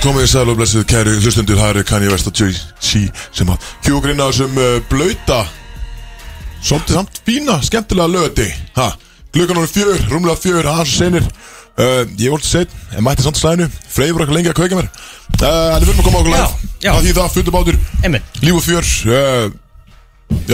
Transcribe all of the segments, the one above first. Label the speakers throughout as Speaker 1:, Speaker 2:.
Speaker 1: komið í sæl og blessuð kæri hlustendur Það eru Kanye West og Jay-Z sem að kjúkur inn á þessum uh, blauta Svolítið samt fína, skemmtilega lögati ha, Glukkan hún er fjör, rúmlega fjör, aðeins og senir uh, Ég voldi seinn, en mætti samt slæðinu Freyði var okkur lengi að kveika mér uh, En við fyrir að koma okkur
Speaker 2: Já, já.
Speaker 1: live Það því það, fullur bátur,
Speaker 2: Einmitt.
Speaker 1: líf og fjör uh,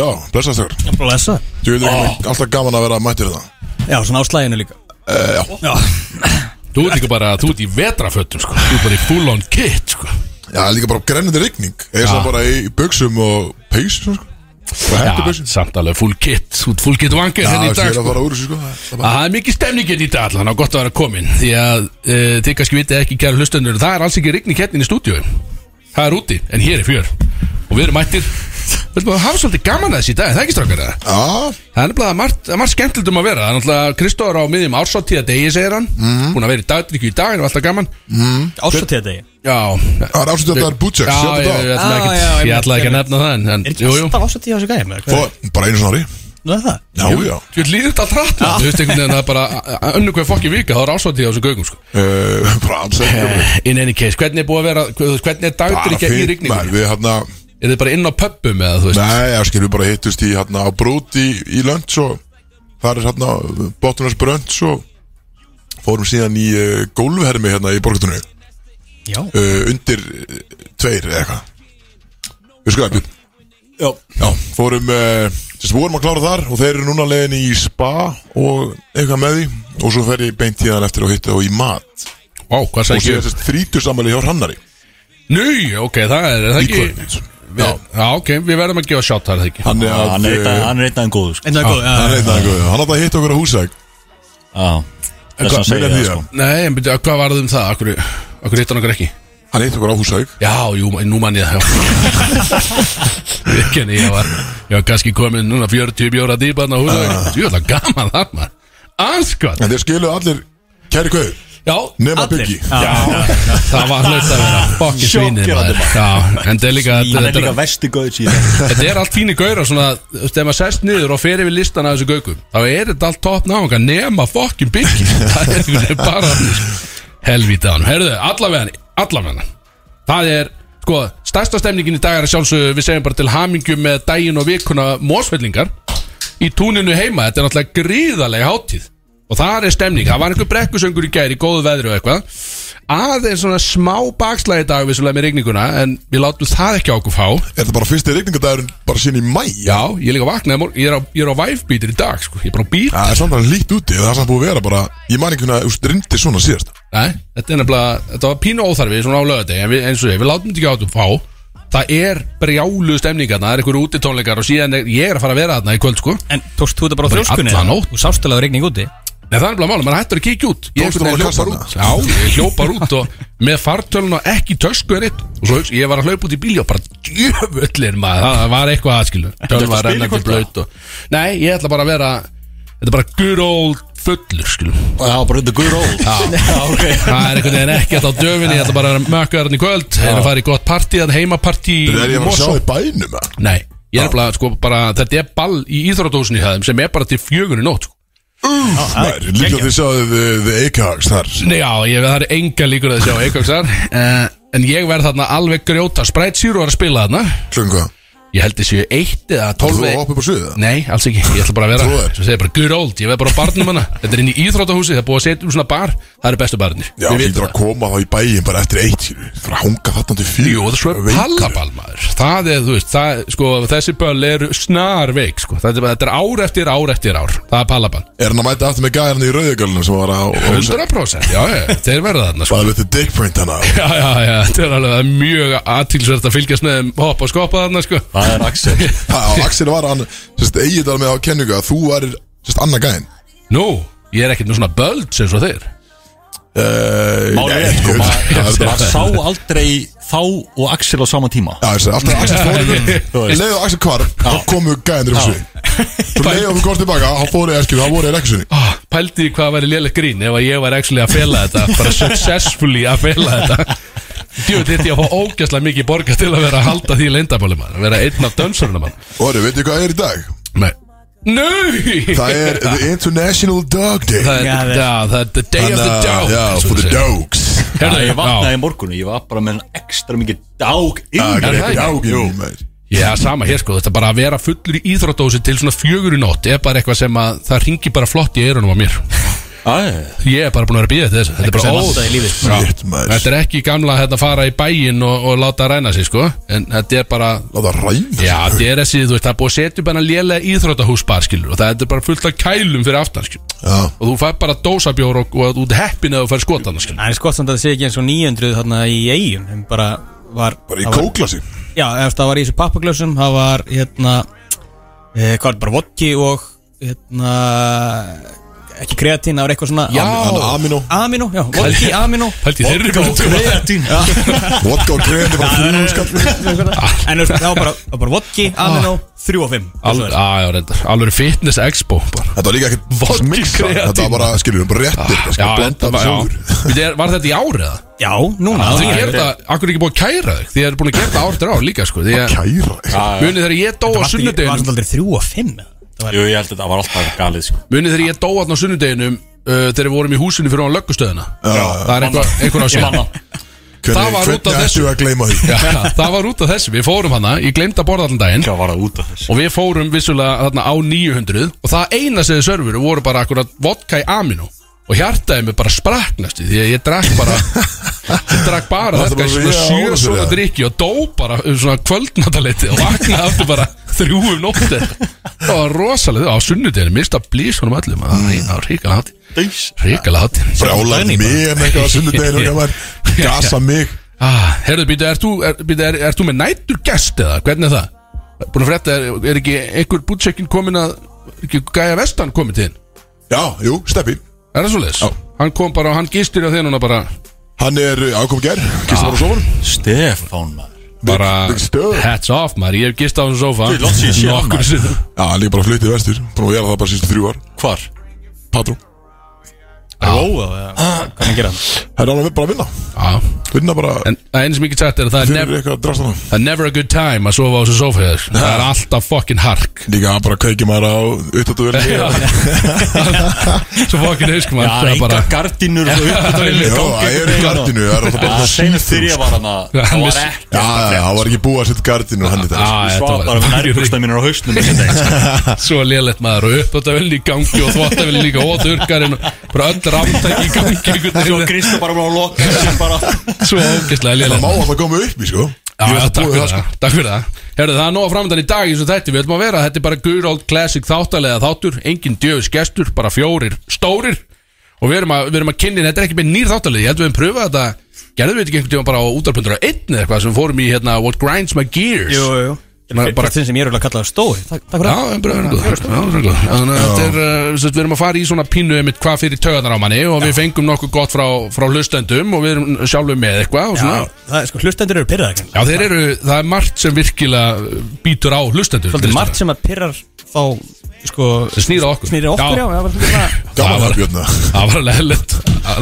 Speaker 1: Já, blessaðast þegar
Speaker 2: Blessa
Speaker 1: Þú veitir
Speaker 2: Ah.
Speaker 1: ekki, alltaf gaman að vera mættir þetta
Speaker 2: Já, svona á slæginu líka
Speaker 1: uh, Já,
Speaker 2: Já,
Speaker 3: Þú ert ekki bara, þú ert í vetrafötum sko Þú ert bara í full on kit sko
Speaker 1: já, líka bara grennandi rigning Ég er svo bara í, í buksum og peysum sko. Og
Speaker 3: Já,
Speaker 1: hettubuxum.
Speaker 3: samt alveg full kit Þú ert full kit vangir
Speaker 1: Já,
Speaker 3: henni í
Speaker 1: það
Speaker 3: dag
Speaker 1: er að
Speaker 3: sko
Speaker 1: fara úr þessu sko Það er
Speaker 3: Að Það er mikið stemningin í dag allan og gott að vera komin Því að e, þið kannski vitið ekki kæra hlustendur Það er alls ekki rigning hérna í stúdíu Það er úti, en hér er fjör Og við erum mættir Við erum að hafa svolítið gaman að þessi í dag, er það ekki strákar það
Speaker 1: Já,
Speaker 3: Það er nefnilega margt, það er margt skemmtilegt um að vera Það er náttúrulega Kristóður á miðjum ársáttíða degi segir hann
Speaker 1: Mhm.
Speaker 3: mm. Búin að vera í dagdrykju í dag, en alltaf gaman
Speaker 2: ásatíða degi
Speaker 3: Já,
Speaker 1: það er ásett að það er
Speaker 3: Já,
Speaker 1: Butchers
Speaker 3: ég, ég,
Speaker 1: Já,
Speaker 3: ætla
Speaker 2: Já,
Speaker 3: ekki,
Speaker 2: já,
Speaker 3: ég
Speaker 2: einmitt,
Speaker 3: ætla ekki að
Speaker 2: einmitt.
Speaker 3: nefna það en, en
Speaker 2: Er ekki
Speaker 3: jú, jú,
Speaker 2: alltaf ásatíða á þessu gæði með?
Speaker 1: já Bara einu svona ári
Speaker 2: Nú er það
Speaker 1: Já, já
Speaker 3: Þú veit, líður þetta allt rætt Þú veist einhvern veginn að það er bara önnu hver fokki vika þá er ásvættið á þessum gögum sko.
Speaker 1: Eh, Bara alls ekki
Speaker 3: In any case, hvernig er búið að vera hvað- þú veist, hvernig er dagdur í
Speaker 1: Bara
Speaker 3: gegn í
Speaker 1: fínt maður
Speaker 3: rigningu?
Speaker 1: Við hérna
Speaker 3: Er þið bara inn á pöppum eða þú veist?
Speaker 1: Nei, já, skilur við bara hittust í hérna á brúti í, í lönds og það er hérna Bottunars brönds og fórum síðan í uh, gólfhermi hérna í borgatunni uh,
Speaker 2: Já
Speaker 1: undir uh, tveir eða eitthvað Við skoðum við
Speaker 2: Já
Speaker 1: Já, fórum, uh, sérst, við vorum að klára þar og þeir eru núna leiðin í spa og eitthvað með því og svo fer ég beint tíðan eftir og hitta og í mat
Speaker 3: Vá, hvað
Speaker 1: og
Speaker 3: sagði
Speaker 1: sér
Speaker 3: ég?
Speaker 1: sérst þrítusamæli hjá Hrannari
Speaker 3: Nú, ok, það er, er það
Speaker 1: í
Speaker 3: ekki
Speaker 1: kvöld
Speaker 3: Já, já, ok, við verðum að gefa sjátt það er það ekki
Speaker 1: Hann er að,
Speaker 4: Hann er einn
Speaker 1: eh,
Speaker 4: af- hann er einn aðeins góður sko.
Speaker 2: En það er góð
Speaker 1: hann
Speaker 2: já,
Speaker 1: er einn aðeins góður. Hann átti að hitta okkur á húsæk
Speaker 4: Já. Þess
Speaker 1: hvað-
Speaker 4: að segja
Speaker 1: meina því
Speaker 4: það
Speaker 1: það?
Speaker 4: sko
Speaker 3: Nei, en byrju, hvað varðum um það? Akkur, akkur hittan okkur ekki?
Speaker 1: Hann hitta okkur á húsæk
Speaker 3: Já, jú, nú mann ég það Ég kenni, ég var Ég var kannski komin núna 40 bjóra dýpa Þannig að
Speaker 4: Ah.
Speaker 3: hún Jú, það er gaman það maður Anskot
Speaker 1: en þeir skiluðu allir kæri kveður
Speaker 3: Já,
Speaker 1: nema
Speaker 2: Allir.
Speaker 1: Byggi
Speaker 2: Já.
Speaker 3: það var hlut að vera Fokkin svínið maður Já, en það er líka
Speaker 4: Hann er
Speaker 3: þetta
Speaker 4: líka
Speaker 3: er-
Speaker 4: vesti góður síðan
Speaker 3: Þetta er allt fínir gaurar svona Þú veist, ef maður sest niður og fer yfir listan að þessu gaugum Þá er þetta allt topp náðunga Nema fokkin byggi Það er einhvern veginn bara Helvítið á hann Herðu, allavega Allavega Það er Sko, stærsta stemningin í dag er að sjálfsögðu Við segjum bara til hamingju með daginn og vikuna Mósfellingar Í túninu heima Þetta er náttúrulega gríðalega hátíð Og þar er stemning Það var einhver brekkusöngur í gær í góðu veðri og eitthvað Aðeins svona smá bakslagi í dag Vissulega með rigninguna En við látum það ekki á okkur fá
Speaker 1: er það bara fyrsti regningadagurinn bara sín í mæ
Speaker 3: Já, ég er líka vaknaði morgun, ég er á, ég er á væfbítir í dag, sko, ég er bara á bít
Speaker 1: það er samt að lít úti það er samt búið að vera bara ég man ekki hvernig að rindi svona síðast
Speaker 3: Nei, þetta er nefnilega, þetta var pínu óþarfi svona á lögadegi, en við, eins og ég, við látum þetta ekki átum fá Það er brjálu stemningarna, það er einhverju útitónleikar og síðan er, ég er að fara að vera þarna í kvöld, sko Nei,
Speaker 2: En tókst þú þetta bara á
Speaker 3: Bara í
Speaker 2: þrjóskunni?
Speaker 3: alla
Speaker 2: eða?
Speaker 3: nótt.
Speaker 2: Þú sást alveg rigning úti
Speaker 3: það er nefnilega málum, maður hættur að kíkja út Ég
Speaker 1: Tókstu
Speaker 3: einhvern
Speaker 1: bara
Speaker 3: veginn hljópar út Já, ég hljópar út og með fartölun og ekki tösku er eitt Og svo hugsa- ég var að hlaupa út í bíli og bara djöfullin maður, það var eitthvað aðskilu Tölun var rennandi blöyt og Nei, ég ætla bara að vera, þetta er bara good old fullur, skilum
Speaker 4: Já, bara þetta góður ól Já, ok
Speaker 3: Það er einhvern veginn ekkert á döfinni Ég ætla bara að mökka þarna í kvöld Það er að fara í gott partí, þannig heimapartí í
Speaker 1: það er ég að fara að sjá það
Speaker 3: Mosó.
Speaker 1: í bænum eða?
Speaker 3: Nei, ég er bara, sko, bara Þetta er ball í íþrótósinu hjá þeim Sem er bara til fjögur í nótt sko.
Speaker 1: Nei, líka þið sjáðu The, the Acahags þar
Speaker 3: Nei, já, ég, það er enga líkur að sjá Eikoksar uh, En ég verð þarna alveg grjóta Sprite Zero er að spila þarna
Speaker 1: klunga
Speaker 3: Ég held þessi eitt eða
Speaker 1: Þú
Speaker 3: tólfi
Speaker 1: hoppið upp á sviðið
Speaker 3: Nei, alls ekki, ég ætla bara að
Speaker 1: Þú
Speaker 3: vera
Speaker 1: er.
Speaker 3: Svo segir bara, good old, ég verð bara á barnum hana Þetta er inn í íþrótahúsi, það er búið að setja um svona bar Það eru bestu barnir
Speaker 1: Já,
Speaker 3: Við
Speaker 1: þú
Speaker 3: vitum
Speaker 1: hlýtur
Speaker 3: það.
Speaker 1: að koma þá í bæin bara eftir eitt skilur. Þú fyrir að hunga þarna til fyrir
Speaker 3: Jú, það er svo er pallaball maður Það er, þú veist, það, sko, þessi böll er snarveik, sko Þetta er, bara- þetta er ár eftir ár eftir ár Það er pallaball
Speaker 1: Er hann að mæta aftur með gæðan í rauðugölunum sem var á
Speaker 3: 100% Já, já, þeir verða þarna, sko
Speaker 1: Bara við þetta dick print hana
Speaker 3: Já, já, já, þetta er alveg það er mjög aðtilsvert að fylgjast með þeim hoppa og skoppa þarna, sko
Speaker 4: Það er Axel
Speaker 1: Og Axel var hann Sérst, eigið þar með á kenningu að þú varir Sérst, annað gæðin
Speaker 3: Nú, ég er ekkert með svona böld sem svo þeir
Speaker 1: Eh,
Speaker 4: Málið er sko
Speaker 1: Málið
Speaker 4: Maður sá aldrei þá og Axel á sama tíma
Speaker 1: Já, þessi, alltaf Axel
Speaker 4: Þú
Speaker 1: fór
Speaker 4: veist.
Speaker 1: Leðu Axel hvar, þá komu gæðinir upp svið Þú leiðu og þú komst tilbaka, þá fóru ég eskjum, þá voru ég ekki sinni
Speaker 3: Ah, Pældi í hvað væri léleg grín ef að ég var actually að fela þetta bara successfully að fela þetta Djú, þetta ég að fá ógæslega mikið borga til að vera að halda því leindabóli mann vera einn af dönsurinn mann
Speaker 1: Óru, veitu hvað er í dag?
Speaker 3: Nei Nei
Speaker 1: Það er The International Dog Day
Speaker 3: Það er,
Speaker 2: Já,
Speaker 3: já, það er the day of the
Speaker 1: Þannig að-
Speaker 3: dog
Speaker 1: Já,
Speaker 3: eins og
Speaker 1: for
Speaker 3: þú
Speaker 1: the
Speaker 3: segir.
Speaker 1: dogs
Speaker 3: Herðu,
Speaker 4: Ég
Speaker 3: já.
Speaker 4: vaknaði í morgunu, ég var bara með en ekstra mikið dák
Speaker 1: Það
Speaker 4: inn
Speaker 1: er
Speaker 3: það
Speaker 1: ekki
Speaker 3: ekki?
Speaker 1: ágifni maður
Speaker 3: Já, sama hér sko, þetta bara að vera fullur í íþróttdósi til svona fjögur í nótt er bara eitthvað sem að það ringi bara flott í eyrunum á mér
Speaker 4: Æ,
Speaker 3: Ég er bara búin að vera að býða þetta Þetta er bara
Speaker 2: sem
Speaker 3: ó-
Speaker 2: vantaði í lífið.
Speaker 3: Já.
Speaker 1: Shit, maður.
Speaker 3: Þetta er ekki gamla hérna, að fara í bæinn og, og láta ræna sig sko En þetta er bara
Speaker 1: Láta ræða sig.
Speaker 3: Já, þetta er þessi, þú veist, það er búið að setja upp hennar lélega íþróttahús bar, skilur, og það er bara fullt af kælum fyrir aftan, skilur,
Speaker 1: Já,
Speaker 3: og þú fær bara dósabjór og, og þú ert heppin eða þú fær skotana, skilur.
Speaker 2: Það er skott samt að það sé ekki eins og 900 þarna í eigum En bara var
Speaker 1: bara í
Speaker 2: það var-
Speaker 1: kóklasi
Speaker 2: Já, eftir það var í þessu pappaglössum Það var hérna eh, Hvað er bara vodki og hérna Ekki kreatín, það var eitthvað svona
Speaker 3: Já.
Speaker 1: Hann Amino
Speaker 2: Amino, já, vodki, amino
Speaker 3: Hældi þeirri sko.
Speaker 4: vodka og
Speaker 3: myndu.
Speaker 4: kreatín
Speaker 1: Vodka og krem Það var þrjúðum skall
Speaker 2: En þú veist, það var bara, það var bara vodki, amino, 3 og 5
Speaker 3: Al, á, já, reyndar, alveg fitness expo, bara.
Speaker 1: Þetta var líka ekkert
Speaker 3: Vodka
Speaker 1: mixa
Speaker 3: kreatín. Ah,
Speaker 1: Þetta var bara, skiljum, bara réttir Þetta skal blenda
Speaker 3: var,
Speaker 1: það sjálfur
Speaker 3: Við er, var þetta í árið Ah, það?
Speaker 2: Já, núna
Speaker 3: Þið
Speaker 2: það
Speaker 3: gerðu
Speaker 2: er-
Speaker 3: þetta, akkur er ekki búið að kæra þig Þið er búin að gera þetta árið ár líka sko Því að,
Speaker 1: Kæra
Speaker 3: munið þegar ég dó
Speaker 2: Var þetta
Speaker 3: á
Speaker 2: ekki- var
Speaker 3: sunnudeginu
Speaker 2: þetta aldrei 3 og 5 Það var
Speaker 4: Jú, ég held að þetta var alltaf galið sko.
Speaker 3: Munið þegar ég dó á sunnudeginu uh, Þegar við vorum í húsinu fyrir á löggustöðina Það er einhver, einhver á
Speaker 4: Ég man
Speaker 3: sér
Speaker 4: það.
Speaker 3: Það var út af
Speaker 1: Hvernig
Speaker 3: þessu.
Speaker 1: ættu að gleyma því
Speaker 3: Já, það var út af þessu, við fórum hana, ég glemd að borða allan daginn
Speaker 4: Hvað var það út af þessu?
Speaker 3: Og við fórum vissulega þarna á 900 Og það eina sem þið servuru voru bara akkurat vodka í amino Og hjartaði mig bara spraknast í Því að ég drakk bara Ég drakk bara
Speaker 1: Varstu
Speaker 3: þetta
Speaker 1: bara
Speaker 3: í svona
Speaker 1: ríða
Speaker 3: sjö
Speaker 1: ára fyrir
Speaker 3: svona
Speaker 1: það?
Speaker 3: drikki Og dó bara um svona kvöldnataleiti Og vaknaði aftur bara þrjú um nótti Það var rosalega, á sunnudeginu Mista blís honum öllum Það var ríkala hátti
Speaker 4: Deis.
Speaker 3: Ríkala hátti
Speaker 1: Brálaði mig en eitthvað á sunnudeginu og gaman. Gasa mig
Speaker 3: Ah, herðu, býta, ert þú, er, býta, er, ert þú með næturgest eða? Hvernig er það? Búin að frétta, er, er ekki einhver bútsekkin komin að, er ekki Gæja Vestan komin til þinn?
Speaker 1: Já, jú, Steppi
Speaker 3: Er það svo leis? Hann kom bara og hann gistir á þinn og bara,
Speaker 1: Hann er eh, ákom ger Kistur
Speaker 3: Ah.
Speaker 1: bara á sofunum
Speaker 4: Stefán maður
Speaker 3: bara
Speaker 1: Big stöð.
Speaker 3: hats off maður, ég hef gist á þessum sofa
Speaker 4: Þú, langt síðan ég sé hann, maður.
Speaker 3: sinnum
Speaker 1: Já, hann líka bara flyttið vestur Búin að gera það bara sístu þrjú ár
Speaker 4: Hvar?
Speaker 1: Patrú
Speaker 2: róa Hvað er að gera það?
Speaker 1: Það er alveg bara að vinna
Speaker 3: Já,
Speaker 1: Vinna bara
Speaker 3: en það einu sem ég get sagt er að það er
Speaker 1: Fyrir
Speaker 3: never,
Speaker 1: eitthvað drastana
Speaker 3: það er never a good time að sofa á þessum sofa hér Það er alltaf fucking hark
Speaker 1: Líka hann bara kveikir maður á
Speaker 3: Já.
Speaker 1: Uttáttuverðinni
Speaker 3: Svo fucking hauskum
Speaker 4: Já,
Speaker 3: maður það er bara,
Speaker 4: enga gardínur og
Speaker 1: Já, það er í gardinu Það er alltaf bara
Speaker 4: Senast þegar ég var hann að
Speaker 3: Hann
Speaker 4: Það var
Speaker 3: vissi-
Speaker 4: ekki
Speaker 1: Já, já, það var ekki búið að setja gardinu Hann er
Speaker 3: Já,
Speaker 1: þetta
Speaker 3: þetta
Speaker 4: Svaf
Speaker 3: var-
Speaker 4: bara með nærbusta mínir á hausnum þessi dag, sko.
Speaker 3: Svo lélætt maður og uppdóttavelin í gangi og þvottavelin líka og þurrkarinn og bara öll rámtæki í gangi einhvern
Speaker 4: Svo
Speaker 3: veginn.
Speaker 4: Kristof bara búin að loka sem bara
Speaker 3: Svo ógeðslega
Speaker 1: Það má
Speaker 3: lélætt
Speaker 1: alltaf koma upp í sko
Speaker 3: Já,
Speaker 1: Ég
Speaker 3: já,
Speaker 1: veist að
Speaker 3: takk
Speaker 1: búið
Speaker 3: fyrir
Speaker 1: það sko
Speaker 3: það, takk fyrir það Herðu, það er nóg að framöndan í dag eins og þetta Við ætlum að vera, þetta er bara good old classic þáttalega þáttur Engin djöfis gestur, bara fjórir stórir Og við erum að, við erum að kynni, þetta er ekki með nýr þáttalega Ég held við erum pröfað þetta, gerðum við þetta ekki einhvern tíma bara á útarpundur á einn eða eitthvað sem við fórum í hérna What Grinds My Gears
Speaker 2: Jú, jú
Speaker 3: Maður bara-
Speaker 2: Bara þinn sem ég er örugglega að kalla það stóri Takk takk fyrir
Speaker 3: Já,
Speaker 2: það
Speaker 3: en bara verðum góð Þannig að þetta er, uh, sem sagt, við erum að fara í svona pínu einmitt hvað fyrir taugarnar á manni og við fengum nokkuð gott frá, frá hlustendum og við erum sjálfur með eitthvað og svona
Speaker 2: Já, það er sko hlustendur eru pyrrað
Speaker 3: Já, þeir eru, það er margt sem virkilega uh, býtur á hlustendur
Speaker 2: Svolítið margt sem að pyrrar þá sko
Speaker 3: Sem snýr að okkur.
Speaker 2: Snýra okkur,
Speaker 3: Já.
Speaker 2: já, já, bara svolítið svona
Speaker 1: Gaman það
Speaker 3: Það var-
Speaker 1: Björna
Speaker 3: Það var leðilegt,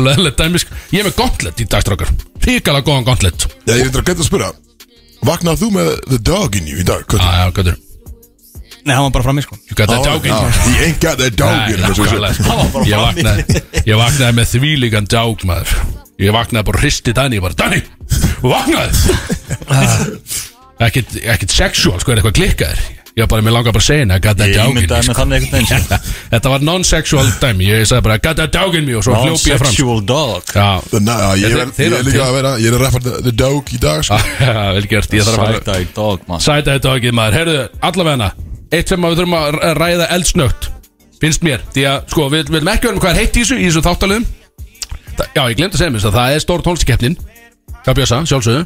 Speaker 3: leðilegt dæmis Ég er með gauntlet í dagstrákar Ríkala góðan gauntlet
Speaker 1: Já, ég reyndar að geta að spyrja Vaknaði þú með the dog in you í dag? Hvað-
Speaker 3: Já, já, gætur
Speaker 2: Nei, hann var bara frammi sko
Speaker 3: You got that Ah, dog in you
Speaker 1: Já, He ain't got that dog in you
Speaker 3: Nei,
Speaker 1: eins og ég
Speaker 3: nákvæmlega,
Speaker 1: segi.
Speaker 3: sko. Ég vaknaði Ég vaknaði með þvílíkan dák maður Ég vaknaði bara og hristi Dani Ég bara Dani, þú vaknaði Ekkert, ekkert sexual sko er eitthvað klikkaður Ég var bara, mér langar bara að segja henni að gata
Speaker 4: Ég myndaði
Speaker 3: dákin
Speaker 4: með þannig einhvern veginn sko.
Speaker 3: Þetta var non-sexual dæmi Ég sagði bara gata dákin mér og svo hljópi ég fram sko.
Speaker 4: Non-sexual dog
Speaker 3: Já,
Speaker 1: Þannig að ég er- ég
Speaker 3: Þeir- þeir
Speaker 1: er
Speaker 3: eru
Speaker 1: líka
Speaker 3: til.
Speaker 1: að vera Ég er að rappa the- the dog í dag sko.
Speaker 3: vel gert Ég þarf að fara
Speaker 4: Sætæg dog man
Speaker 3: Sæta þetta ekki maður, heyrðu, allavegna Eitt sem við þurfum að ræða eldsnögt Finnst mér, því að sko, við við viljum ekki verðum hvað er heitt í þessu, í þessu þáttalöðum Já, ég glemt að segja mér þess að það er stór tónlistikeppnin Hjá Bjösa, sjálfsögðu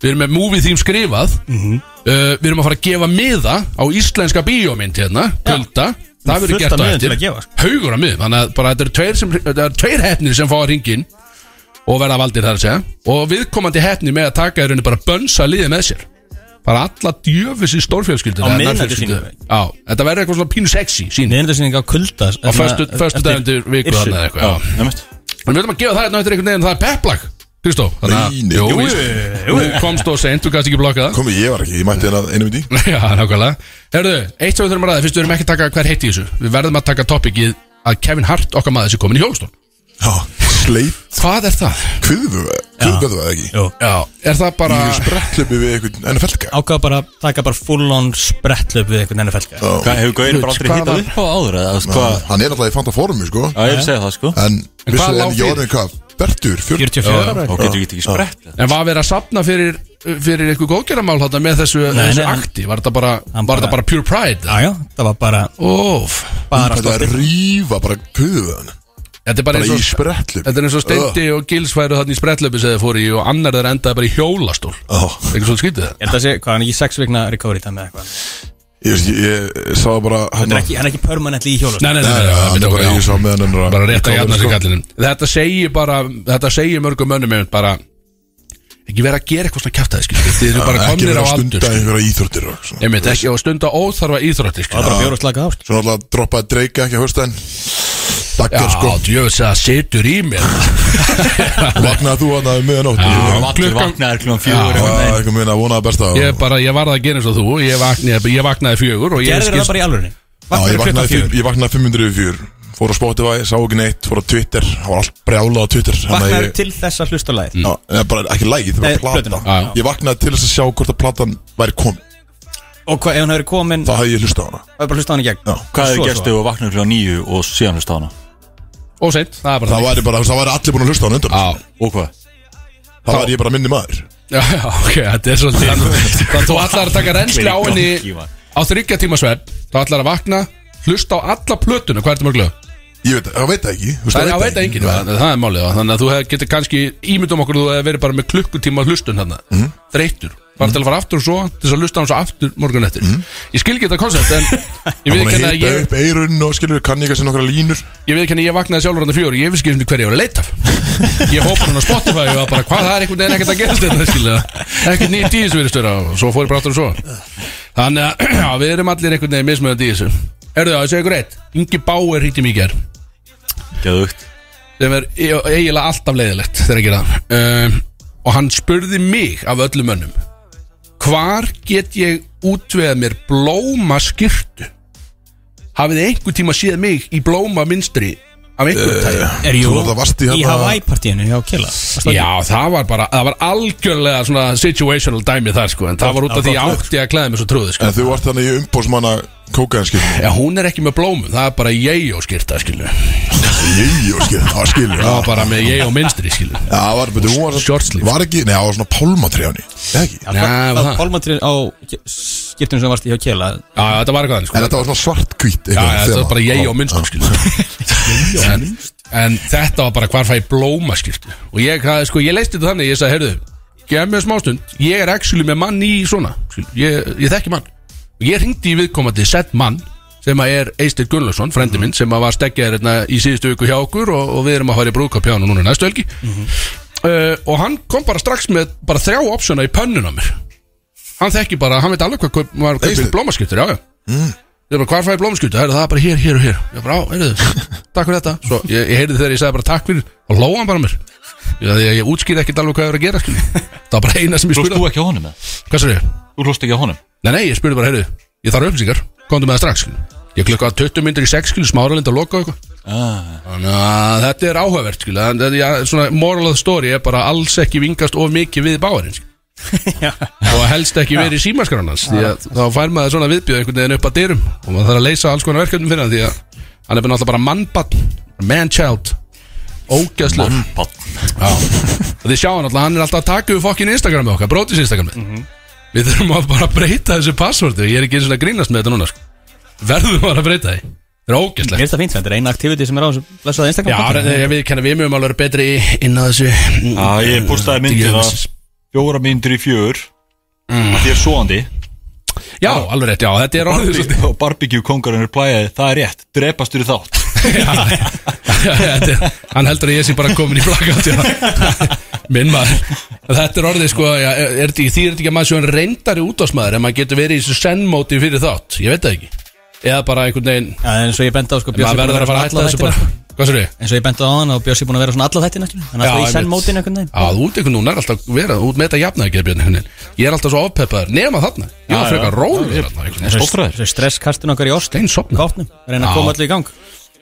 Speaker 3: Við erum með movie theme skrifað
Speaker 2: Mhm.
Speaker 3: uh, Við erum að fara að gefa miða á íslenska bíómynd hérna, kulda Það verður
Speaker 2: fullt
Speaker 3: gert
Speaker 2: af
Speaker 3: á
Speaker 2: miðum til
Speaker 3: eftir
Speaker 2: að gefa, sko.
Speaker 3: Haugur af miðum, þannig að bara þetta eru tveir, sem, þetta eru tveir hefnir sem fá að ringin Og verða valdir þar að segja Og viðkomandi hefnir með að taka í rauninni bara bönsa liðið með sér Bara alla djöfis í stórfjölskyldu
Speaker 2: Á miðnætursýningu.
Speaker 3: Já, þetta verður eitthvað svona pínu sexy sín
Speaker 2: Neðendasýning á kulda hérna,
Speaker 3: Á föstu, föstu dagundir viku
Speaker 2: Yrsu.
Speaker 3: þarna eða eitthvað já.
Speaker 4: Nefnt
Speaker 3: En við ætlum að gefa það hérna eftir einhvern veginn, það er pepplag Kristó,
Speaker 1: Nei, nei,
Speaker 3: jú,
Speaker 1: jú,
Speaker 3: víst. Þú komst og seint, þú kannst ekki blokka það
Speaker 1: Komi, ég var ekki, ég mætti hérna hennar einu myndi
Speaker 3: Já, nákvæmlega Herðu, eitt sem við þurfum að ræða, fyrst við erum ekki að taka hver heiti í þessu Við verðum að taka topikið að Kevin Hart, okkar maður, sé komin í hjólstól
Speaker 1: Já, sleit
Speaker 3: Hvað er það?
Speaker 1: kviðu Kjúkaðu það ekki
Speaker 2: Jú.
Speaker 3: Já, er það bara
Speaker 1: Ég er sprettlöpi við einhvern NFL-ka
Speaker 2: Ákvað bara að taka bara full on sprettlöp við einhvern NFL-ka
Speaker 1: Já.
Speaker 4: Hvað, hefur Gauðin bara aldrei
Speaker 3: Hvað
Speaker 4: hýtað
Speaker 3: var-
Speaker 4: upp á áður eða, þú veist, hvað
Speaker 1: Hann er alltaf í fanta formi sko
Speaker 4: Já, ég vil segja það, sko
Speaker 1: En vissu
Speaker 3: hvað
Speaker 1: það
Speaker 3: lá
Speaker 1: en ég
Speaker 3: fyrir?
Speaker 1: orðin hvað Bertur, 40
Speaker 2: 44 ára
Speaker 4: Og
Speaker 2: ekki?
Speaker 4: getur ekki ekki sprett
Speaker 3: En var verið að sapna fyrir, fyrir eitthvað góðgerðamál þarna með þessu,
Speaker 2: Nei,
Speaker 3: þessu
Speaker 2: nei, hann-
Speaker 3: akti? Var þetta bara,
Speaker 2: hann
Speaker 3: var þetta
Speaker 2: bara-
Speaker 3: bara pure pride?
Speaker 2: Já, já, það var bara,
Speaker 3: Óf,
Speaker 2: bara
Speaker 1: Þetta er
Speaker 2: stoltið.
Speaker 1: að rífa bara kuðu hann
Speaker 3: þetta er bara
Speaker 1: Bara í
Speaker 3: eins og
Speaker 1: sprettlöpi
Speaker 3: Þetta er eins og Steindi og Gils væru þannig í sprettlöpi sem þið fóru í og annar þeir endaði bara í hjólastól
Speaker 1: Já.
Speaker 3: Eitthvað svolítið skytið það
Speaker 2: Ég held að sé, hvað, hann er ekki sex vikna recovery time eða eitthvað
Speaker 1: Ég veist, ég- ég sá bara
Speaker 2: Hann
Speaker 1: hann
Speaker 2: er ekki, hann er ekki permanently í hjólast
Speaker 3: Nei, nei, nei, nei,
Speaker 1: Nei,
Speaker 3: nei,
Speaker 1: hann
Speaker 3: nei,
Speaker 1: er bara
Speaker 3: nei,
Speaker 1: ég
Speaker 3: já.
Speaker 1: sá meðan hann er
Speaker 3: bara rétt að jæfna sig
Speaker 1: sko.
Speaker 3: kallinum Þetta segir bara, þetta segir mörgum mönnum einmitt bara Ekki vera að gera eitthvað svona kjaftaði skilur Þið eru bara
Speaker 1: Ekki
Speaker 3: komnir
Speaker 1: vera
Speaker 3: á
Speaker 1: að
Speaker 3: aldur
Speaker 1: stunda
Speaker 3: skilurðu.
Speaker 1: einhverja íþróttir og svona.
Speaker 3: Einmitt, ekki á stunda óþarfa sko. íþrótti
Speaker 2: Það
Speaker 3: skilur
Speaker 2: var bara bjór og slaka sko. ást
Speaker 1: Svo náttúrulega droppaði dreika ekki að hausta en
Speaker 3: Já,
Speaker 1: Daggar sko
Speaker 3: djöfis að það situr í mér
Speaker 1: Vaknaði þú um hann að miðanótt
Speaker 4: Hann var allir
Speaker 3: klukkan-
Speaker 4: vaknaðir klukkan fjögur
Speaker 1: Það
Speaker 4: einhvern
Speaker 1: er
Speaker 4: veginn.
Speaker 1: eitthvað minna að vona að besta
Speaker 3: Ég bara, ég varð að gera eins og þú Ég vaknaði, ég vaknaði fjögur og ég
Speaker 2: Gerður það
Speaker 3: skilst-
Speaker 2: bara í alvörinu
Speaker 1: Já, ég
Speaker 2: Vaknaði klukkan
Speaker 1: vaknaði,
Speaker 2: fjögur
Speaker 1: ég vaknaði 500 yfir fjör Fór á Spotify, sá ekki neitt, fór á Twitter Það var allt brjálað á Twitter þannig að
Speaker 2: Vaknaði
Speaker 1: ég-
Speaker 2: til þess að hlusta á lagið
Speaker 1: Já, það er bara ekki lægið, það
Speaker 2: Nei,
Speaker 1: var platan
Speaker 2: plötuna.
Speaker 3: Já.
Speaker 1: Ég vaknaði til þess að sjá hvort að platan væri komin
Speaker 2: Og hvað, ef hann hefur komin,
Speaker 1: Það hefði ég hlustað á hana
Speaker 2: það er bara hlusta á hann í gegn
Speaker 1: Já.
Speaker 4: Hvað
Speaker 2: Svo,
Speaker 4: hefur gerst
Speaker 2: svo.
Speaker 4: ef þú vaknaði klukkan nýju og síðan hlusta á hana?
Speaker 3: Og seint, það er bara
Speaker 1: Það væri bara, það væri allir búin að hlusta á hana undan
Speaker 3: Já,
Speaker 4: Og hvað?
Speaker 1: Það væri ég bara minni maður
Speaker 3: Já, já, ok, þetta er svolítið Þannig að þú ætlar að taka reynsli á henni
Speaker 4: Gangi, maður.
Speaker 3: á þryggja tíma svepp Þú ætlar að vakna, hlusta á alla plötuna Hvað ertu mörglega?
Speaker 1: Ég veit, það veit það ekki þú veist,
Speaker 3: Það er að veita enginn, það það er málið já. Þannig að þú hef- getur kannski ímyndum okkur að Þú hefur verið bara með klukkutíma hlustun hann Þreytur, bara til að fara aftur og svo Til þess að hlusta á hann svo aftur morgun eftir Ég skil ekki þetta koncept, en ég
Speaker 1: Ég
Speaker 3: veit
Speaker 1: veit
Speaker 3: ekki að
Speaker 1: hita
Speaker 3: ég
Speaker 1: upp eirun og skilur kann ég kannski nokkra línur
Speaker 3: Ég veit ekki að ég vaknaði sjálfur hann fjóri Ég vissi ekki einu sinni hverju ég var að leita af. Ég hópa hann á Spotify og var bara hvað það er einhvern veginn ekkert að gerast þetta skilja Ekkert nýjum díu sem verið störa og svo fór ég bara aftur og svo Þannig að já, við erum allir einhvern veginn mismöðan díu sem Erðu það, ég segi ykkur eitt Ingi Báir hýtti mig í ger
Speaker 4: Geðugt
Speaker 3: sem er e- eiginlega alltaf leiðilegt þegar ég gera það um, og hann spurði mig af öllum mönnum hvar get ég útveða mér blóma skirtu hafið þið einhver tíma séð mig í blóma minstri af einhver tæði
Speaker 2: Er
Speaker 1: Þú
Speaker 2: jú
Speaker 1: náttúrulega varst í
Speaker 2: í
Speaker 1: hérna-
Speaker 2: Hawaii-partíinu hjá Killa Varstu ekki?
Speaker 3: Já, það var bara, það var algjörlega svona situational dæmi þar sko En það var út af því ég átti að klæða mig svo trúði sko
Speaker 1: En þú varst þannig í umbósmanna kókaðinskilur
Speaker 3: Já, hún er ekki með blómum, það er bara ég og skýrta skilu Það
Speaker 1: Jíjó skilur, það var skilur
Speaker 3: var bara með ég og minstri skilu
Speaker 1: Já, það var, betur, hún var
Speaker 3: Short sleeve.
Speaker 1: Var ekki, nei, það var svona pálmatrjáni Ekki
Speaker 2: Já, það-
Speaker 3: Nei, var
Speaker 2: það
Speaker 3: það?
Speaker 2: Pálmatrið á skiptunum sem varst í hjá Killa
Speaker 3: Já, þetta var eitthvað þannig sko
Speaker 1: En þetta var svona svart-hvít
Speaker 3: Já, já, þetta var bara ég og minstri skilu en, en þetta var bara hvar fæ ég blóma skýrtu Og ég, það, sko, ég leisti þetta þannig, ég sagði, heyrðu Gef mér smástund, ég er actually með mann í svona skilu. Ég, ég þekki mann Og ég hringdi í viðkomandi sett mann sem að er Eistir Gunnlaugsson, frendi minn sem að var stekkjaður hérna í síðustu viku hjá okkur og, og við erum að fara í brúðkaup hjá hann núna næstu helgi uh, og hann kom bara strax með bara þrjá opsuna í pönnun á mér hann þekki bara, hann veit alveg hvað kaup- var
Speaker 1: Eysteinn?
Speaker 3: kaupið blómaskiptur, já já Ég er bara, hvar fæ ég blómskjöldu? Það er það er bara hér, hér og hér Ég er bara, á, heyrðu, takk fyrir þetta Svo ég, ég heyrði þegar ég sagði bara takk fyrir Og hlóa hann bara að mér Ég, ég, ég útskýrði ekkert alveg hvað ég var að gera skilji. Það var bara eina sem ég
Speaker 4: Hlust
Speaker 3: spurði
Speaker 4: þú ekki á honum eða?
Speaker 3: Hvað sér ég?
Speaker 4: Þú hlust ekki á honum?
Speaker 3: Nei, nei, ég spurði bara, heyrðu, ég þarf upplýsingar Komdu með það strax skilji. Ég klukkaði 20 myndir í 6 skilju Smáralind að loka og eitthvað
Speaker 4: Ah,
Speaker 3: Þannig að þetta er áhugavert skilju En þetta- já, svona moral of the story er bara alls ekki vingast of mikið við báarinn skilji. og helst ekki verið í símaskranans því að þá fær maður svona viðbjöð einhvern veginn upp að dyrum og maður þarf að leysa alls konar verkefnum fyrir hann því að hann er bara náttúrulega bara mannbann man-child ógæðslu
Speaker 4: Pall
Speaker 3: og þið sjáum náttúrulega hann er alltaf að taka við fokkin Instagramið okkar brótis Instagramið við þurfum að bara breyta þessu passvortu ég er ekki eins og að grínast með þetta núna sko. verðum bara að breyta því það er ógæðslega
Speaker 2: Mér finnst það fínt, þetta er eina aktiviti sem er á þessu blessaða
Speaker 3: Já,
Speaker 2: Instagram
Speaker 3: það- ég við kenna við mjög alveg vera betri í- inn á þessu
Speaker 4: Já, ég postaði myndir að fjóra myndir í fjögur að Þið er svoandi
Speaker 3: Já, alveg rétt, já, þetta er orðið svolítið
Speaker 4: Og barbecue kongarinn er plæðið Það er rétt, drepastur í þátt
Speaker 3: Já, þetta er- hann heldur að ég sé bara komin í blackout já. minn maður þetta er orðið sko já, er, er, því því er þetta ekki að maður sé hann reyndari útásmaður en maður getur verið í þessu sennmóti fyrir þátt ég veit það ekki eða bara einhvern veginn
Speaker 2: Já, en svo ég benda á sko Bjössi
Speaker 3: maður
Speaker 2: búinn
Speaker 3: verður að fara að hætta
Speaker 2: vera
Speaker 3: þessu
Speaker 2: svona alla
Speaker 3: bara
Speaker 2: þættina.
Speaker 3: hvað sér ég?
Speaker 2: En svo ég benda á hann og Bjössi búin að vera svona alla þættina skilur. Hann er
Speaker 3: Já,
Speaker 2: alltaf í
Speaker 3: einmitt.
Speaker 2: sennmótin einhvern veginn
Speaker 3: Já, þú ert einhvern núna er alltaf verið út með þetta jafnaði ekki Björn einhvern veginn. ég er alltaf svo ofpeppaður nema þarna ég var
Speaker 4: Já,
Speaker 3: frekar
Speaker 4: já.
Speaker 3: rólegur þarna einhvern veginn.
Speaker 4: Stofraður
Speaker 2: Svo stresskastin okkar í ost
Speaker 3: Steinsofnaður.
Speaker 2: Káttnum, reyna að
Speaker 3: Já.
Speaker 2: koma allir í gang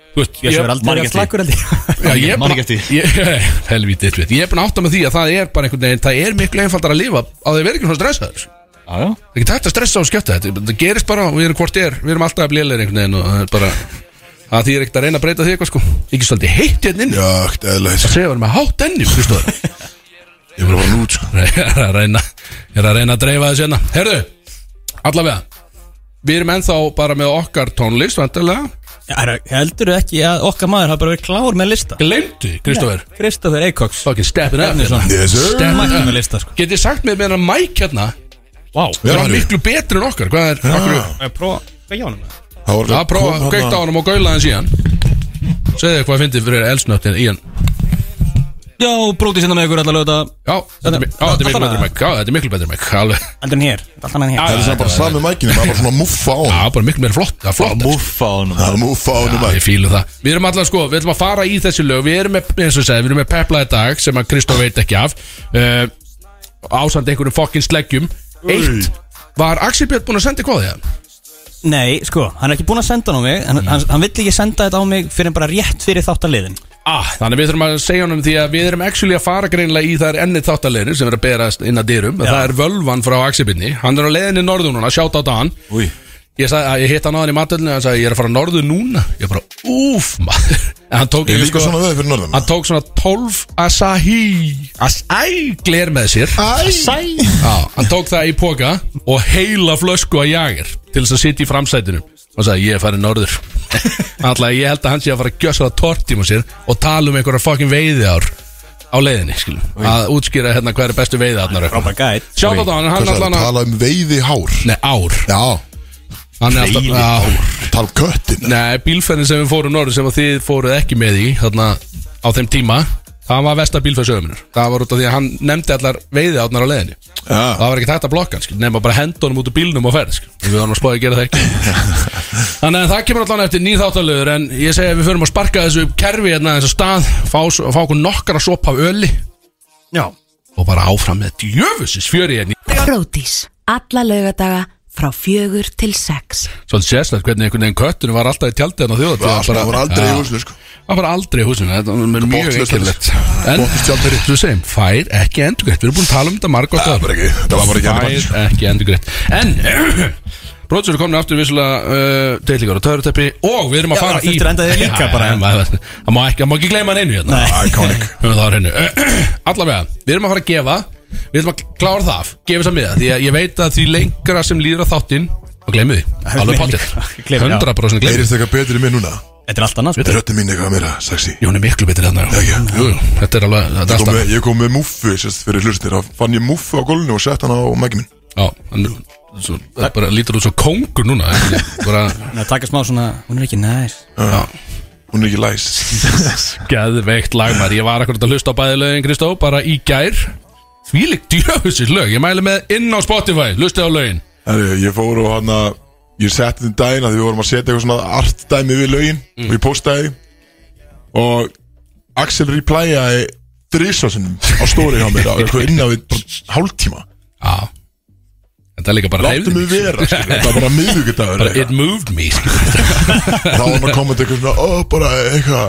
Speaker 3: Þú Þú veist,
Speaker 2: Ég er
Speaker 3: man
Speaker 2: aldrei
Speaker 3: ekki
Speaker 2: að slakur held ég
Speaker 3: Já, ég er
Speaker 4: man
Speaker 3: búin
Speaker 4: ekki eftir því.
Speaker 3: að Helvítið, við Ég er búin að átta með því að það er bara einhvern veginn Það er miklu einfaldar að lifa á því að vera ekki svona stressaður sko. Það
Speaker 4: Já, já
Speaker 3: er ekki tægt að stressa og skjötta þetta Það gerist bara, við erum hvort er Við erum alltaf að blélir einhvern veginn og það er bara að því er ekkert að reyna að breyta því eitthvað sko Ekki svolítið heitt hérna inni
Speaker 1: Já, ekkert eðlægt
Speaker 3: Segja verið með hátt ennum, þú stóður
Speaker 1: Ég er bara farin út, sko
Speaker 3: Ég er að reyna Ég er að reyna að dreifa þessu hérna Herðu, allavega Við erum ennþá bara með okkar tónlist vantarlega
Speaker 2: Heldur þú ekki að okkar maður hafa bara verið klár með lista
Speaker 3: Gleymdu, Kristófer
Speaker 2: Kristoffer Eikoks
Speaker 3: Fucking steppin' up
Speaker 2: Stefnisson.
Speaker 3: hérna.
Speaker 1: Yes, sir.
Speaker 3: Steppin'
Speaker 2: Mættur
Speaker 3: up.
Speaker 2: með lista, sko.
Speaker 3: Getið sagt mér meðan Mike hérna
Speaker 2: Vá
Speaker 1: Já,
Speaker 3: Það var
Speaker 1: Ari.
Speaker 3: miklu betri en okkar Hvað er, okkur
Speaker 1: Já,
Speaker 3: er
Speaker 2: Ég prófa Hvað hjá hann með
Speaker 1: Það var
Speaker 3: Það prófa, kveikt á honum og gaula hans í hann Segðu þér hvað fyndið fyrir elsnöttin í hann
Speaker 2: Já, brótið sinna með ykkur allar lögða
Speaker 3: Já, þetta er mi- já, þetta er miklu
Speaker 2: Alla-
Speaker 3: betri Mike Já, þetta er miklu betri Mike Alveg
Speaker 2: Aldrei hér Allt annað en hér
Speaker 1: Það er sem bara sami mækinu, maður bara svona muffa á
Speaker 3: Já,
Speaker 1: hann
Speaker 3: bara miklu meira flott Það er flott
Speaker 4: Múfa á honum
Speaker 1: Það er muffa á hann
Speaker 3: Já, ég fílu það Við erum alltaf sko, við ætlum að fara í þessi lög Við erum með, eins og ég segi, við erum með peplaði dag Sem að Kristóf veit ekki af uh, Ásand einhverjum fokkin sleggjum Eitt, var Axel Björn búinn að senda hvað þig?
Speaker 2: Nei, sko, hann er ekki búinn að senda hann á mig en hann, hann vill ekki senda þetta á mig fyrir en bara rétt fyrir þáttaliðin
Speaker 3: Ah, þannig við þurfum að segja honum því að við erum actually að fara greinlega í þær enni þáttaleginu sem er að berast inn að dyrum
Speaker 2: Já.
Speaker 3: Það er völvan frá Axibinni, hann er á leiðinni norður núna, sjátt á dagann
Speaker 4: Úi
Speaker 3: Ég, sagði, að- ég hitt hann á hann í matölinu og hann sagði ég er að fara norður núna Ég bara úf maður En hann tók,
Speaker 1: Ég er
Speaker 3: sko,
Speaker 1: líka svona veði fyrir norðan
Speaker 3: hann tók svona 12 Asahi Asahi gler með sér
Speaker 1: Æ,
Speaker 3: Já, hann tók það í póka og heila flösku að jagir til þess að sitja í framsætinu og sagði ég er farin norður Alltaf ég held að hann sé að fara að gjösa það tortíma sér og tala um einhverja fokkin veiði ár á leiðinni, skilum að útskýra hérna hver er bestu veiði árnar
Speaker 2: Robert Guide
Speaker 3: Sjá þetta hann, hann
Speaker 1: hvað er
Speaker 3: alltaf
Speaker 1: það?
Speaker 3: hann
Speaker 1: Tala um veiði hár
Speaker 3: Nei, ár
Speaker 1: Já,
Speaker 3: Hann er alltaf á,
Speaker 1: tala um köttin
Speaker 3: Nei, bílferðin sem við fórum norður sem að þið fóruð ekki með í þarna á þeim tíma það var vesta bílferðsöfuminur það var út af því að hann nefndi allar veiði árnar á leiðinni
Speaker 1: Já,
Speaker 3: það var ekki hægt að blokka hann skil, nema bara henda honum út úr bílnum og ferð skil. við varum að spáði að gera það ekki þannig að það kemur allan eftir nýþáttalögur en ég segi að við förum að sparka þessu kerfi hérna þessu stað, fá, fá okkur nokkara sopa af öli
Speaker 2: Já
Speaker 3: og bara áfram með djöfusins fjöri hérna
Speaker 5: Brótis. Alla laugadaga frá fjögur til sex.
Speaker 3: svolítið sérstætt hvernig einhvern veginn köttunum var alltaf í tjaldið hérna á þjóðatíð
Speaker 1: það var aldrei í
Speaker 3: Já.
Speaker 1: húsinu, sko
Speaker 3: Það var bara aldrei í húsinu, þetta er mjög
Speaker 1: botnlaust
Speaker 3: ekkert
Speaker 1: þetta.
Speaker 3: En,
Speaker 1: Botnlaust tjald fyrir.
Speaker 3: þú segjum, fær ekki endurgreitt Við erum búin að tala um þetta margótt
Speaker 1: Það var ekki, það var bara ekki hann
Speaker 3: Fær ekki endurgreitt En, brotsur er komin aftur vissulega uh, Deilíkar og töðruteppi Og við erum að
Speaker 2: Já,
Speaker 3: fara
Speaker 2: það þurftir að enda þig líka
Speaker 3: Já,
Speaker 2: bara.
Speaker 3: en maður- Það má ekki, það má ekki gleyma hann einu hérna
Speaker 2: Nei
Speaker 1: Ah, Iconic
Speaker 3: Höfum það á hreinu Allavega, við erum að fara að gefa Við erum að klára það af, gefa þess að miða Því að ég veit að því lengra sem líður að þáttinn Þá gleymið því, alveg pottir
Speaker 2: Gleymum, já.
Speaker 3: 100% gleymið
Speaker 1: Eirist eitthvað betri mér núna
Speaker 2: Þetta er allt sko. annars
Speaker 1: Þetta er röttin mín eitthvað meira sexy
Speaker 3: Jú, hún er miklu betri þarna
Speaker 1: Já, já.
Speaker 3: Jú, jú, þetta er alveg þetta
Speaker 1: Ég
Speaker 3: er
Speaker 1: kom
Speaker 3: alltaf
Speaker 1: með, ég kom með muffu sérst, fyrir hlustir þá fann ég muffu á gólunni og sett hann á mæki minn
Speaker 3: Já, hann er svo, það er bara lítur út svo kóngur núna þetta er bara,
Speaker 2: Nei, taka smá svona Hún er ekki næs
Speaker 3: já,
Speaker 1: hún er ekki læs
Speaker 3: geðveikt lagmar Ég var akkurat að hlusta á bæði lögin, Kristó bara í gær Þvílík djöfusir lög Ég mæli með inn á Spotify, hlusta á lögin
Speaker 1: Herri, ég fór og hann að ég setti þinn daginn að því við vorum að setja eitthvað svona artdæmi við lögin
Speaker 3: Mm.
Speaker 1: og ég postaði og Axel replyaði þrísvarsinnum á stóri hjá mér á eitthvað innan við bara hálftíma
Speaker 3: Já Þetta er líka bara
Speaker 1: Láttu mig
Speaker 3: hreyfði
Speaker 1: vera, skilur, þetta var bara miðvíkudagur
Speaker 3: Bara it
Speaker 1: eitthvað.
Speaker 3: moved me skilur.
Speaker 1: og þá var hann að koma til eitthvað svona ó, bara eitthvað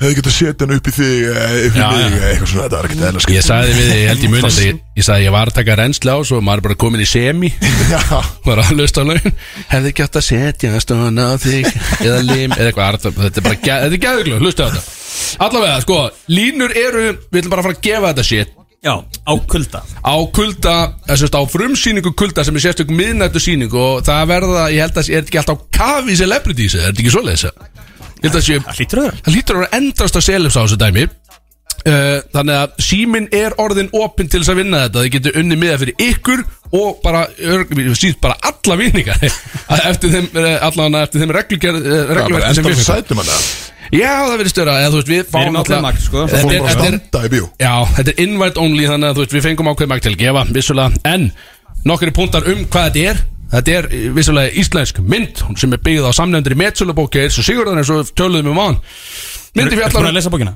Speaker 1: hefði getað setja hann upp í þig eh, upp í
Speaker 3: Já,
Speaker 1: mig,
Speaker 3: já.
Speaker 1: eitthvað svona, þetta var ekkert eðla
Speaker 3: Ég sagði við þig, ég held ég muni þetta Ég, ég sagði ég var að taka reynsla á Svo maður er bara komin í semi
Speaker 1: Já,
Speaker 3: Bara að hlusta á lögin Hefði ekki átt að setja stóna á þig Eða lim, eða eitthvað Arta- Þetta er bara, ge- þetta er gæðuglöð, hlusta á þetta Allavega, sko, línur eru Við ætlum bara að fara að gefa þetta shit
Speaker 2: Já, á kulda
Speaker 3: á kulda, þess að á frumsýningu kulda sem er sérstök miðnættu sýning og það verða, ég held að er þetta ekki alltaf kafi celebrities, er þetta ekki svoleiðis ég held að sé,
Speaker 2: Það hlýtur að vera
Speaker 3: það lítur að vera endast að selefs á þessu dæmi uh, þannig að síminn er orðin opinn til þess að vinna þetta, þið getur unni miða fyrir ykkur og bara síðan bara alla vinningar eftir þeim, eh, allan eftir þeim reglugerð eh,
Speaker 1: það var
Speaker 3: regluverki sem
Speaker 1: enda
Speaker 3: við
Speaker 1: við
Speaker 3: fengum.
Speaker 1: sætum hann að
Speaker 3: já, það verður störa, eða þú veist við
Speaker 2: erum
Speaker 3: fáum
Speaker 2: á þeim makt, sko.
Speaker 1: fórum
Speaker 3: þetta
Speaker 1: bara
Speaker 3: er,
Speaker 1: að
Speaker 3: þetta er
Speaker 1: standa í bíó
Speaker 3: Já, þetta er invite only þannig að þú veist við fengum ákveð magt til að gefa vissulega, en nokkri punktar um hvað þetta er Þetta er eh, vissulega íslensk mynd hún sem er byggð á samnefndir í Metsölabóki eins og Sigurðan eins og við töluðum um án Myndi
Speaker 2: Ertu búin
Speaker 3: fjallar
Speaker 2: að
Speaker 3: um-
Speaker 2: lesa bókina?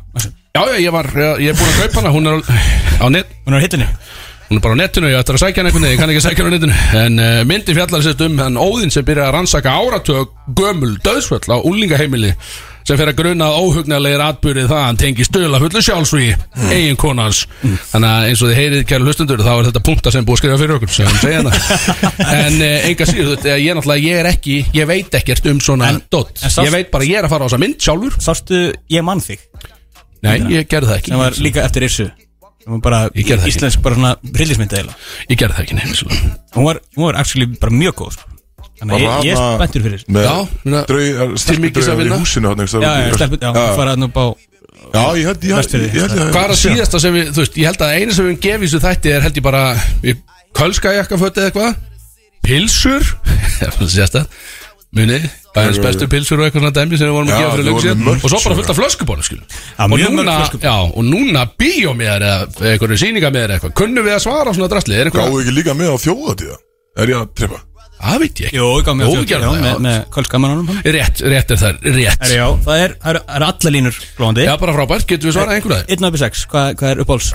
Speaker 3: Já, já, ég var, eh, ég, ég er búin að kaupa hana hún er, á- á net,
Speaker 2: Hún er á hittinu
Speaker 3: hún er bara á netinu, ég ætlar að sækja hana einhvern veginn, ég kann ekki að sækja hana á netinu En uh, myndi fjallar sérst um hann Óðinn sem byrjaði að rannsaka áratug gömul döðsvöll á úlingaheimili sem fer að gruna að óhugnalegir atbyrði það að hann tengi stöla fullu sjálfsví
Speaker 2: Mm.
Speaker 3: eigin konans þannig að eins og þið heyrið kæru hlustundur þá er þetta punkta sem er búið að skrifa fyrir okkur sem hann segja það en eh, enga síður þú veist, eh, ég náttúrulega ég er ekki ég veit ekkert um svona
Speaker 2: En-
Speaker 3: dot
Speaker 2: en sást-
Speaker 3: ég veit bara ég er að fara á þessa mynd sjálfur
Speaker 2: Sástu Ég mann þig
Speaker 3: nei ég gerði það ekki
Speaker 2: sem var líka eftir Irsu sem var bara
Speaker 3: Ég gerði það ekki.
Speaker 2: íslensk bara svona rillismynd eða
Speaker 3: ég gerði það ekki nefnilega
Speaker 2: hún var, hún var actually bara mjög góð sko. þannig að
Speaker 1: Var
Speaker 2: ég, ég er
Speaker 1: hana-
Speaker 2: spenntur fyrir
Speaker 1: Með
Speaker 3: Já, meina-
Speaker 1: draug, stelpu
Speaker 3: mikils að
Speaker 1: draugar í
Speaker 3: vinna.
Speaker 1: húsinu þarna einhvers
Speaker 2: já,
Speaker 1: staðar
Speaker 2: já,
Speaker 1: úti í
Speaker 2: stelpur, já,
Speaker 1: Öst-
Speaker 2: já. faraði nú bá
Speaker 1: Já, ég held ég held-
Speaker 2: Vestfirði.
Speaker 1: ég held
Speaker 3: Hvað er að síðasta sem við, þú veist, ég held að eina sem við gefum þessu þætti er held ég bara við kölska jakkafötti eða eitthvað Pilsur Sérsta Munið, bæðins bestu pilsur og eitthvað svona dæmi sem við vorum að
Speaker 1: Já,
Speaker 3: gefa
Speaker 1: við
Speaker 3: fyrir lengi
Speaker 1: vorum
Speaker 3: síðan
Speaker 1: með mörg
Speaker 3: Og svo bara
Speaker 1: svona.
Speaker 3: fullt af flöskubónu, skil
Speaker 2: Já,
Speaker 3: og,
Speaker 2: mjög mörg
Speaker 3: núna,
Speaker 2: flöskubonum.
Speaker 3: já, og núna bíómiðar eða eitthvað sýningameðar eitthvað Kunnum við að svara á svona drastli? Er eitthvað,
Speaker 1: Gáðu ekki líka með á þjóðatíða Er ég að trefna?
Speaker 3: það veit ég
Speaker 2: Jó, ég
Speaker 3: ekki
Speaker 2: gaf mig á
Speaker 3: Jó,
Speaker 2: þjóðtíð, já,
Speaker 3: gerðu það,
Speaker 2: með,
Speaker 3: já.
Speaker 2: með kölskamanunum
Speaker 3: Rétt, rétt er það, rétt
Speaker 2: Já, það er, það er, það er alla línur glóðandi
Speaker 3: Já, bara frábært, getum við svarað einhverja?
Speaker 2: 1 upp í 6, hvað, hvað er uppáls?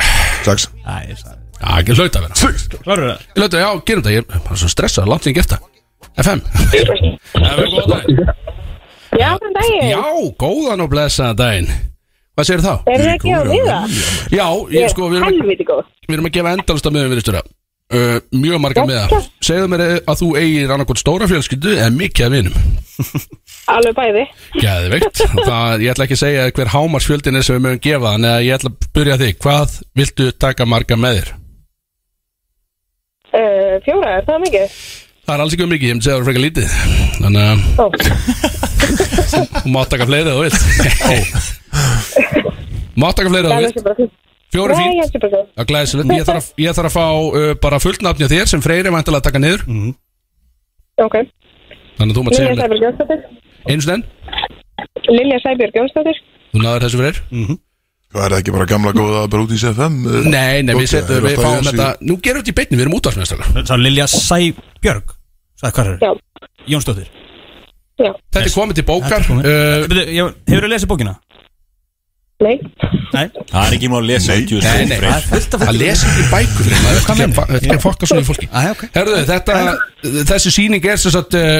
Speaker 1: Sex
Speaker 2: Æ, ég sagði
Speaker 3: Já, ekki hlauta að vera
Speaker 1: Sex
Speaker 2: Klarur það?
Speaker 3: Ég lögðu, já, gerum þetta, ég er bara svo stressað, langt sem ég gert það FM Já, við erum góðan daginn.
Speaker 6: Já, þann daginn.
Speaker 3: Já, góðan og blessaðan daginn Hvað segir þá?
Speaker 6: Eru þið ekki á miða?
Speaker 3: Já, ég sko, við erum,
Speaker 6: Helviti góð.
Speaker 3: við erum að gefa endalasta miðum við stjóra uh, Mjög marga miða Segðu mér eh, að þú eigir annarkot stóra fjölskyldu en mikið að vinum
Speaker 6: Alveg bæði.
Speaker 3: Geðveikt, það ég ætla ekki að segja hver hámarsfjöldin er sem við mögum gefa en eh, ég ætla að byrja á því, hvað viltu taka marga með þér?
Speaker 6: Uh, fjóra, er það mikið?
Speaker 3: Það er alls ekki um mikið, ég myndi segja að það er frekar lítið Þannig að
Speaker 6: Ó,
Speaker 3: Þú mátt taka fleiri ef þú vilt Mátt taka fleiri ef þú
Speaker 6: það er
Speaker 3: vilt
Speaker 6: ekki bara fínt.
Speaker 3: Fjóri
Speaker 6: Nei,
Speaker 3: fín
Speaker 6: ég heldur bara svo.
Speaker 3: Það glæðislega Ég þarf að, ég þarf að fá uh, bara fullnafni á þér sem Freyri væntalega að taka niður
Speaker 6: Ok.
Speaker 3: Þannig að þú mátt segja
Speaker 6: Lilja
Speaker 3: mér
Speaker 6: Sæbjörg Jónsdóttir.
Speaker 3: Einu sinni enn,
Speaker 6: Lilja Sæbjörg Jónsdóttir.
Speaker 3: þú náður þessu fyrir
Speaker 1: Hvað er það ekki bara gamla góða bara út í CFM?
Speaker 3: Nei, nei, við, setum, við fáum þetta
Speaker 1: þetta
Speaker 3: Nú gerum við þetta í beinni, við erum útvarsmjöðstakar
Speaker 2: Sá Lilja Sæbjörg Sæði hvað er
Speaker 6: Já,
Speaker 2: Jónsdóttir
Speaker 6: já.
Speaker 3: Þetta er komið til
Speaker 2: Þetta er
Speaker 3: bókar
Speaker 2: komið.
Speaker 3: uh,
Speaker 2: Bíddu, ég- Hefurðu lesið bókina?
Speaker 6: Nei.
Speaker 2: Nei
Speaker 4: Það er ekki mál að lesa
Speaker 1: Nei.
Speaker 4: djú,
Speaker 3: Nei, nei,
Speaker 4: Freyr.
Speaker 3: það er fullt af fólki. að lesa ekki bækur Freyr, maður, Þetta er ekki að- þetta er ekki að fokka svona í fólki
Speaker 2: Æ, ok
Speaker 3: Herðu, þetta, þessi síning er sem sagt uh,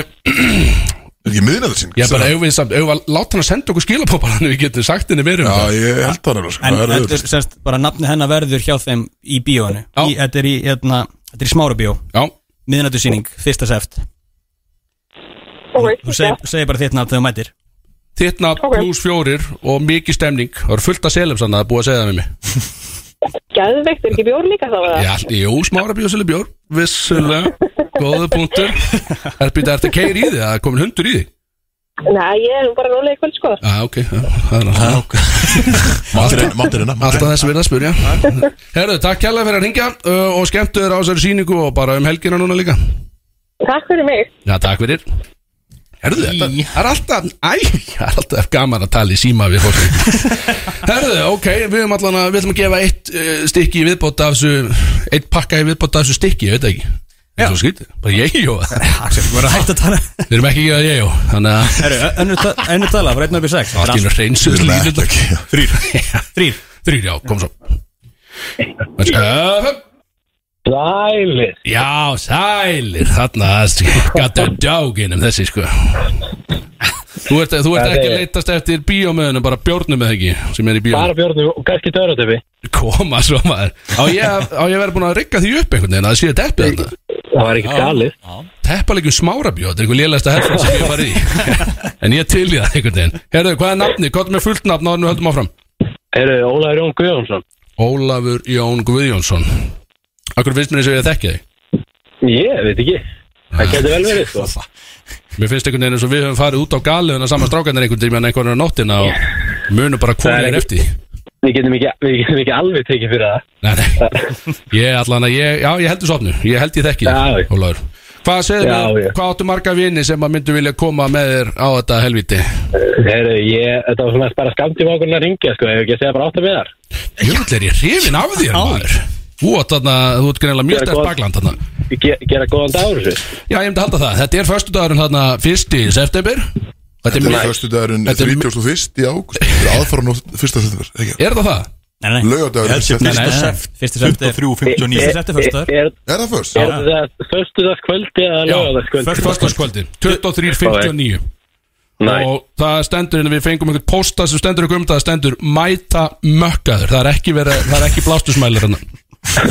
Speaker 1: Er ekki miðnæðarsýn?
Speaker 3: Ég er bara auðvitað samt, auðvitað láta hann að senda okkur skilabópar Þannig við getum sagt henni meira um
Speaker 1: Já,
Speaker 3: þetta
Speaker 1: ég held það alveg sko,
Speaker 2: En
Speaker 1: það er
Speaker 2: þetta er
Speaker 1: auðvitað.
Speaker 2: semst bara nafni hennar verður hjá þeim í bíóinu
Speaker 3: Já.
Speaker 2: Í- Þetta er í, hérna, þetta er í smára bíó
Speaker 3: Já,
Speaker 2: Miðnættusýning, fyrsta seft
Speaker 6: Ok.
Speaker 2: Þú seg, segir bara þitt nafn þegar þú mætir
Speaker 3: Þittna
Speaker 6: Ok.
Speaker 3: pluss fjórir og mikið stemning Það eru fullt af selum sann að búa að segja það með mig
Speaker 6: Gæðveikt, er ekki bjór líka þá? eða?
Speaker 3: Já, jú, smára bjóðsölu bjór Vissulega, góðu punktur Er býta, ertu að keira í þig? Það er komin hundur í þig
Speaker 6: Nei, ég er nú bara rólega í kvöld, sko.
Speaker 3: Já, ah, ok, já, það er alltaf
Speaker 1: Máttir hennar, máttir hennar
Speaker 3: Alltaf þess að verða að spurja Herðu, takk kærlega fyrir að ringja uh, og skemmtu þér á þessari síningu og bara um helgina núna líka
Speaker 6: Takk fyrir mig.
Speaker 3: Já, takk fyrir Herðu, þetta það er alltaf Æ, það er alltaf gaman að tala í síma við fólki Herðu, ok, við erum allan að Við ætlum að gefa eitt uh, stykki í viðbót af þessu Eitt pakka í viðbót af þessu stykki, ég veit það ekki Það er svo skrítið, bara ég, jó
Speaker 2: Axel, þú verður að hætta að tala
Speaker 3: Við erum ekki að gefa ég, jó Þannig að
Speaker 2: Herru, önnur ta- önnur tala, frá 1 upp í 6
Speaker 3: allt í einu hreinsuð línur
Speaker 1: Þrýr
Speaker 2: Þrýr
Speaker 3: Þrýr, já, kom svo Sælir Já, sælir Þarna, gata djáginum þessi sko Þú ert, þú ert ekki að leitast eftir bíómiðunum bara bjórnum eða ekki sem er í bíómiðunum
Speaker 7: Bara björnum og kannski törratöfi
Speaker 3: Koma svo maður Á ég, að- á ég að vera búin að rigga því upp einhvern veginn að það sé teppið þarna
Speaker 7: Það var ekkert galið
Speaker 3: Teppalegjum smárabjó, þetta er einhver lélægsta herfum sem ég hef farið í En ég til í það einhvern veginn Herðu, hvað er nafni? Hvað er með fullt nafn áður en við höldum áfram?
Speaker 7: Eru Ólaður Jón Guðjónsson
Speaker 3: Ólafur Jón Guðjónsson Akkur finnst mér eins og ég að þekki þig
Speaker 7: Ég veit ekki Það getur vel verið sko
Speaker 3: Mér finnst einhvern veginn eins og við höfum farið út á galiðuna saman strákarnir einhvern tíma en einhvern veginn á nóttina og munum bara
Speaker 7: Það
Speaker 3: hvað
Speaker 7: er
Speaker 3: er
Speaker 7: ekki-
Speaker 3: eftir því.
Speaker 7: Við getum ekki, við getum ekki alveg tekið fyrir það
Speaker 3: Nei, nei, ég allan að ég, já, ég heldur sopnu, ég held ég þekki
Speaker 7: Já, já.
Speaker 3: þig, Ólafur Hvað segir
Speaker 7: Já,
Speaker 3: mér,
Speaker 7: já.
Speaker 3: hvað áttu marga vini sem að myndu vilja koma með þér á þetta helviti?
Speaker 7: Heru, ég, Þetta var svona bara skamt í vákunna að ringja sko Ef ekki að segja bara átta miðar
Speaker 3: Jöfull er ég hrifin af þér, maður Þú átt þarna, þú ert greinlega mjög
Speaker 7: Gera
Speaker 3: stærst
Speaker 7: gott.
Speaker 3: bakland þarna
Speaker 7: Ge, Gera góðan dag úr þessu
Speaker 3: Já, ég myndi halda það, þetta er föstudagurinn þarna fyrst í september Þetta er
Speaker 1: Þetta er
Speaker 3: mjög,
Speaker 1: fyrstu dagurinn
Speaker 3: Þetta er-
Speaker 1: 31. í ágúst Þetta er aðfara nótt fyrsta september ekki?
Speaker 3: er það það?
Speaker 2: Nei, nei
Speaker 1: Laugardagurinn
Speaker 4: Ég held ég-
Speaker 1: september.
Speaker 2: Nei, nei, nei. Fyrsta seft er
Speaker 4: 23.59
Speaker 2: Fyrsta
Speaker 7: eh,
Speaker 2: seft er föstudagur
Speaker 7: Er,
Speaker 1: Er það fyrst?
Speaker 7: er það föstudagskvöldi eða
Speaker 3: Já,
Speaker 7: lögadagskvöldi?
Speaker 3: föstudagskvöldi 23.59
Speaker 7: Nei.
Speaker 3: og það stendur hérna, við fengum einhvern posta sem stendur ekki um það, það stendur mæta mökkaður, það er ekki verið, það er ekki blástusmælir hérna,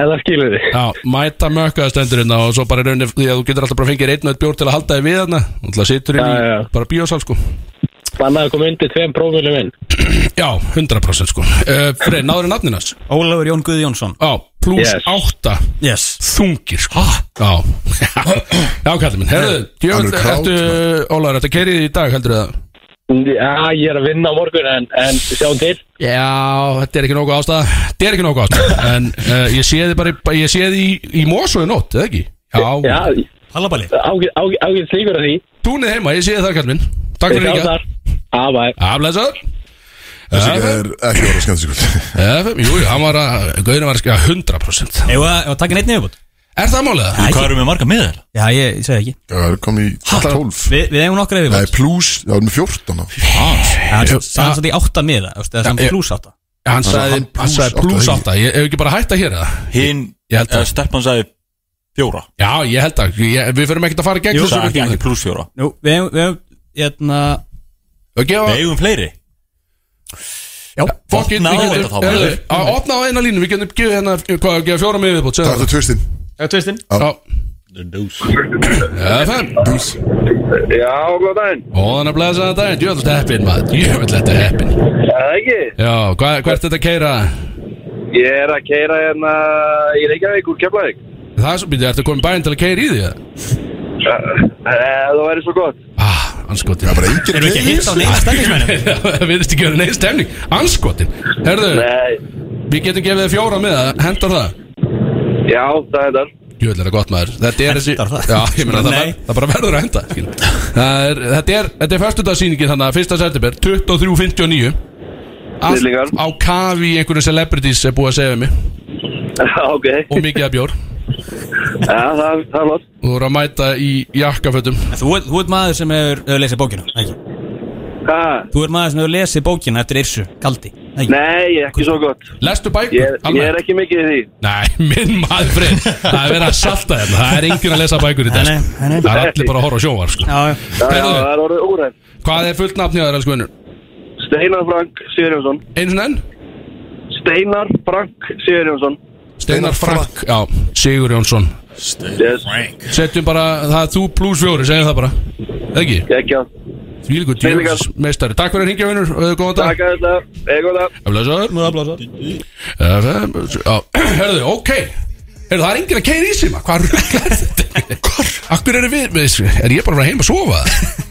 Speaker 7: Eða skilur þið
Speaker 3: já, mæta mökkaður stendur hérna og svo bara í rauninni, því að þú getur alltaf bara fengið þér einn og einn bjór til að halda þig við hérna, alltaf situr hérna
Speaker 7: Já,
Speaker 3: í
Speaker 7: já.
Speaker 3: bara bíósal sko,
Speaker 7: Bannað að koma undir tveim prófilum inn
Speaker 3: já, 100% sko, uh, Frey, náður er nafninas,
Speaker 2: Ólafur Jón Guðjónsson
Speaker 3: já, pluss
Speaker 7: Yes.
Speaker 3: átta
Speaker 2: Yes
Speaker 3: þungir sko Já, já kallið minn Herðu,
Speaker 1: Hann
Speaker 3: djöfn,
Speaker 1: er krát,
Speaker 3: ertu Ólaður, ertu kerið í dag heldur það?
Speaker 7: Já, ég er að vinna á morgun en, en sjáum til
Speaker 3: Já, þetta er ekki nokkuð ástæða Þetta er ekki nokkuð ástæða En uh, ég sé þið bara, ég sé þið í, í mosu í nótt, eða ekki?
Speaker 7: Já,
Speaker 3: Já,
Speaker 2: Pallabali
Speaker 7: ágæð slíkur að því
Speaker 3: túnið heima, ég sé þið þar kallið minn Takk fyrir líka
Speaker 7: Abæ
Speaker 3: Aflesaður
Speaker 1: Þessi er ekki orðið skemmt sér
Speaker 3: FM, jú, jú, hann var að, Gauðin var að skilja 100%
Speaker 2: Ef að taka neitt niðurbútt
Speaker 3: Er það málið það?
Speaker 4: Hvað eru með marga miðar?
Speaker 2: Já, ég, ég segi ekki
Speaker 1: Kom í 12
Speaker 2: Vi, Við eigum nokkra
Speaker 1: Nei,
Speaker 2: yfirbútt
Speaker 1: pluss, það var með 14 á.
Speaker 2: Sanns að því átta miða þú veist, Eða samt
Speaker 3: Já, ég-
Speaker 2: pluss átta
Speaker 3: Hann sagði,
Speaker 1: hann
Speaker 3: hann sagði
Speaker 1: plús
Speaker 3: plus
Speaker 1: átta,
Speaker 3: 8 Ég hef ekki bara hætt að hér eða?
Speaker 4: Hinn,
Speaker 3: Ég held
Speaker 4: eða
Speaker 3: það.
Speaker 4: stelpan sagði fjóra
Speaker 3: Já, ég held að, ég, við förum ekkert að fara í gegn
Speaker 2: Jú,
Speaker 4: Jú,
Speaker 3: þessu
Speaker 4: sagði ekki,
Speaker 3: virkingu.
Speaker 4: ekki pluss fjóra
Speaker 2: Nú, við eigum, við eigum, hérna
Speaker 3: Og gefa-
Speaker 4: Við eigum fleiri
Speaker 2: Já,
Speaker 3: Fokkin,
Speaker 4: Opna á
Speaker 3: við
Speaker 4: þetta þá,
Speaker 3: getum
Speaker 4: maður.
Speaker 3: Heyrðu, að opna á eina línu, við getum gefið hérna hvað, gefa fjóra með viðbútt
Speaker 1: Það er það tvistinn
Speaker 2: það er tvistinn
Speaker 1: Já.
Speaker 3: FM
Speaker 8: Já, góð daginn.
Speaker 3: Óðan að blæsa þetta daginn, djöfnilegt heppin maður Djöfnilegt heppin
Speaker 8: Er Það ekki?
Speaker 3: Já, hvað, hvert þetta keira?
Speaker 8: Ég er að keira hérna í Reykjavík úr Keflavík.
Speaker 3: Það er svo býtið, ertu komin bæinn til að keira í því? eða?
Speaker 8: Eh, Það væri svo gott.
Speaker 3: Ah, anskotin
Speaker 1: Það var enginn
Speaker 2: Erum við ekki að hitta á neina stemningsmennum?
Speaker 3: Það virðist ekki verið neins stemning Anskotin, herðu,
Speaker 8: Nei,
Speaker 3: við getum gefið þér fjóra með það, hendar það
Speaker 8: já, það er það.
Speaker 3: Djöfnilegt er gott maður Þetta er þessi
Speaker 2: Hendar það?
Speaker 3: Já, ég meina það,
Speaker 2: Nei.
Speaker 3: ver- það bara verður að henda skilur. Það er, Þetta er, þetta er föstudagssýningin þannig að fyrsta september 23.59
Speaker 8: Snillingar.
Speaker 3: Allt á kafi í einhverju celebrities er búið að segja við mig
Speaker 8: ok,
Speaker 3: og mikið að bjór
Speaker 8: já, það það er flott.
Speaker 3: og þú eru að mæta í jakkafötum
Speaker 2: En Þú ert- þú ert maður sem hefur hefur lesið bókina ekki?
Speaker 8: Ha,
Speaker 2: Þú ert maður sem hefur lesið bókina eftir Irsu Kaldi ekki?
Speaker 8: nei, ekki svo gott.
Speaker 3: Lestu bækur?
Speaker 8: Ég, ég er
Speaker 3: almennt?
Speaker 8: ekki mikið í því.
Speaker 3: Nei, minn maður frið Það er verið að salta þérna Það er enginn að lesa bækur í
Speaker 2: Nei,
Speaker 3: þess
Speaker 2: nei, nei.
Speaker 3: Það er allir bara að horfa á sjóvar sko.
Speaker 2: Já, já
Speaker 8: Já, já,
Speaker 3: Heyrðu.
Speaker 8: það er orðið úræn.
Speaker 3: Hvað er fullt nafn hjá þér, elsku vinnur?
Speaker 8: Steinar Frank Sigurjónsson.
Speaker 3: Einu sinni enn?
Speaker 8: Steinar Frank Sigurjónsson.
Speaker 3: Steinar Frank Já, Sigur Jónsson
Speaker 8: Yes,
Speaker 3: Setjum bara, það er þú pluss fjóri, segjum það bara Eða Ekki?
Speaker 8: ekki á.
Speaker 3: Því líku
Speaker 8: Snillingar.
Speaker 3: meistari Takk fyrir að hringja vinnur og góða dag
Speaker 8: Takk að þetta. Ego það.
Speaker 3: Aflæsaður Aflæsaður Hörðu, ok Hörðu, það er enginn að keira í síma Hvað rugglar þetta? Hvað? Akkur eru við, við Er ég bara að fara heim að sofa?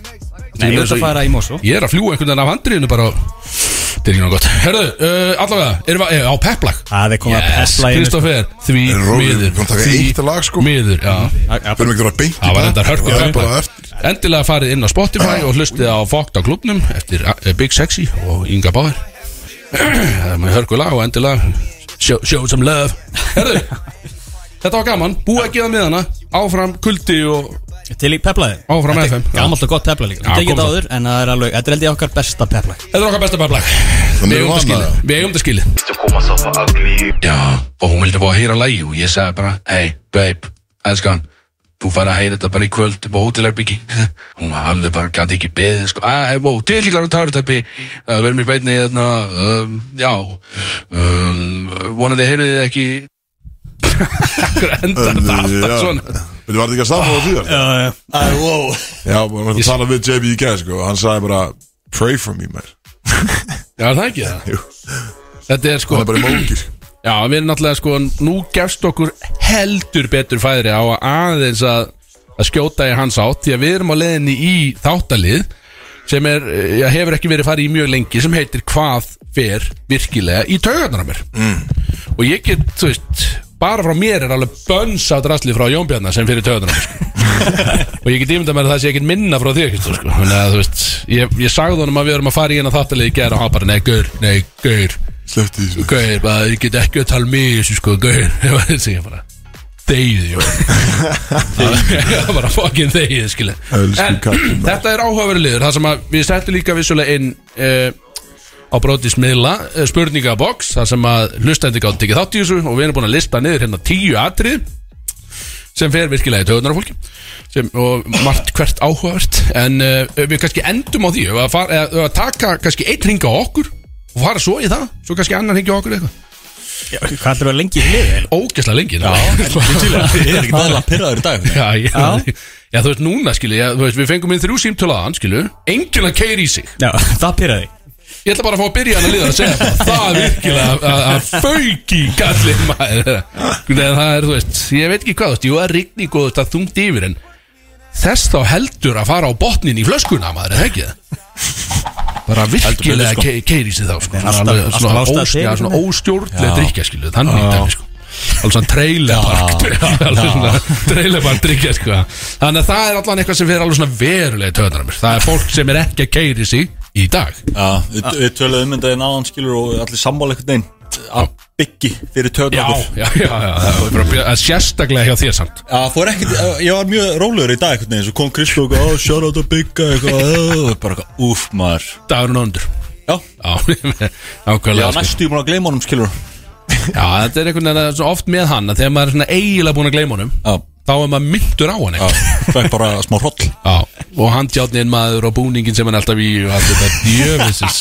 Speaker 2: Nei, ég vil að fara í Mosó
Speaker 3: Ég er að fljúa einhvern veginn af handriðinu bara og- Þetta er ekki náttúrulega gott Hörðu, uh, allavega Erum við eh, á peplag?
Speaker 2: Það er komið að
Speaker 3: Yes,
Speaker 2: pepla hérna. í
Speaker 3: Kristoffer Því
Speaker 1: En Róður, við komum að taka eitt lag, sko.
Speaker 3: miður Miður, já
Speaker 1: Við erum ekki að vera beint í
Speaker 3: Það var
Speaker 1: dag.
Speaker 3: endar hörku
Speaker 1: Það er bara eftir
Speaker 3: Endilega farið inn á Spotify og hlustið á Fokt á klubnum eftir eh, Big Sexy og Inga Báður Það er með hörku lag og endilega show, show some love Herðu, þetta var gaman Búið að gefa miðana Áfram kuldi og
Speaker 2: Til í peplaði
Speaker 3: Áfram
Speaker 2: Þetta er
Speaker 3: FM, já.
Speaker 2: Gamalt og gott pepla líka
Speaker 3: Já,
Speaker 2: Við tekið
Speaker 3: kom
Speaker 2: þetta
Speaker 3: svo.
Speaker 2: áður En það er alveg Þetta er held ég okkar besta pepla
Speaker 3: Þetta er okkar besta peplag Við
Speaker 1: Þannig
Speaker 3: eigum
Speaker 1: var
Speaker 3: þetta skilið
Speaker 1: það.
Speaker 3: Við eigum þetta skilið Já, og hún vildi bara heyra lagi og ég sagði bara, hey, babe, elskan, þú fara að heyra þetta bara í kvöld upp á hótelherbyggi. hún hafði bara, gæti ekki beðið, sko, að, um wow, til líkar á tárutæpi, það verður eh, mér beinni, þarna, um, já, um, vonandi heyrið þið ekki. Akkur endar þetta alltaf svona.
Speaker 1: Þetta eh, var ekki að staða á því þar
Speaker 2: Já, já Wow
Speaker 1: Já, við varum að tala við JB í gæð sko. og Hann sagði bara Pray for me, maður
Speaker 3: Já, er það ekki það?
Speaker 1: Jú.
Speaker 3: Þetta er sko,
Speaker 1: Það er bara í mókir
Speaker 3: já, við erum náttúrulega sko, nú gefst okkur heldur betur færi á að aðeins að, að skjóta í hans átt, því að við erum á leiðinni í þáttalið sem er, já, hefur ekki verið farið í mjög lengi sem heitir hvað fer virkilega í taugarnar á mér mm. og ég get, þú veist bara frá mér er alveg bönns á drasli frá Jón Bjarnar sem fyrir taugarnar á mér sko. og ég get ímynda mér að það sé ekkert minna frá þér Kristóð, sko. Þannig að, þú veist, ég, ég sagði honum að við erum að fara í hérna þáttalið í gera og hann bara, nei, gaur, nei, gaur
Speaker 1: Sleppti því sko.
Speaker 3: Gauðir, bara, ég get ekki að tala mig í þessu sko, gauðir Það var þessi ég bara Þegið, jó Það var bara fucking þegið, skilja
Speaker 1: Elsku
Speaker 3: En
Speaker 1: kallinn, maður.
Speaker 3: þetta er áhugaverið liður Það sem að við settum líka vissulega inn uh, á brotismiðla uh, spurningabox, það sem að hlustandi gátt ekki þátt í þessu og við erum búin að lista niður hérna tíu atrið sem fer virkilega í töðunar á fólki sem, og margt hvert áhugavert en uh, við kannski endum á því ef að, fara, eða, ef að taka kannski einn ring á okkur og fara svo í það, svo kannski annar ring á okkur eða eitthvað,
Speaker 2: Hvað ætlum við að lengi í liðin?
Speaker 3: ógæslega lengi Já,
Speaker 4: Ég er ekki aðla pyrraður í dag
Speaker 3: Já, ég, já. þú veist núna skilu ég, þú veist, Við fengum inn þrjú símtölaðan skilu Enginn að keiri í sig
Speaker 2: Já, það pyrraði
Speaker 3: Ég ætla bara að fá að byrja hann að liða að segja það Það er virkilega að- að- að fauk í gallin maður Þegar það er þú veist Ég veit ekki hvað þú veist Jú að rigning og þú veist að þungt yfir en Þess þá heldur að fara á botnin í flöskuna maður er það ekki það Bara virkilega
Speaker 4: betur,
Speaker 3: sko. keiri sig þá sko.
Speaker 2: En alltaf-
Speaker 3: Alveg
Speaker 2: alltaf
Speaker 3: svona,
Speaker 2: ástæða
Speaker 3: óstjá,
Speaker 2: fyrir
Speaker 3: svona
Speaker 2: henni.
Speaker 3: óstjórnlega drikja skilu Þannig dæmi sko Alveg svona trailerpark Trailerpark drikja sko Þannig að það er allan eitthvað sem fyrir alveg svona verulega töðnar mér Það er fólk sem er ekki að keiri sig í dag
Speaker 4: Já, við, við töluðum um þetta en aðan skilur og allir sammála einhvern veginn að byggi fyrir töðun
Speaker 3: Já,
Speaker 4: okkur
Speaker 3: já, já, já, það var bara að byrja- að sérstaklega hjá þér samt
Speaker 4: Já, fór ekkert, ég var mjög rólegur í dag einhvern veginn, svo kom Kristof og oh, shout out að bygga eitthvað, oh, bara eitthvað, úf maður
Speaker 3: Dagurinn á undur
Speaker 4: Já,
Speaker 3: Já,
Speaker 4: ég
Speaker 3: ákveðlega
Speaker 4: var
Speaker 3: sko.
Speaker 4: næstu búin að gleyma honum skilur
Speaker 3: Já, þetta er einhvern veginn að svo oft með hann að Þegar maður er svona eiginlega búin að gleyma honum
Speaker 4: Já,
Speaker 3: Þá er maður myndur á hann
Speaker 4: já,
Speaker 3: ekki
Speaker 4: fekk bara smá hroll
Speaker 3: Já, og handjátnin maður og búningin sem hann er alltaf í Og allt þetta djöfisins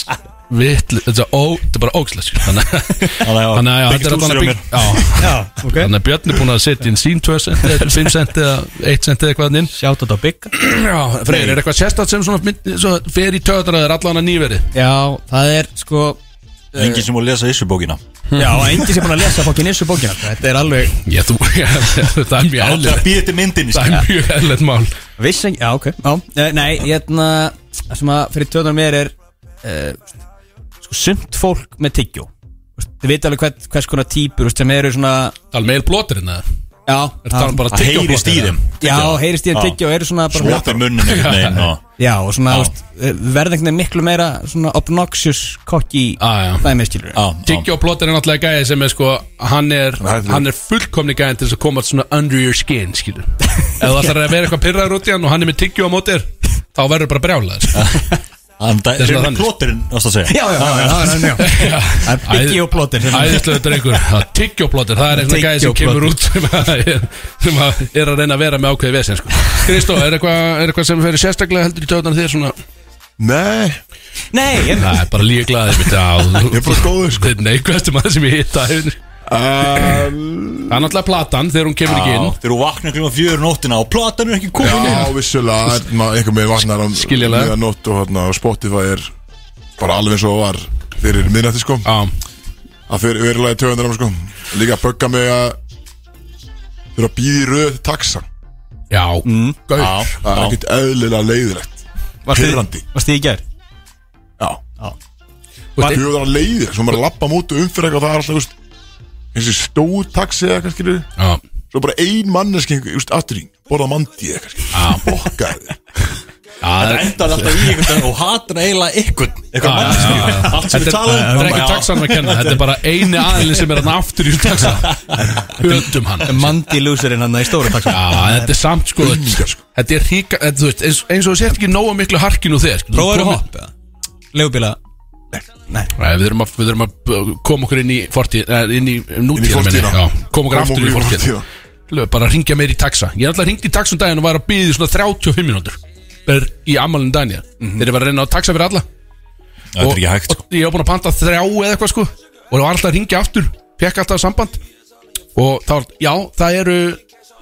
Speaker 3: Vittl, þetta er ó- þetta er bara ógslag sko. Þannig að
Speaker 4: Þannig að-
Speaker 3: þannig að já,
Speaker 4: Byggt
Speaker 3: þetta er
Speaker 4: húsið
Speaker 3: allan að
Speaker 4: hjá mér.
Speaker 3: byggja Já, ok Þannig að Björn er búin að setja inn sín 2 cent eða 5 cent eða 1 cent eða eitthvað þarna inn
Speaker 2: Sjátt á bygg
Speaker 3: Já, Freyr, er eitthvað sérstætt sem svona, mynd- svo fer í töðraður allan að nýverið?
Speaker 2: Já, það er sko
Speaker 4: Engin sem var að lesa þessu bókina
Speaker 2: Já, enginn sem búin að lesa fokkin þessu bókina Þetta er alveg
Speaker 3: Já, þú, já, það er mjög
Speaker 4: Allir að
Speaker 3: eðlilegt
Speaker 4: býða þetta myndinni
Speaker 3: Það
Speaker 4: skilur
Speaker 3: er mjög eðlilegt mál
Speaker 2: Viss ekki, já ok já. eh, Nei, ég hérna það sem að fyrir tjóðan mér er uh, sko sumt fólk með tyggjó Þú veist, Þið veit alveg hvern, hvers konar típur þú veist, sem eru svona
Speaker 3: Það er meil blóturinn eða
Speaker 2: Já,
Speaker 3: Er það bara
Speaker 4: Það heyrist í
Speaker 2: um
Speaker 3: tyggjóblóturinn, eða?
Speaker 4: þeim
Speaker 2: já heyrist ég
Speaker 4: Já.
Speaker 2: að tyggjó eru svona bara
Speaker 4: Svota munnin einhvern veginn og
Speaker 2: Já, og svona
Speaker 4: Já.
Speaker 2: þú veist, eh, verða einhvern veginn miklu meira svona obnoxious kokki
Speaker 3: Já, já.
Speaker 2: dæmi skilur
Speaker 4: Já, já.
Speaker 3: Tyggjóblóturinn er náttúrulega gæði sem er sko Hann er, hann er fullkomni gæðin til þess að koma svona under your skin, skilur Ef það ætlar að vera eitthvað pyrraður út í hann og hann er með tyggjó á mótir Þá verður bara brjálaður sko.
Speaker 4: Þannig að
Speaker 3: er
Speaker 4: það
Speaker 3: svona
Speaker 4: er
Speaker 3: þannig.
Speaker 4: ploturinn, það að segja
Speaker 2: Já, já, já, já, já, já. Það er byggi og plótir hérna.
Speaker 3: Æðislega drengur Tyggjóblótur, það er eitthvað gæði sem kemur út sem, að, sem að er að reyna að vera með ákveði vesen sko. Kristó, er eitthvað, er eitthvað sem fyrir sérstaklega heldur í töðunar þér svona
Speaker 1: Nei,
Speaker 2: Nei, ég,
Speaker 3: Það er bara líka glæðið mitt á Ég
Speaker 1: er bara góður, sko.
Speaker 3: Þetta er neikvæðstu maður sem ég hitta Það er
Speaker 1: Um,
Speaker 3: náttúrulega platan þegar hún kemur ekki inn
Speaker 4: Þegar þú vaknar klíma fjögur um nóttina og platan er ekki komin
Speaker 1: já,
Speaker 4: inn
Speaker 1: vissulega en maður einhvern veginn vaknar á
Speaker 3: Skiljanlega.
Speaker 1: miðanótt og, hérna, og Spotify er bara alveg eins og það var fyrir miðnætti sko
Speaker 3: Já,
Speaker 1: Það fyrir verulega í töðundar sko Líka að bögga mig að Fyrir að býða í röð til taxa
Speaker 3: já, gaur
Speaker 4: Já,
Speaker 1: Það er
Speaker 4: já.
Speaker 1: ekkert eðlilega leiðilegt Pirrandi
Speaker 2: varst ég í gær?
Speaker 1: Já
Speaker 3: Þú veist,
Speaker 1: Fjöður að leiði Svo maður lappa mútu umfyrir eitthvað Það er alltaf veist, eins og stór taxi eða kannski
Speaker 3: Já,
Speaker 1: Svo bara ein manneski Just aftur í Borða mandi eða kannski Bokkaði
Speaker 3: já, það er
Speaker 4: Endar alltaf í einhvern veginn og hatar eiginlega einhvern Eitthvað
Speaker 3: Já, já, já, já.
Speaker 4: mannskjöf Allt sem við
Speaker 3: Þetta
Speaker 4: tala um
Speaker 3: er ekki
Speaker 4: Já.
Speaker 3: taxanum að kenna Þetta er bara eini aðilin sem er hann aftur í þessum taxa Höndum hann Já,
Speaker 2: Mandi lúsurinn hann í stóra takk
Speaker 3: þetta er samt sko Þetta er hríka, þetta, þú veist, eins, eins og þú sért ekki nógu miklu harkinu þér sko.
Speaker 2: Prófaðu
Speaker 3: Komum-
Speaker 2: hopp eða? Leigubíla Nei
Speaker 3: Nei, við erum að, við erum að uh, koma okkur inn í fortíð, eh, inn í nútíðina minni,
Speaker 1: fortíðina.
Speaker 3: já, koma okkur
Speaker 1: Koma
Speaker 3: aftur inn
Speaker 1: okkur
Speaker 3: í
Speaker 1: í
Speaker 3: fortíðina.
Speaker 1: fortíðina.
Speaker 3: Lög, bara ringja meir í taxa. Ég er alltaf ringt í taxa um daginn og var að byggja í svona 35 mínútur ber í amalinn daginn, ég. þeir eru að reyna á taxa fyrir alla.
Speaker 4: Mhm. Þetta er ekki hægt sko.
Speaker 3: og, og ég var búin að panta þrjá eða eitthvað sko og það var alltaf að ringja aftur, fekk alltaf samband og þá var, já, það eru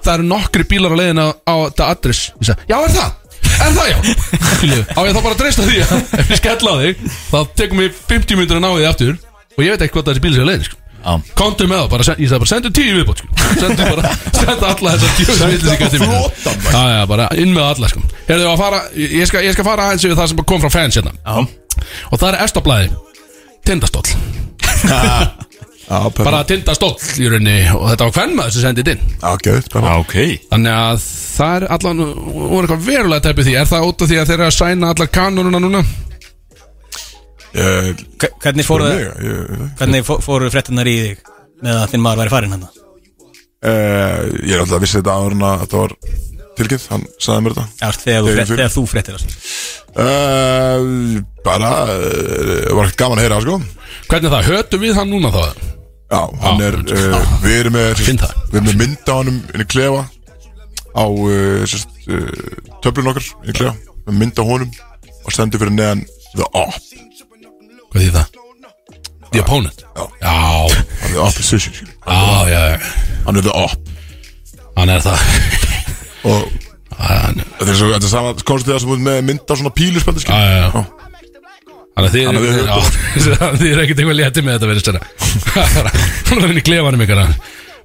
Speaker 3: það eru nokkri bílar á leiðina á þetta adress, ég sagði, já er það er það já, Skilju, á ég þá bara að dreista því að ef ég skella á þig þá tekum við 50 minnur að ná þig aftur og ég veit ekki hvað þessi bíl sé á leiðin sko.
Speaker 4: Já.
Speaker 3: Komdu með það, bara, sen- ég sagði bara sendu tíu í viðbót sko. Sendu bara, sendu alla þessar tíu Sendu
Speaker 1: flotann,
Speaker 3: Já, já, bara inn með alla sko. Herðu, að fara, ég, skal, ég skal fara aðeins yfir það sem kom frá fans hérna Og það er establaði Tindastóll
Speaker 1: Já,
Speaker 3: Bara tindastóll í rauninni Og þetta var hvernmaður sem sendið inn
Speaker 1: gæðið
Speaker 4: Já,
Speaker 1: bara
Speaker 4: ok
Speaker 3: Þannig að það er allan voru eitthvað verulega tæpið því Er það út af því að þeir eru að sæna allar kanonuna núna?
Speaker 1: Ég-
Speaker 2: Hvernig
Speaker 1: bara
Speaker 2: fóruðu
Speaker 1: mig, ég-
Speaker 2: Hvernig fó- fóru fréttinar í þig með að þinn maður væri farinn hérna? hann
Speaker 1: Eh, Ég er alltaf að vissi þetta áður en að þetta var tilkynnt Hann sagði mér þetta
Speaker 2: þegar, þú
Speaker 1: Þegar
Speaker 2: frétt,
Speaker 1: fyrir-
Speaker 2: þegar þú fréttir það
Speaker 1: Eh, Bara eh, Var ekkert gaman að heyra sko
Speaker 3: Hvernig er það? Hötum við hann núna þá?
Speaker 1: Já, hann
Speaker 3: Já,
Speaker 1: er,
Speaker 3: veitu.
Speaker 1: uh, við erum með
Speaker 3: Finn það.
Speaker 1: Við erum með mynd á honum inn í klefa á uh, sérst, uh, töflun okkar líklega, með mynd á honum og stendur fyrir neðan The Op
Speaker 3: Hvað því það? The opponent
Speaker 1: Já.
Speaker 3: Já,
Speaker 1: hann er The Opposition skilur.
Speaker 3: já, já, já.
Speaker 1: hann er The Op
Speaker 3: Hann er það
Speaker 1: og
Speaker 3: Hann
Speaker 1: þetta er, svo, þetta er sama konstið það sem út með mynd á svona píluspöldu
Speaker 3: Já, já, já. Þannig að þið
Speaker 1: Þannig að við höfum-
Speaker 3: já, þannig að þið er ekkert eitthvað létti með þetta verið stjara Hún er inn í klefanum ykkar hann.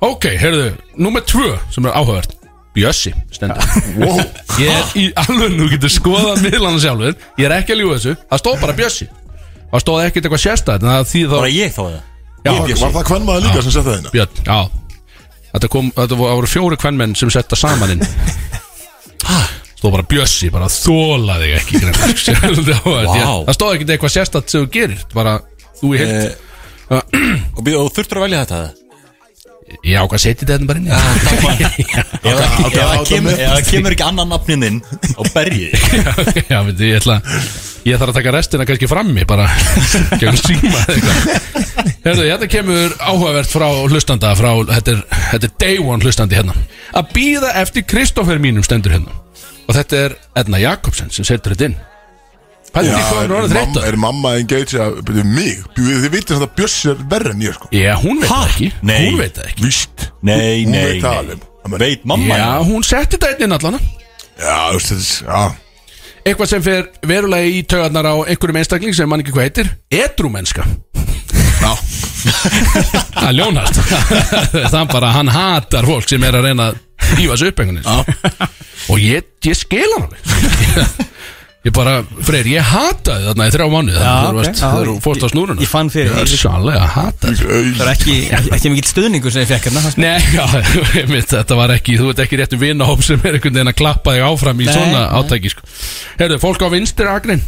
Speaker 3: Ok, heyrðu, númer tvö sem er áhugavert Bjössi, stendur
Speaker 1: wow.
Speaker 3: Ég er í alveg nú getur skoðað miðlana sjálfur Ég er ekki að ljúga þessu Það stóð bara Bjössi Það stóð ekkert eitthvað sérstætt En það því þá
Speaker 4: Bara ég þá það
Speaker 3: Já,
Speaker 4: Ég
Speaker 1: var það hvern maður líka sem setja það hérna
Speaker 3: Björn, já Þetta, kom, þetta voru, það voru fjóri kvennmenn sem setta saman inn Stóð bara Bjössi, bara þóla þig ekki greinilega. Sérlega áhugavert,
Speaker 4: Vá.
Speaker 3: ég- Það stóð ekkert eitthvað sérstætt sem þú gerir Bara þú í heilt
Speaker 4: Eh, Og býð- og þurftur að velja þetta það?
Speaker 3: Já, hvað setjið þetta bara inn
Speaker 4: Ah,
Speaker 3: í?
Speaker 4: Ef
Speaker 1: ok,
Speaker 4: ef það
Speaker 1: ok,
Speaker 4: kemur-
Speaker 1: ok.
Speaker 4: ef það kemur ekki annan nafnin inn á bergi
Speaker 3: Já, veitu, ég ætla Ég þarf að taka restina kannski frammi bara Gegn síma eða eitthvað. Herðu, þetta kemur áhugavert frá hlustanda frá, þetta er, þetta er day one hlustandi hérna Að býða eftir Kristoffer mínum stendur hérna Og þetta er Edna Jakobsen sem setur þetta inn Pældi hvað
Speaker 1: er,
Speaker 3: hann er
Speaker 1: mamma,
Speaker 3: orðið þreytta
Speaker 1: er mamma engage að byrja mig Byrju, þið vitið að Bjössi er verri en ég sko
Speaker 3: Já, hún veit það ekki
Speaker 4: Nei.
Speaker 3: Hún veit það ekki
Speaker 1: víst
Speaker 4: Nei,
Speaker 1: Hún
Speaker 4: nei,
Speaker 1: veit það
Speaker 4: nei
Speaker 1: alveg. Amen.
Speaker 4: Veit mamma
Speaker 3: Já, hún setti þetta inn allan
Speaker 1: já, þú veist þetta er- já.
Speaker 3: Eitthvað sem fer verulega í taugarnar á einhverjum einstakling sem mann ekki hvað heitir Edrúmenska Það er ljónast Það bara, hann hatar fólk sem er að reyna að hýfa þessu upp einhvern veginn Og ég, ég skil hann alveg Ég bara, Freyr, ég hataði þarna í þrjá mánuð
Speaker 2: Já,
Speaker 3: Þegar
Speaker 2: ok,
Speaker 3: þú varst-
Speaker 2: já.
Speaker 3: þegar þú fórst á snúruna
Speaker 2: Ég- ég fann fyrir
Speaker 3: Ég
Speaker 2: því.
Speaker 3: er sannlega hatað
Speaker 2: Það er ekki, ekki, ekki mikill stuðningur sem ég fekk hérna það-
Speaker 3: Nei, já, mitt, þetta var ekki, þú ert ekki rétt um vinahóp sem er einhvern veginn að klappa þig áfram í
Speaker 2: Nei,
Speaker 3: svona
Speaker 2: nei.
Speaker 3: átæki sko. Herðu, fólk á vinstri agrin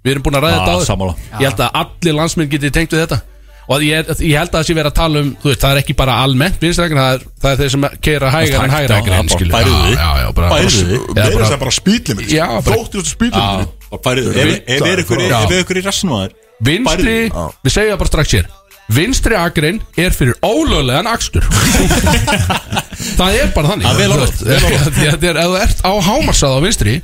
Speaker 3: Við erum búin að ræða
Speaker 4: Ah,
Speaker 3: þetta áður
Speaker 4: sammála.
Speaker 3: Ég held að allir landsmenn geti tengt við þetta Og ég, er- ég held að það sé verið að tala um, þú veist, það er ekki bara almennt vinstri agrin Það er, það er þeir sem keira hægar en hægra
Speaker 4: hægt á, það
Speaker 3: agrin
Speaker 4: bara
Speaker 3: skilur.
Speaker 4: færðu þig.
Speaker 3: Já, já, já, bara-
Speaker 4: Færðu þig.
Speaker 3: Já,
Speaker 1: meira
Speaker 3: bara-
Speaker 1: sem bara spýtlið mig
Speaker 3: Já, bara-
Speaker 1: þóttið þetta spýtlið
Speaker 3: Já.
Speaker 1: mig
Speaker 4: Færið, ef, ef er ykkur,
Speaker 3: Já.
Speaker 4: ef er ykkur í rassinum að þér
Speaker 3: Vinstri,
Speaker 4: Færðu þig.
Speaker 1: Já.
Speaker 3: við segjum það bara strax hér Vinstri agrin er fyrir ólöglegan akstur Það er bara þannig
Speaker 4: Ja, vel orðað,
Speaker 3: Þú veist, Þetta er, ef þú ert á hámarsað á vinstri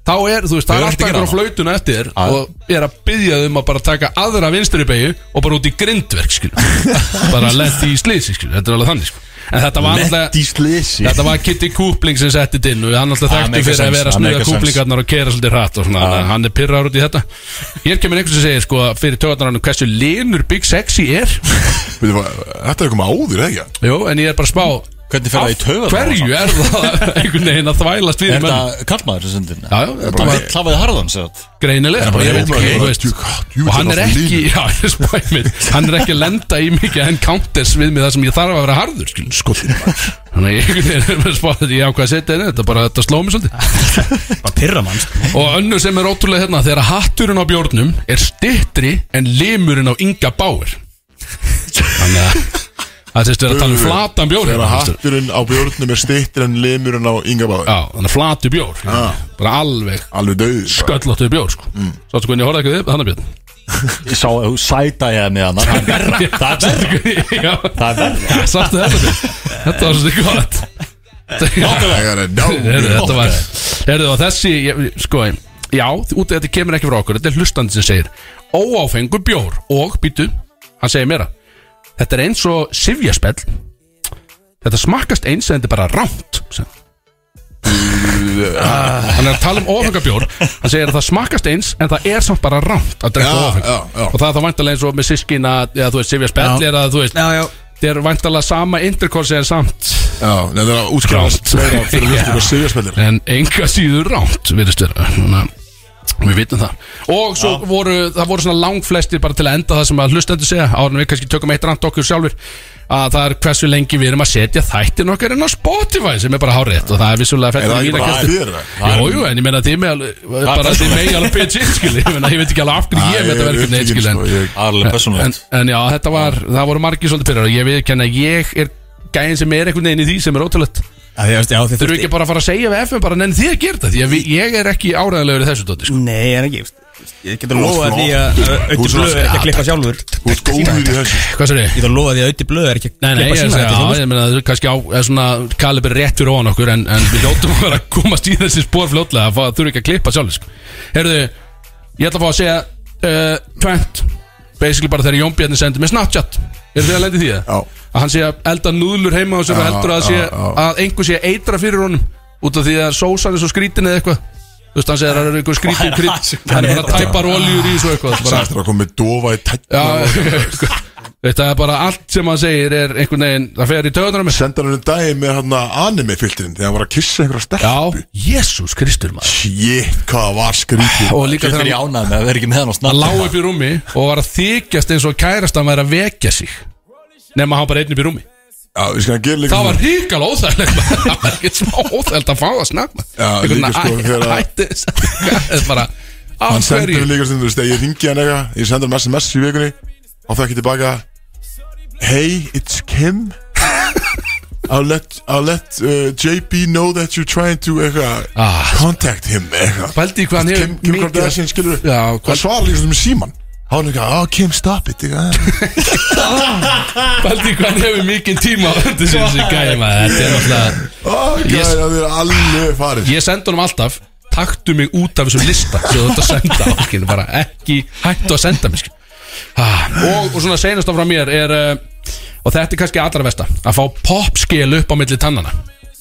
Speaker 3: Þá er, þú veist, það er
Speaker 4: Hefur ekkert að
Speaker 3: alltaf
Speaker 4: gera
Speaker 3: einhver á
Speaker 4: hana.
Speaker 3: flautuna eftir þér Og er að byggja þau um að bara taka aðra vinstri beigju Og bara út í grindverk, skil Bara lendi í slýsi, skil Þetta er alveg þannig, skil En þetta var alltaf
Speaker 4: Lett í slisi
Speaker 3: Þetta var Kitty Kúpling sem setti þetta inn og hann alltaf
Speaker 4: Ah,
Speaker 3: þekktu
Speaker 4: make
Speaker 3: fyrir að
Speaker 4: sense,
Speaker 3: vera að
Speaker 4: ah,
Speaker 3: snuða
Speaker 4: make sense.
Speaker 3: kúplingarnar og kera svolítið hratt og svona, ah. hann er pyrrar út í þetta Hér kemur einhvers sem segir sko að fyrir töðarnar hann hversu linur Big Sexy er
Speaker 1: Veitu hvað, þetta er komið áður, eða ekki?
Speaker 3: Jú, en ég er bara að spá
Speaker 4: Hvernig fer það í
Speaker 3: af
Speaker 4: taugarnar á
Speaker 3: Hverju er það einhvern veginn að þvælast við
Speaker 4: Er
Speaker 3: menn?
Speaker 4: þetta kallmaður sem sendir?
Speaker 3: Já, já,
Speaker 4: Það
Speaker 3: bara-
Speaker 4: var klafaði harðan sem sagt
Speaker 3: Greinilega,
Speaker 1: bara
Speaker 3: ég
Speaker 1: ég
Speaker 3: veit
Speaker 1: bara-
Speaker 3: ekki, þú veist
Speaker 1: Djú, hvað, djú,
Speaker 3: Og
Speaker 1: þetta
Speaker 3: hann
Speaker 1: er
Speaker 3: er
Speaker 1: alltaf
Speaker 3: ekki,
Speaker 1: línur.
Speaker 3: já, ég spæði mig Hann er ekki að lenda í mikið enn counters við mig það sem ég þarf að vera harður, skil
Speaker 1: Skotin maður.
Speaker 3: Þannig að ég einhvern veginn er bara að spá þetta, ég ákvað að setja henni, þetta bara, þetta sló mig svolítið
Speaker 2: Bara pyrra mann sko.
Speaker 3: Og önnu sem er ótrúlega hérna Þegar hatturinn á bjórnum er stittri En limurinn á Inga Bauer Þannig að Það sést við að tala um flatan bjór
Speaker 1: Þegar
Speaker 3: hérna,
Speaker 1: að
Speaker 3: veistu.
Speaker 1: hatturinn á bjórnum er stittir en limurinn á yngabáður
Speaker 3: Já, þannig að flatu bjór
Speaker 1: Ah.
Speaker 3: Bara alveg
Speaker 1: Alveg döður
Speaker 3: göllóttu bjór sko. mm. Sáttu hvernig ég horfði ekki þið, þannig björn
Speaker 4: Ég sá að þú sæta ég með hann Það er verra Það er verra
Speaker 3: Já,
Speaker 4: Það er verra
Speaker 3: sáttu þetta Björn? Þetta var svolítið gott Þetta-
Speaker 1: Þegar er dá
Speaker 3: Heyrðu, þetta var Heyrðu, og þessi, ég- sko Já, út þetta kemur ekki frá okkur Þetta er hlustandi sem segir Óáfengur bjór og, býtu, hann segir mér Þetta er eins og sifjaspell Þetta smakkast eins en þetta er bara rámt sagði hann. Hann er að tala um ófengabjór Hann segir að það smakkast eins En það er samt bara rámt að drekka
Speaker 1: Já,
Speaker 3: ófeng
Speaker 1: já, já.
Speaker 3: Og það er það væntalega eins og með sískina Eða þú veist, sifjaspell
Speaker 2: Já.
Speaker 3: er að þú veist
Speaker 2: Já, já
Speaker 3: Það er væntalega sama intercourse en samt
Speaker 1: Já, nefnir að útskjáðast
Speaker 3: Grátt.
Speaker 1: meira fyrir
Speaker 3: Já.
Speaker 1: hlustum og sigjarsmellir
Speaker 3: En enga síður rámt virðist vera Núna, Við vitum það Og svo voru, það voru svona langflestir bara til að enda það sem að hlustendur segja Áður en við kannski tökum eitt rand okkur sjálfur Að það er hversu lengi við erum að setja þættin okkar inn á Spotify Sem er bara hárið Og það er vissulega
Speaker 1: Er
Speaker 3: fættin
Speaker 1: það
Speaker 3: í
Speaker 1: ekki
Speaker 3: mína
Speaker 1: bara
Speaker 3: kæfti
Speaker 1: fyrir það?
Speaker 3: Jú, jú, en ég meina þið með alveg Bara þið megi alveg pitch in, skilji Ég meina, ég veit ekki alveg af hverju ég veit að vera hvernig skilji
Speaker 1: sko,
Speaker 3: en-
Speaker 4: Alveg
Speaker 3: en,
Speaker 4: persónulegt
Speaker 3: en já, þetta var, það voru margir svolítið pyrrar Ég veit að ég er gæðin sem er einhvern veginn í því sem er ótrúlegt
Speaker 2: Já, ég veist, já, þið
Speaker 3: Þurfum við ekki bara að fara að segja við FM bara nenni því að gera þetta Því að við, ég er ekki áræðanlegur í þessu dóti sko.
Speaker 2: Nei, ég er ekki, ég veist Ég getur lofað því að Ötti Blöð er ekki að klippa sjálfur Ég
Speaker 1: Þú ert góður í þessu sko.
Speaker 3: Hvað sér
Speaker 2: getur lofað því að Ötti Blöð er ekki
Speaker 3: Nei,
Speaker 2: að
Speaker 3: nei, ég,
Speaker 2: klippa
Speaker 3: ég,
Speaker 2: sína
Speaker 3: já,
Speaker 2: þetta
Speaker 3: ég meina, það er kannski á er svona kalibri rétt fyrir ofan okkur en, en við hljóttum að vera að komast í þessi spór fljótlega það þurfi ekki að klippa sjálf sko. Herðu, ég ætla að fá að segja uh, Tvent, basically bara þegar Jón Bjarni sendi með Snapchat Er þið að lendi því það?
Speaker 1: Já.
Speaker 3: Að hann sé að elda núðlur heima og sem
Speaker 1: Já,
Speaker 3: heldur að, sé,
Speaker 1: já, já.
Speaker 3: að einhver sé að eitra fyrir honum út af því að sósan er svo skrítin eða eitthvað Þú veist, hann segir að það er einhver skrítin krydd Hann er bara að tæpa roljur í svo eitthvað bara,
Speaker 1: Sættur að koma með dofa í tætt
Speaker 3: Já, sko, þetta er bara allt sem hann segir er einhvern veginn, það fer í töðunar með
Speaker 1: Senda hann um daginn með hann anime filtrin Þegar hann var að kissa einhverja stelpu
Speaker 3: Já, Jésús Kristur maður
Speaker 1: Shit, hvað það var skrítið
Speaker 3: Og líka
Speaker 4: Þetta er
Speaker 3: þegar
Speaker 4: ég
Speaker 3: hann
Speaker 4: ánægð með að vera ekki með hann á
Speaker 3: hann
Speaker 4: snabbt
Speaker 3: lá upp í rúmi og var að þykjast eins og kærast hann væri að vekja sig Nefn að hann bara einn upp í rúmi
Speaker 1: Já, við skalum gera líka
Speaker 3: Það var
Speaker 1: svona.
Speaker 3: ríkala óþægilegt maður. Það var ekkert smá óþægilegt að fá það snakma
Speaker 1: Já, líka sko þegar að-
Speaker 3: Hætti þess Það er bara Á
Speaker 1: Hann sendur
Speaker 3: hverju
Speaker 1: mér líka stundum, þú veist, ef ég ringi hann eitthvað Ég sendur hann SMS í vikunni Og það ekki tilbaka Hey, it's Kim I'll let, I'll let uh, JP know that you're trying to eitthvað
Speaker 3: Ah.
Speaker 1: Contact him eitthvað
Speaker 3: Pældi í hvað hann hefur
Speaker 1: Kim, Kim
Speaker 3: mikið-
Speaker 1: Kardashian, skilur
Speaker 3: Já, hvað-
Speaker 1: Hann svarar líka stundum í síman Hann er eitthvað, oh Kim, stop it eitthvað.
Speaker 3: Pældi í hvað hann hefur mikið tíma á höndum sér þessi gæði maður Þetta er náttúrulega
Speaker 1: Oh,
Speaker 3: Ég-
Speaker 1: gæði, það er alveg farið
Speaker 3: Ég sendi honum alltaf Taktu mig út af þessum lista Svo þetta senda á skilur, bara Ekki hættu að senda mig skilur. ah, og, og svona seinasta frá mér er uh, Og þetta er kannski allra besta Að fá popskel upp á milli tannana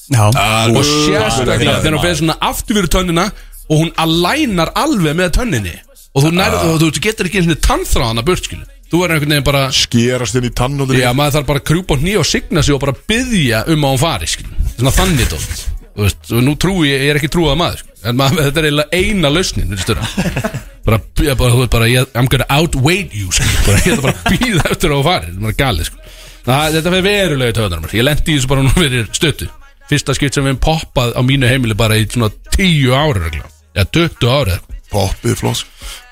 Speaker 2: Já,
Speaker 3: Og sérstaklega þegar hún fer svona aftur fyrir tönnina Og hún alænar alveg með tönninni Og þú, nærð, og þú getur ekki einhvern tannþráðana burt skilu Þú er einhvern veginn bara
Speaker 1: Skerast inn í tannóður
Speaker 3: Já, maður þarf bara að krjúpa á hný og signa sig og bara byðja um að hún fari, skilur. Svona þannig dótt. Þú veist, og nú trúi ég, ég er ekki trúið að maður, sko. en maður, þetta er eiginlega eina lausnin, veistu það. Bara, ég, bara, þú veist, bara, ég, I'm gonna outweight you, skilur. Bara, ég ætla bara að býða eftir að hún fari, þetta er bara galið, sko. Það, þetta fyrir verulega töðunar, maður. Ég lendi í þessu bara nú fyrir stötu. Fyrsta skipt sem við höfum poppað á mínu heimili bara í svona 10 ára, regla. Já, 20 ára, eða eitthvað.
Speaker 1: Poppið flós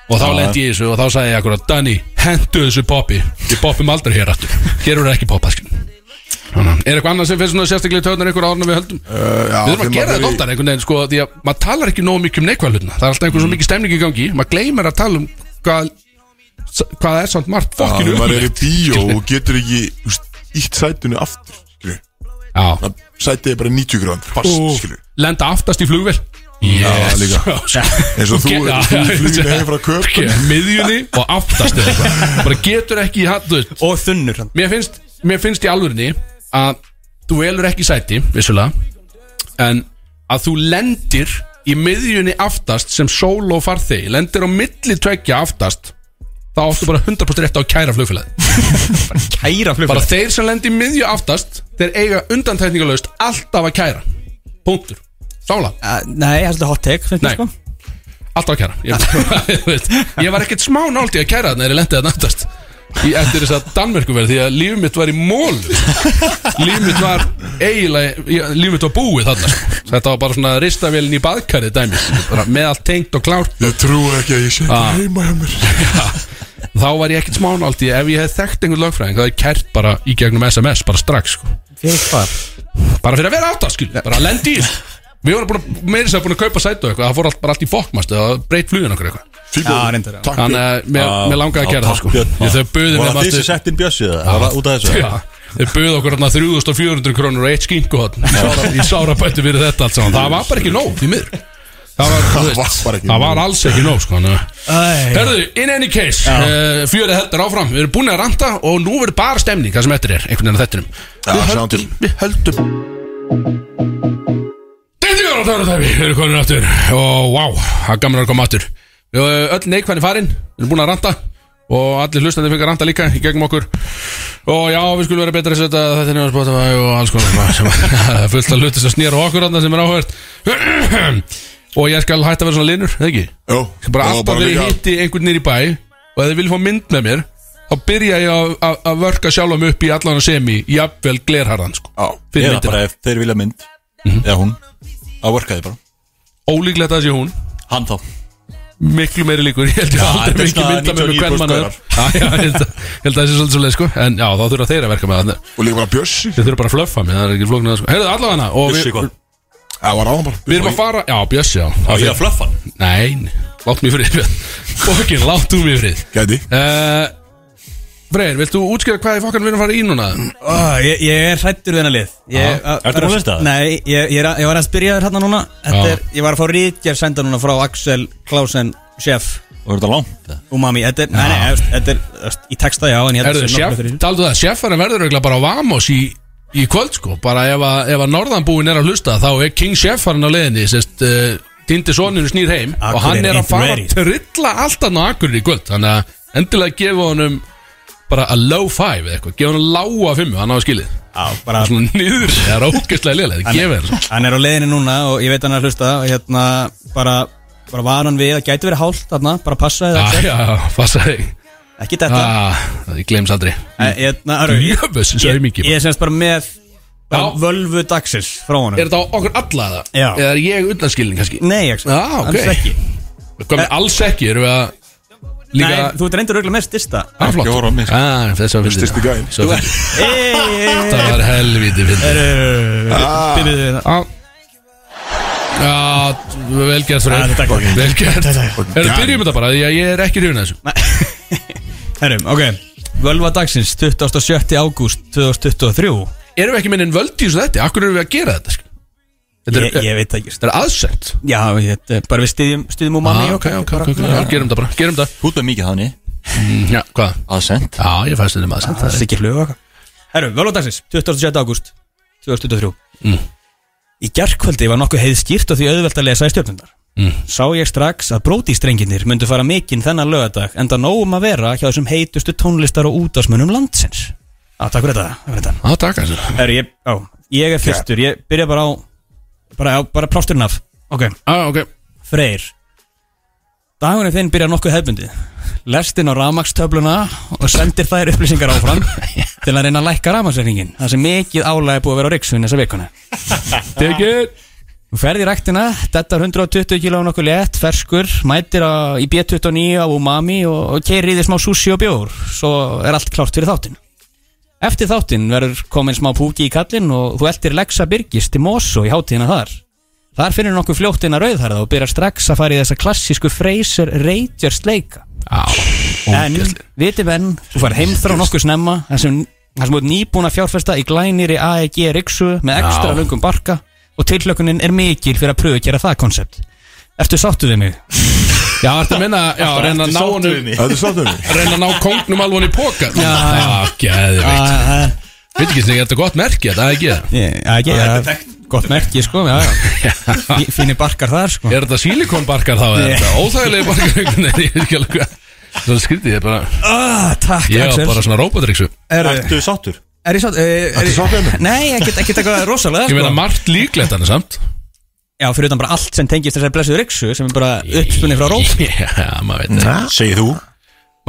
Speaker 3: Og þá lendi ég í þessu og þá sagði ég akkurat Danny, hendu þessu poppi Við poppum aldrei hér aftur Hér eru ekki poppað skil Þannig, Er eitthvað annað sem finnst svona sérstaklega töðnar einhver árna við höldum?
Speaker 1: Uh, já,
Speaker 3: við þurfum
Speaker 1: þegar
Speaker 3: að gera
Speaker 1: maður
Speaker 3: þetta
Speaker 1: er í-
Speaker 3: oftar einhvern veginn sko Því að maður talar ekki nógu mikið um neikvæð hlutina Það er alltaf einhver
Speaker 1: Mm.
Speaker 3: svo mikið stemning í gangi Maður gleymir að tala um hvað Hvað það er samt margt fokkinu
Speaker 1: Þegar maður er í bíó og getur ekki þú veist, Ítt sætunni aftur skilur.
Speaker 3: Já
Speaker 1: Það sætið er bara 90 gráðan Fast,
Speaker 3: Og
Speaker 1: skilju
Speaker 3: Lenda aftast í flugvél
Speaker 1: Já, líka. Eins og þú
Speaker 3: Ge-
Speaker 1: ert í fluginu heim frá köp
Speaker 3: Ekki, Miðjunni og aftast eða eitthvað. Bara getur ekki, þú veist
Speaker 2: og þunnur hann.
Speaker 3: mér finnst, mér finnst í alvörinni að þú velur ekki sæti, vissulega en að þú lendir í miðjunni aftast sem solo farþegi, lendir á milli tveggja aftast þá áttu bara 100% rétt á að kæra flugfélagi
Speaker 2: Kæra
Speaker 3: bara
Speaker 2: flugfélag
Speaker 3: þeir sem lendir í miðju aftast þeir eiga undantækningalöst alltaf að kæra punktur, sála
Speaker 2: Uh, Nei, það er svolítið hot take, finnst
Speaker 3: Nei.
Speaker 2: ég sko
Speaker 3: alltaf að kæra ég, þú veist, ég var ekkert smá náldi að kæra þannig að ég lendi að náttast í eftir þess að Danmörku verð því að líf mitt var í mól líf mitt var eiginlega ég- líf mitt var búið þarna sko. þetta var bara svona ristavélin í baðkarið dæmi bara með allt tengt og klárt
Speaker 1: Ég trúi ekki að ég
Speaker 3: Ah.
Speaker 1: sé ekki heima hjá mér
Speaker 3: þá var ég ekkert smá náldi ef ég hef þekkt einhvern lögfræðing þá hef ég kært bara í gegnum SMS bara strax sko.
Speaker 2: Fyrir hvað?
Speaker 3: bara fyrir að vera átta skil bara að lendi í þessu. við vorum búin, meira sem búin að kaupa sætu eitthvað það fór allt, bara allt í fokkmast það breyt flugin okkur eitthvað
Speaker 1: Fíbó,
Speaker 2: Já, reyndar, já.
Speaker 1: takk
Speaker 3: Þannig
Speaker 1: fyrir
Speaker 3: að mér,
Speaker 4: Já,
Speaker 3: mér langaði að
Speaker 4: já,
Speaker 3: gera það
Speaker 4: takk,
Speaker 3: sko
Speaker 4: Björn.
Speaker 3: Ég þau buðu
Speaker 4: Var
Speaker 3: mér
Speaker 4: það því sem
Speaker 3: maður
Speaker 4: sett inn bjössið það? Það var út af þessu
Speaker 3: Já, Þeir buðu okkur hérna 3400 krónur og eitt skingu Í sára bættu fyrir þetta allt saman Það var bara ekki nóg, því miður Það var, þú
Speaker 1: Það
Speaker 3: veist,
Speaker 1: var bara ekki
Speaker 3: það
Speaker 1: nóg.
Speaker 3: var alls ekki nóg sko þannig að- Herðu, in any case uh, Fjörið heldur áfram, við erum búin að ranta Og nú verður bara stemning, það sem eftir er Einhvern veginn að þettinum
Speaker 1: Já,
Speaker 3: Við
Speaker 1: sjáum
Speaker 3: höldum,
Speaker 1: til.
Speaker 3: við höldum Dendingar á törnutæfi, við erum komin aftur Og vá, það er gaman að koma aftur Við erum öll neikvæðin farin, við erum búin að ranta Og allir hlustandi fengar ranta líka í gegnum okkur Og já, við skulum vera betra að setja þetta nefnum Spotify og alls konar svona sem að- fullt að hluti sem snýra á okkur andan sem er áhört Og ég skal hætta að vera svona linur, eða ekki?
Speaker 1: Jó,
Speaker 3: Ég skal bara
Speaker 1: það var
Speaker 3: alltaf þegar ég
Speaker 1: líka-
Speaker 3: hitti einhvern nýr í bæ og ef þið vilja fá mynd með mér þá byrja ég að- að- að vörka sjálfum upp í allan að semi, jafnvel glerharðan sko,
Speaker 1: Já,
Speaker 3: fyrir
Speaker 4: Eða
Speaker 3: myndina
Speaker 4: bara
Speaker 3: Mhm.
Speaker 4: ef þeir vilja mynd Eða hún Að worka því bara
Speaker 3: Ólíklegt að það sé hún,
Speaker 4: Hann þá
Speaker 3: miklu meiri líkur ég held ég
Speaker 4: þetta
Speaker 3: aldrei
Speaker 4: er
Speaker 3: mikið
Speaker 4: svona
Speaker 3: mynda með mér hvern mann
Speaker 4: 99%
Speaker 3: er. Já, já, ég held að ég held að það sé svolítið svolítið sko en já, þá þurfa þeir að verka með það
Speaker 1: Og líka bara Bjössi
Speaker 3: Þið þurfa bara að flöffa mig, það er ekki flóknir að sko Heyrðu allavega hana og
Speaker 4: Vissi
Speaker 3: við,
Speaker 4: hvað
Speaker 1: Það var áðan bara
Speaker 3: við erum að fara Já, Bjössi, já
Speaker 4: Á ég að flöffa hann
Speaker 3: Nei, Látt mér frið Björn. Fokkin, látt þú mér frið
Speaker 1: Gæti
Speaker 3: uh, Freyr, vilt þú útskýra hvað í fokkan við erum að fara í núna?
Speaker 2: Ó, ég, ég er hrættur við hennar lið ég,
Speaker 4: Já. Ertu búin að lesa það?
Speaker 2: Nei, ég, ég, er að, ég var að spyrja þér hérna núna Þetta
Speaker 3: Já.
Speaker 2: er, Ég var að fá rítgerð senda núna frá Axel Klausen, chef
Speaker 4: Og er þetta langt?
Speaker 2: Umami Þetta er, nei, nei, efst, þetta er efst, í texta já en ég held
Speaker 3: Erðu,
Speaker 2: að sé
Speaker 3: sjef,
Speaker 2: nokkuð fyrir-
Speaker 3: taldu það, sjeffarinn verður eiginlega bara á Vamos í, í kvöld sko bara ef að, ef að norðanbúin er að hlusta þá er King sjeffarinn á leiðinni sérst, uh, dindi soninu snýr heim og hann er að
Speaker 2: ain't
Speaker 3: fara að
Speaker 2: ready.
Speaker 3: trilla alltaf á akkurinn í kvöld þannig að endilega gefa honum bara a low five eða eitthvað, gefa honum lága fimmu, hann á skilið
Speaker 2: Já, bara
Speaker 3: svona niður, það er ógeðslega leiðilega gefa henn
Speaker 2: Hann er á leiðinni núna og ég veit hann er að hlusta og hérna bara bara var hann við, það gæti verið hált þarna, bara passa þið
Speaker 3: Já, Ah, já, passa þig
Speaker 2: ekki þetta
Speaker 3: ah, Ég glems aldrei
Speaker 2: Eh, hérna, Arvi, ég,
Speaker 3: Jöfus,
Speaker 2: ég,
Speaker 3: saumingi
Speaker 2: ég er semst bara með bara
Speaker 3: Já.
Speaker 2: völvu dagsins frá honum
Speaker 3: Er þetta á okkur alla það?
Speaker 2: Já.
Speaker 3: Eða er ég undanskilin kannski?
Speaker 2: Nei, ekki,
Speaker 3: Já, Ah, ok.
Speaker 2: alls ekki
Speaker 3: Hvað með alls ekki, erum við að líka
Speaker 2: Mm. Eh. Nei, þú ert reyndur auðvitað með stista
Speaker 3: Það er flott
Speaker 4: Ekki horfa á mig.
Speaker 3: ah, Þess að fyndi
Speaker 1: Styrsti gæinn.
Speaker 3: Svo fyndi
Speaker 2: Hey,
Speaker 3: Það var helviti fyndi
Speaker 2: Eh,
Speaker 3: Ah.
Speaker 2: hérna.
Speaker 3: Já, velgerð
Speaker 2: Ah, þetta er
Speaker 3: fyrir
Speaker 2: gott.
Speaker 3: Velgerð Erum byrjum þetta bara, því að ég er ekki hrifin þessu
Speaker 2: Herrum, ok Völva dagsins, 27. ágúst 2023
Speaker 3: Erum við ekki minni en völdi í þessu þetta? Akkur erum við að gera þetta? skil? Þetta
Speaker 2: Ég,
Speaker 3: er,
Speaker 2: ég veit það ekki
Speaker 3: þetta er aðsend
Speaker 2: Já, ég, þetta er bara við styðjum, styðjum úr manni
Speaker 3: ah, ok, ok, ok, ok, já, Gerum þetta bara, gerum þetta
Speaker 4: Þú ert með mikið þannig
Speaker 2: Mm-hmm.
Speaker 3: Mm, Já, hvað?
Speaker 4: Aðsend
Speaker 3: Já, ég fæst þetta með aðsend
Speaker 2: Það er ekki hlug Herrum, völva dagsins, 27. ágúst 2023
Speaker 3: Mm.
Speaker 2: Í gerkvöldi var nokkuð heiðskýrt og því auðvelt að lesa í stjórnundar
Speaker 3: Mm.
Speaker 2: Sá ég strax að brótistrenginir myndu fara mikinn þennan lögadag en það nógum um að vera hjá þessum heitustu tónlistar og útásmunum landsins Já, takk fyrir þetta, takk fyrir þetta
Speaker 3: Já, takk þessu
Speaker 2: Herru, ég, á, ég er fyrstur, ég byrja bara á bara, á, bara plásturinn af Ok,
Speaker 3: Já, ok
Speaker 2: Freyr Dagurinn þinn byrja nokkuð hefbundið Lestin á rafmakstöfluna og sendir þær upplýsingar áfram til að reyna að lækka rafmaksreikningin Það sem mikið álæg er búið að vera á Ríksun þessa vikuna
Speaker 3: Take it
Speaker 2: Þú ferð í ræktina, þetta 120 kg nokkuð létt, ferskur, mætir á, í B29 á umami og, og keirir í því smá sushi og bjór, svo er allt klárt fyrir þáttinn. Eftir þáttinn verður komin smá púki í kallinn og þú eldir Lexa Birgis til Mosso í hátíðina þar. Þar finnur nokkuð fljóttina rauðharða og byrjar strax að fara í þessa klassísku Fraser Rangers leika.
Speaker 3: Já,
Speaker 2: En, viti menn, þú fær heimþrá nokkuð snemma þar sem þar sem þú ert nýbúin að fjárfesta í glænir í AEG Riksu með ekstra
Speaker 3: Já.
Speaker 2: lungum barka og tilhlökunin er mikil fyrir að pröfu að gera það konsept Ertu sáttu við mig?
Speaker 3: Já, ertu að minna, já, reyna að ná honum
Speaker 1: Þetta er sáttum við
Speaker 3: Reyna að ná kongnum alveg í póka Já,
Speaker 2: Ah.
Speaker 3: geðvikt Veit ekki sinni, þetta er gott merki, þetta er ekki
Speaker 2: AEG,
Speaker 3: það
Speaker 2: E ja, gott merki sko já, já. Fí- Fínir barkar þar sko
Speaker 3: Er þetta silikonbarkar þá, er
Speaker 2: Nei.
Speaker 3: þetta óþægilegi barkar Nei, ég veit ekki alveg hvað Það er skrítið, ég er bara
Speaker 2: ah, Takk
Speaker 3: Ég
Speaker 2: Axel
Speaker 3: er bara svona rópatryksu
Speaker 2: er,
Speaker 4: Ertu sáttur?
Speaker 2: er ég sáttu?
Speaker 1: Ertu sáttur við mig?
Speaker 2: Nei, ekki eitthvað rosalega
Speaker 3: Ég
Speaker 2: sko.
Speaker 3: meina margt líklegt hann er samt
Speaker 2: Já, fyrir utan bara allt sem tengist þessari blessuðu Riksu sem er bara uppspunni frá rót
Speaker 3: Já, maður veit það
Speaker 4: Segir þú?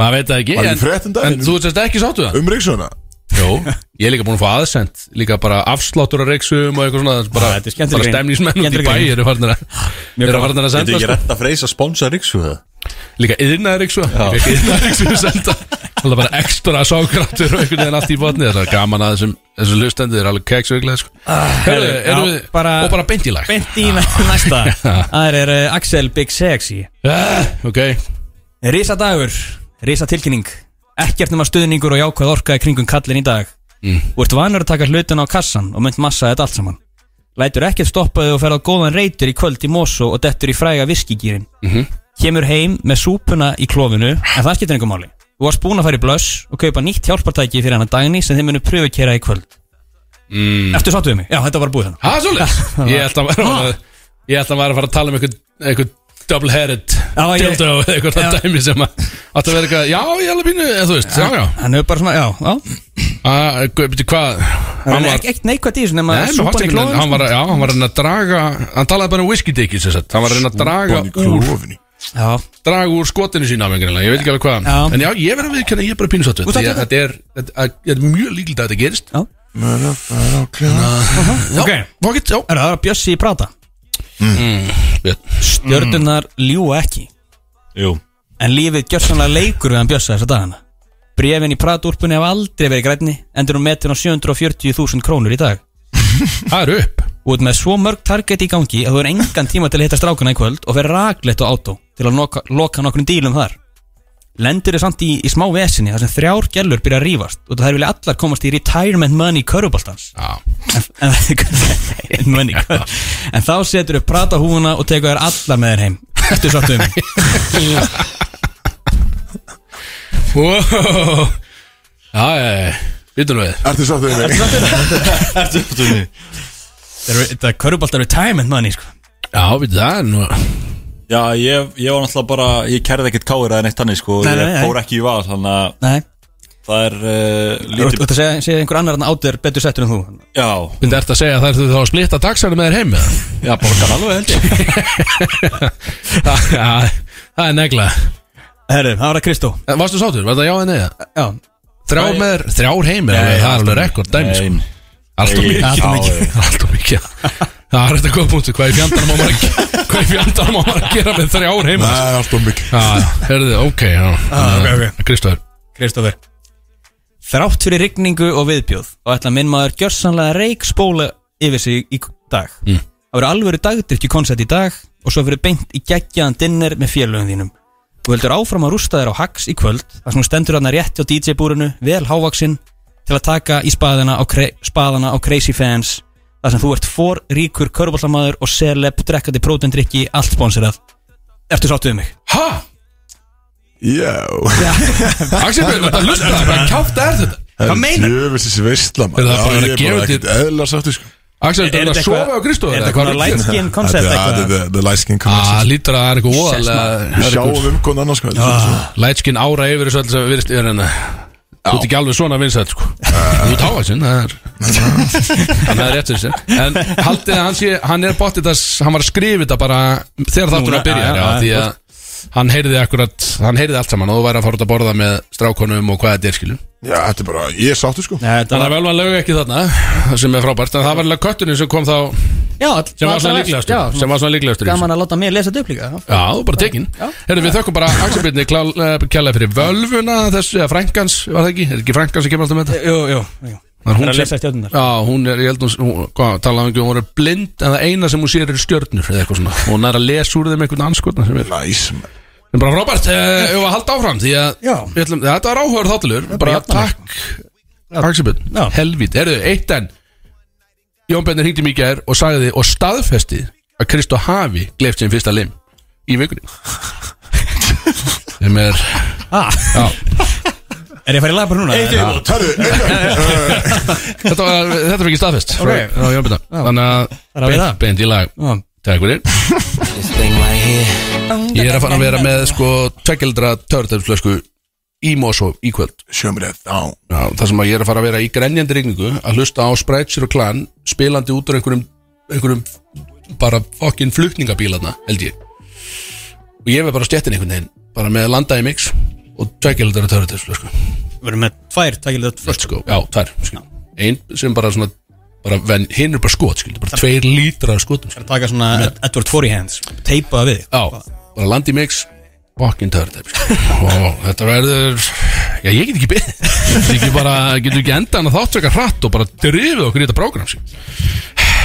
Speaker 3: Maður veit það ekki
Speaker 1: Var ekki
Speaker 3: en-
Speaker 1: frétt um daginn?
Speaker 3: En þú ert sérst ekki sáttu það
Speaker 1: Um Ríksuna
Speaker 3: Jó, ég er líka búin að fá aðsend Líka bara afsláttur að reiksum og eitthvað svona það er Bara,
Speaker 2: Ah, þetta er skemmtileg
Speaker 3: bara
Speaker 2: grein.
Speaker 3: stemnismenn út í
Speaker 2: Skemmtileg
Speaker 3: bæ
Speaker 2: grein.
Speaker 3: eru farnir að eru farnir að
Speaker 4: Þetta
Speaker 3: senda
Speaker 4: ekki
Speaker 3: sko.
Speaker 4: rétt að freysa sponsor Ríksu það?
Speaker 3: Líka yðnaður reiksum Líka yðnaður reiksum senda Það er bara ekstra sákráttur og einhvern veginn allt í botni Það er gaman að þessum, þessum lustendur er alveg keksveiklega sko. Herðu,
Speaker 2: Ah, herðu,
Speaker 3: erum
Speaker 2: já,
Speaker 3: við
Speaker 2: bara-
Speaker 3: Og bara beint í lag
Speaker 2: Beint í næ- næsta Það er uh, Axel Big Sexy
Speaker 3: Ah, Ok,
Speaker 2: Rísa dagur, rísa tilkynning Ekkert nema stuðningur og jákvæð orka í kringum kallin í dag mm. Þú ert vanur að taka hlutin á kassan og mynd massa þetta allt saman Lætur ekkert stoppa þig og ferð á góðan reytur í kvöld í Mosó og dettur í fræga viskigýrin
Speaker 3: Mhm.
Speaker 2: Kemur heim með súpuna í klófinu en það skiptir einhver máli Þú varst búin að fara í blöss og kaupa nýtt hjálpartæki fyrir hana dagni sem þið munu pröfukera í kvöld mm. Eftir sáttu við mig? Já, þetta var búið hérna. þannig
Speaker 3: það er svolítið Ég held að maður Ég held að maður að fara að tala um einhvern einhvern double-headed
Speaker 2: Já, ég-
Speaker 3: dildo eða eitthvað
Speaker 2: Já.
Speaker 3: dæmi sem að átt að vera eitthvað, já, ég er alveg pínu eða þú veist, já, já,
Speaker 2: Hann er bara svona, já, já
Speaker 3: Ah, gu- bíddu, Hvað?
Speaker 2: Hann
Speaker 3: Hann
Speaker 2: var
Speaker 3: var
Speaker 2: ekkert neikvægt í þessu nema
Speaker 3: Nei, mér fannst
Speaker 2: súpan í sko.
Speaker 3: ekki
Speaker 2: klófinu,
Speaker 3: hann, hann var, já, hann var að reyna að draga Hann talaði bara um whisky dickið sem sagt Hann var að reyna að draga
Speaker 1: Bonnie
Speaker 3: úr,
Speaker 1: Klofinu
Speaker 2: sko. Já,
Speaker 3: draga úr skotinu sína af einhvern veginn Ég veit ekki alveg hvað
Speaker 2: Já.
Speaker 3: En já, ég verð að viðkjöna, ég er bara pínusáttu
Speaker 2: Þú
Speaker 3: Þetta
Speaker 2: sáttur við
Speaker 3: þetta er, þetta að- þetta er mjög líkild að þetta gerist
Speaker 2: já Ok,
Speaker 3: Fokkitt, já
Speaker 2: er það að bjössi í prata
Speaker 3: Björn.
Speaker 2: Stjörnunar ljúa ekki
Speaker 4: Jú
Speaker 2: En lífið gjörsanlega leikur við hann bjössa þessa dagana Brefin í pratúrpunni hafa aldrei verið grænni Endur hún metin á 740.000 krónur í dag
Speaker 3: Það er upp
Speaker 2: Og út með svo mörg target í gangi Að þú er engan tíma til að hitta strákana í kvöld Og fer raglegt á átó Til til að loka, loka nokkrum dílum þar lendur þau samt í, í smá vesinni þar sem þrjár gellur byrja að rífast og það vilja allar komast í retirement money körfuboltans
Speaker 3: Já,
Speaker 2: en, en, money, kör- en þá setur þau prata húfuna og tekur þær allar með þér heim Ertu sáttu um mig?
Speaker 3: Wow. Já, já, já Býtum við
Speaker 1: Ertu sátt við mig?
Speaker 2: Það er körfuboltar retirement money sko.
Speaker 3: Já, býtum það er nú
Speaker 4: Já, ég, ég var náttúrulega bara, ég kærði ekkert káir eða neitt þannig sko,
Speaker 2: Nei, nei,
Speaker 4: ég
Speaker 2: nei.
Speaker 4: fór ekki í val, þannig að
Speaker 2: Nei,
Speaker 4: það er uh,
Speaker 2: þú ert
Speaker 4: lítið,
Speaker 2: ert að segja, segja einhver annar en átur betur settur en þú
Speaker 4: já,
Speaker 3: Býtum þetta að segja að það er þú þá að splitta taxanum með þér heim eða?
Speaker 4: já, borgar alveg held ég.
Speaker 3: Já, já, það er negla
Speaker 2: Herru, það var að Kristó
Speaker 3: En Varstu sátur, var það já en neða?
Speaker 2: Já,
Speaker 3: Þrjár með þér, þrjár heim eða? Það er alveg rekord dæmi sko
Speaker 4: Nei,
Speaker 3: Alltaf
Speaker 4: Nei,
Speaker 3: mikið
Speaker 4: allt of mikið.
Speaker 3: Já, Alltaf mikið Það er þetta góð punktu Hvað í fjandarnum á maður að ge- Hvað í fjandarnum á maður að gera með þrjár heim
Speaker 1: Nei, allt um mikið
Speaker 3: Já, já, herðu, ok
Speaker 2: Ah, ok, ok.
Speaker 3: Kristóður
Speaker 2: Kristófer Þrátt fyrir rigningu og viðbjóð og ætla minn maður gjörsanlega reik spóla yfir sig í dag
Speaker 3: Mm.
Speaker 2: Það verður alvöru dagdrykki konsert í dag og svo verður beint í geggjaðan dinner með félögum þínum Þú heldur áfram að rústa þér á Hax í kvöld þar sem þú stendur hann rétt á DJ-búrinu vel hávaksinn til að taka í spaðana á, kre spaðana á Crazy Fans þar sem þú ert for ríkur körbállamæður og celeb drekkandi prótendrykki allt sponsorað Ertu sáttu við mig?
Speaker 3: Ha?
Speaker 1: Já
Speaker 3: Axel Björn, þetta lusta Hvað kjátt er þetta? Hvað meinar?
Speaker 1: Jöfis þessi veistla
Speaker 3: Er
Speaker 1: maður
Speaker 3: það bara
Speaker 1: Já, Ég
Speaker 3: að
Speaker 1: er
Speaker 3: gefa
Speaker 1: bara ekkert eðla sáttu sko
Speaker 3: Axel,
Speaker 2: Er- er
Speaker 3: þetta
Speaker 2: þetta
Speaker 3: að sofa á
Speaker 2: eitthvað-
Speaker 3: Kristóður?
Speaker 2: er þetta eitthvað light skin concept eitthvað?
Speaker 1: Þetta er the- the light skin
Speaker 3: Ah,
Speaker 1: concept
Speaker 3: lítur að það Ah. er eitthvað
Speaker 1: Við
Speaker 3: óalega
Speaker 1: Sjáum um konan annars sko Þetta
Speaker 3: Lætskin ára yfir þessu alls að virðist yfir hennar Þú ert ekki alveg svona vinsætt sko Þú ert hávaksinn, það er Þannig að réttur sér En haldið að hann sé, hann er bóttið að Hann var að skrifa þetta bara þegar þáttur
Speaker 2: Núna,
Speaker 3: að byrja
Speaker 2: já,
Speaker 3: já,
Speaker 2: já,
Speaker 3: Því að hann heyrði akkurat Hann heyrði allt saman og þú væri að fara út að borða með strákonum og hvað þetta er skilum
Speaker 1: Já, þetta er bara, ég er sáttu sko
Speaker 2: Nei, þetta
Speaker 3: Þannig að
Speaker 2: var-
Speaker 3: vel var lög ekki þarna sem er frábært, en það var alveg köttunum sem kom þá
Speaker 2: Já, all-
Speaker 3: sem var
Speaker 2: allavega- já,
Speaker 3: svona líklegastur sem var svona líklegastur í þessu.
Speaker 2: Gaman að láta mig lesa þetta upp líka já.
Speaker 3: Já, þú er bara tekinn Herru, við þökkum bara Axelbyrni kjærlega eh, fyrir völvuna þessu, eða frænkans, var það ekki? Er ekki frænkans sem kemur alltaf með þetta?
Speaker 2: Jú, jú, jú
Speaker 3: Það er
Speaker 2: Það er
Speaker 3: hún
Speaker 2: að
Speaker 3: sem
Speaker 2: lesa stjórnunar
Speaker 3: Já, hún er, ég held hún, hún hvað, talaði um ekki, hún er blind en það eina sem hún sér eru stjörnur eða eitthvað svona og hún er að lesa úr þeim einhvern anskotna sem er
Speaker 1: Næs nice,
Speaker 3: Það er bara frábært, eh, við að halda áfram því að
Speaker 2: Já.
Speaker 3: við ætlum, þetta var áhugaður þáttilur bara takk, Axelbyrn
Speaker 2: Já.
Speaker 3: Helvít, herru, eitt enn Jón Bennir hringdi mikið er og sagði og staðfesti að Kristó hafi gleyft sem fyrsta lim í vikunni sem er Já,
Speaker 2: Er ég að fara í laga bara núna? Eitt
Speaker 1: maður Tarðu, einhver
Speaker 3: þetta, var, þetta fyrir ekki staðfest frá,
Speaker 2: Ok.
Speaker 3: frá Jón Bennir þannig
Speaker 2: Það er að
Speaker 3: að
Speaker 2: við
Speaker 3: beint-
Speaker 2: það.
Speaker 3: beint í lag
Speaker 2: Já.
Speaker 3: Takk fyrir Ég er að fara að vera með sko tveggjaldra törðarflösku í Mosó í kvöld
Speaker 1: Sjöum rétt á
Speaker 3: Já, það sem að ég er að fara að vera í grenjandi regningu að hlusta á Spreitsir og Klan spilandi út úr einhverjum, einhverjum bara fokkin flutningabílarna held ég og ég verð bara stjettin einhvern veginn bara með landaði mix og tveikildur að törður sko.
Speaker 2: Við erum með tvær takilegðat
Speaker 3: Let's go. já, tvær skil. ein sem bara svona bara, ven, hinn er bara skot, skil, bara tveir lítra af skotum skil.
Speaker 2: að taka svona Edward Forey hands Teipa það við
Speaker 3: já, bara landi mix fokkin törður og sko. þetta verður já, ég get ekki beðið Þetta er ekki bara, getur ekki enda hann að þáttöka hratt og bara drifið okkur í þetta prógram skil.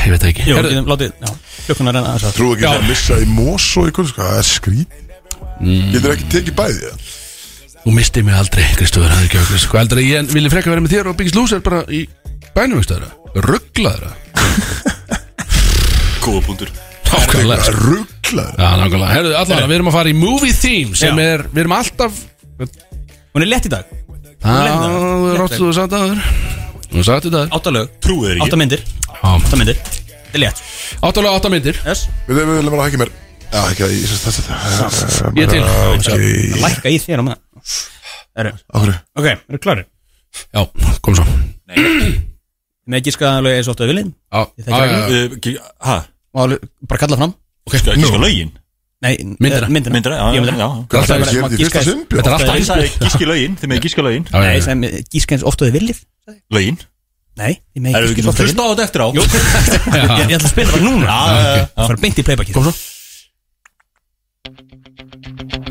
Speaker 3: ég veit það ekki
Speaker 2: Jú,
Speaker 3: Herðu,
Speaker 2: getum látið Klukkunar en aðeins að
Speaker 1: Trú ekki að missa í mós og eitthvað sko Það er skrít Getur ekki tekið bæði það?
Speaker 3: Þú mistið mig aldrei, Kristofur Það er ekki okkur Hvað heldur að ég vilja frekka vera með þér og byggist lúsar bara í bænum einhverstaðar Rugglaður
Speaker 4: Góða punktur.
Speaker 3: Nákvæmlega sko.
Speaker 1: Rugglar
Speaker 3: Já, nákvæmlega Herðu, allan, við erum að fara í movie theme sem
Speaker 2: Já.
Speaker 3: er, við erum alltaf
Speaker 2: Hún er lett í dag
Speaker 3: Já, ráttu þú sagt aður Þú sagt þetta aður
Speaker 2: Átta lög
Speaker 4: Trúið þér ekki?
Speaker 2: Átta myndir Átta myndir Þetta er lett
Speaker 3: Áttalega átta myndir
Speaker 2: Yes
Speaker 1: Við við viljum bara ekki mér Já, ekki að ég sérst þetta
Speaker 3: Ég er til.
Speaker 1: Ok,
Speaker 2: Lækka í þér á maður Eru
Speaker 1: okkur
Speaker 2: Ok, eru klárir
Speaker 3: Já, kom svo
Speaker 2: Með ekki skaðan lög eins og áttu að viljum
Speaker 3: Já,
Speaker 2: Ég þekki
Speaker 3: já, já,
Speaker 2: regluna.
Speaker 3: já.
Speaker 4: Uh, ekki- Ha,
Speaker 2: Og alveg- bara kalla fram
Speaker 4: ok, sko, ekki sko lögin.
Speaker 2: Nei
Speaker 3: Myndina.
Speaker 2: eh, Myndina
Speaker 4: Myndra, já,
Speaker 2: Ég
Speaker 4: já,
Speaker 2: myndina
Speaker 4: já.
Speaker 1: Hvað
Speaker 2: Alltaf
Speaker 1: er
Speaker 2: bara-
Speaker 1: það að gera
Speaker 2: maður
Speaker 1: þetta í fyrsta
Speaker 2: giskaðist.
Speaker 1: sinn? Björn?
Speaker 3: Þetta er alltaf
Speaker 4: Ég sagði gíski lögin, þið með gíska lögin.
Speaker 3: Já, já,
Speaker 2: Nei,
Speaker 3: já.
Speaker 2: sem gíska eins ofta þið viljið
Speaker 4: Lögin.
Speaker 2: Nei, ég með
Speaker 4: Erum við
Speaker 2: gíska
Speaker 4: ekki
Speaker 2: eins
Speaker 4: svona
Speaker 2: ofta þið
Speaker 4: fyrst á þetta eftir á? Jú.
Speaker 2: viljið Ég ég ætla að spila bara núna
Speaker 4: Já, já, já.
Speaker 2: Það fara beint í playbackið
Speaker 3: Kom svo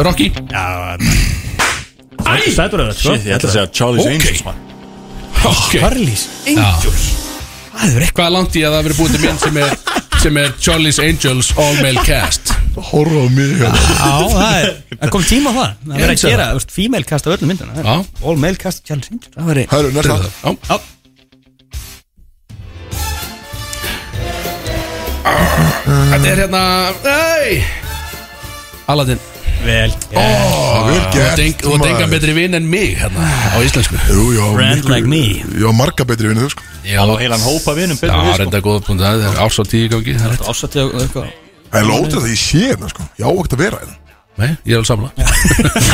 Speaker 3: Rocky
Speaker 2: Já, sætur að
Speaker 4: Shit, ég ætla að segja Charlie's
Speaker 3: Ok.
Speaker 4: Angels, mann.
Speaker 3: Ok
Speaker 2: Charlie's Angels Það er eitthvað
Speaker 3: Hvað er langt í að það hafi verið búið til mynd sem er, sem er Charlie's Angels All Male Cast
Speaker 1: Horfa á mig hérna.
Speaker 2: Já, það er, það kom tíma á það Það verður að gera, þú veist, female cast af öllum mynduna Það er
Speaker 3: Já.
Speaker 2: All male cast challenge Ranger, Það verður
Speaker 1: Herru, næsta
Speaker 3: Já.
Speaker 2: Já.
Speaker 3: Þetta er hérna Nei Aladdin
Speaker 2: vel
Speaker 1: Ó, vel
Speaker 3: Þú
Speaker 1: gert
Speaker 3: ert enga- þú ert enga
Speaker 1: maður.
Speaker 3: betri vinn en mig hérna á íslensku
Speaker 1: Jú, já
Speaker 2: Brand like me.
Speaker 1: Já, marga betri vinni þú sko
Speaker 3: Já,
Speaker 4: Og heilan hópa vinum
Speaker 3: Já,
Speaker 4: betur við sko
Speaker 3: reynda góða punkt Það er árs á tíu í gangi það er rétt.
Speaker 2: Ásatið og eitthvað
Speaker 1: Það er lótrið að ég sé hérna sko Já, ekkert að vera hérna
Speaker 3: Nei, ég er alveg samla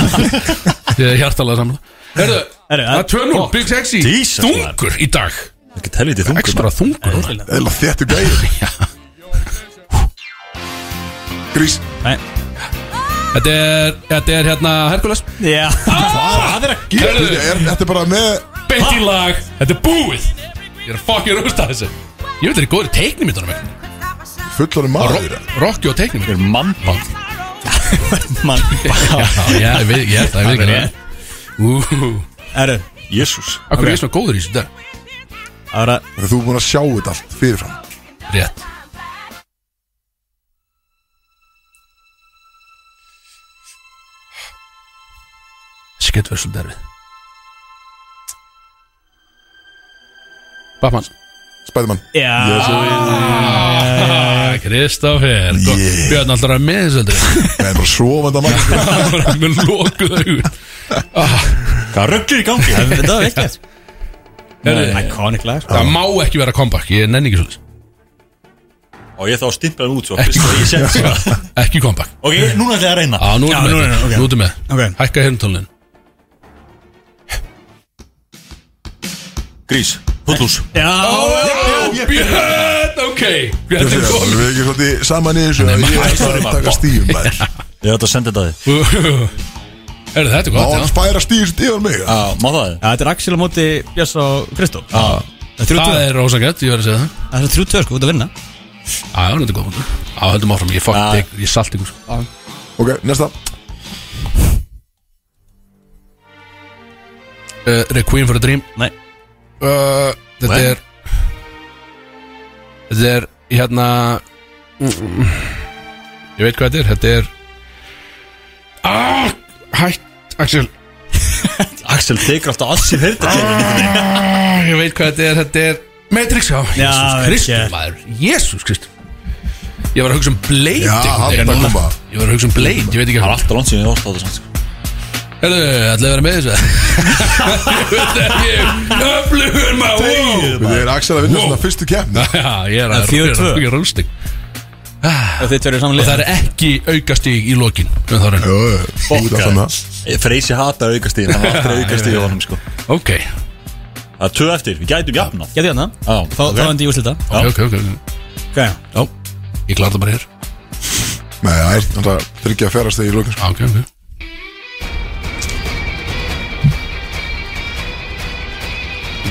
Speaker 3: Ég er hjartalega samla Herðu,
Speaker 2: Herru,
Speaker 3: það er 2-0 Big Sexy
Speaker 4: Jesus, maður.
Speaker 3: Þungur í dag
Speaker 4: Ekki helviti þungur
Speaker 3: Ekstra þungur
Speaker 1: Eða þéttu gæði Grís
Speaker 2: Nei.
Speaker 3: Þetta er, þetta er hérna Herkules
Speaker 2: Já Hvað er að
Speaker 1: Herru,
Speaker 3: Herðu,
Speaker 1: er- Þetta er bara með
Speaker 3: beint í lag Þetta er búið Ég er að fucking rústa þessu Ég veit þetta er góður teiknumyndunum
Speaker 1: fullorinn maður
Speaker 3: Rokki og teiknumyndunum
Speaker 4: Er mann
Speaker 2: mann
Speaker 3: Já, já, ég veit, ég, það er við ekki Úhú
Speaker 2: Herru,
Speaker 4: Jésús
Speaker 3: Akkur er ég svona góður í þessu dag
Speaker 2: það verður að
Speaker 1: Þú er búin að sjá þetta allt fyrirfram
Speaker 3: Rétt Skett verður svolítið erfið Batman
Speaker 1: Spæðumann
Speaker 2: Já
Speaker 3: Kristoffer
Speaker 1: Yeah.
Speaker 3: Björn alltaf er með þessu heldur
Speaker 1: Það er bara svovanda mann sko.
Speaker 3: Hann var með lókuð augun
Speaker 4: Hvað rögglir í gangi?
Speaker 2: Þetta var vekkert
Speaker 3: Herri,
Speaker 2: Iconic lag sko.
Speaker 3: Það má ekki vera comeback Ég nenni ekki svolítið
Speaker 4: Og ég þá stimplaði út svo Fyrst og ég sent svo
Speaker 3: Ekki comeback
Speaker 4: Ok, núna ætla ég að reyna
Speaker 3: Já, nú
Speaker 2: Já,
Speaker 3: erum
Speaker 2: nú
Speaker 3: við
Speaker 2: erum við,
Speaker 3: þetta.
Speaker 2: ok.
Speaker 3: Nú erum við
Speaker 2: Ok.
Speaker 3: Hækka hirmtólin
Speaker 4: Grís Hullús
Speaker 2: Já
Speaker 3: Björn, ok Björn er
Speaker 1: Við
Speaker 3: komin
Speaker 1: erum ekki svolítið saman í þessu
Speaker 3: Nei,
Speaker 1: Ég
Speaker 3: maður-
Speaker 1: er bara að taka stífum maður
Speaker 4: Ég ætla að senda þetta að þið
Speaker 3: Er þetta er
Speaker 1: Má hann
Speaker 3: gott, Ah.
Speaker 1: færa stífum stífum mig
Speaker 4: Já, má það
Speaker 2: Já, þetta er Axel á móti Björns og Kristó
Speaker 4: Já
Speaker 2: Það er
Speaker 3: já?
Speaker 2: þrjú
Speaker 3: Það
Speaker 2: tvö
Speaker 3: er rósangett, ég verði að segja það
Speaker 2: Það er þrjú tvö sko, út að vinna
Speaker 3: Já, já, þetta er góð punktur Já, höldum áfram, ég fokk
Speaker 4: Já.
Speaker 3: tek, ég salt ykkur
Speaker 1: Ok, næsta
Speaker 3: uh, Requiem for a Dream
Speaker 2: Nei
Speaker 3: uh, Þetta er Þetta er, hérna Ég veit hvað þetta er, þetta er ah, Hætt, Axel
Speaker 4: Axel tekur alltaf að sér heyrta
Speaker 3: ah, Ég veit hvað þetta er, þetta er Matrix, já,
Speaker 2: Já,
Speaker 3: Jésús
Speaker 2: vel
Speaker 3: Kristur,
Speaker 2: gert.
Speaker 3: maður Jésús Kristur Ég var að hugsa um Blade
Speaker 1: Já,
Speaker 3: einhvern
Speaker 1: hann er
Speaker 3: veginn.
Speaker 1: að koma
Speaker 3: Ég var að hugsa um Blade, ég veit ekki
Speaker 4: Það er
Speaker 3: hvað
Speaker 4: alltaf langt sem ég hef orðað þetta samt sko.
Speaker 3: Herðu, ætlaði að vera með þessu Ég öflugur maður wow.
Speaker 1: Við erum Axel að vinna
Speaker 3: Wow.
Speaker 1: svona fyrstu keppni
Speaker 3: Já, ég er
Speaker 2: Það er
Speaker 3: að
Speaker 2: fjögur
Speaker 3: ég er
Speaker 2: tvö.
Speaker 3: að fjögur rústing
Speaker 2: Og þið tverju
Speaker 3: Og
Speaker 2: samanlega
Speaker 3: það er ekki aukastík í lokin um þá reyna.
Speaker 1: Jú, jú, út af þarna.
Speaker 4: Ég Freysi hatar aukastíð Hann var aldrei aukastíð á honum sko
Speaker 3: Ok,
Speaker 4: Það er tvö eftir Við gætum jafnað
Speaker 2: Getið hérna
Speaker 4: Já,
Speaker 2: Þá þá endi ég úrslita
Speaker 3: ok, ok, ok, ok.
Speaker 2: Ok
Speaker 3: Já, ég klarði það bara hér
Speaker 1: Nei, það er þannig að tryggja að ferast þegar sko. í lókin
Speaker 3: Já, Ok, ok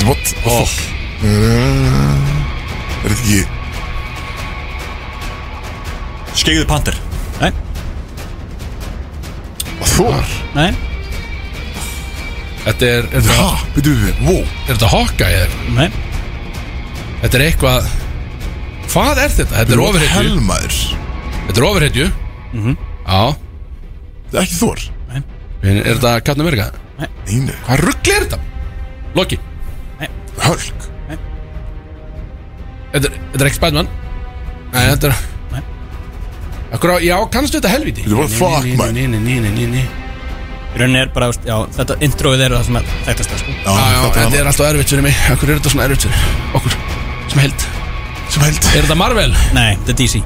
Speaker 1: What?
Speaker 4: Oh,
Speaker 1: Er þetta ekki
Speaker 4: Skegðu panter
Speaker 2: Nei
Speaker 1: Þor?
Speaker 2: Nei
Speaker 3: Þetta er, er,
Speaker 1: Ha,
Speaker 3: þetta-
Speaker 1: byrju við, wow
Speaker 3: er þetta hokka eða?
Speaker 2: Nei
Speaker 3: Þetta er eitthvað Hvað er þetta? Þetta er ofurhetju
Speaker 1: Helmaður
Speaker 3: Þetta er ofurhetju
Speaker 2: Mhm.
Speaker 3: Já
Speaker 1: Það er ekki Þor
Speaker 3: En Er þetta Katna Amerika?
Speaker 1: Einu
Speaker 3: Hvað ruggli er þetta? Loki
Speaker 1: Hölk
Speaker 3: Þetta er, þetta er ekki Spiderman Nei, þetta er
Speaker 2: Nei.
Speaker 3: Akkur á, já, kannstu þetta helviti
Speaker 1: Þetta er bara fuck, man.
Speaker 3: Nei, nei, nei, nei, nei, nei
Speaker 2: Í rauninni er bara, þú veist, já, þetta introið er það sem er þekktast það, sko.
Speaker 1: Já,
Speaker 3: Já, já,
Speaker 1: þetta
Speaker 3: þetta
Speaker 1: er
Speaker 3: er alltaf erfitt fyrir mig Akkur er þetta svona erfitt fyrir okkur Sem held
Speaker 1: hann sem held
Speaker 3: Er þetta Marvel?
Speaker 2: Nei, þetta er DC.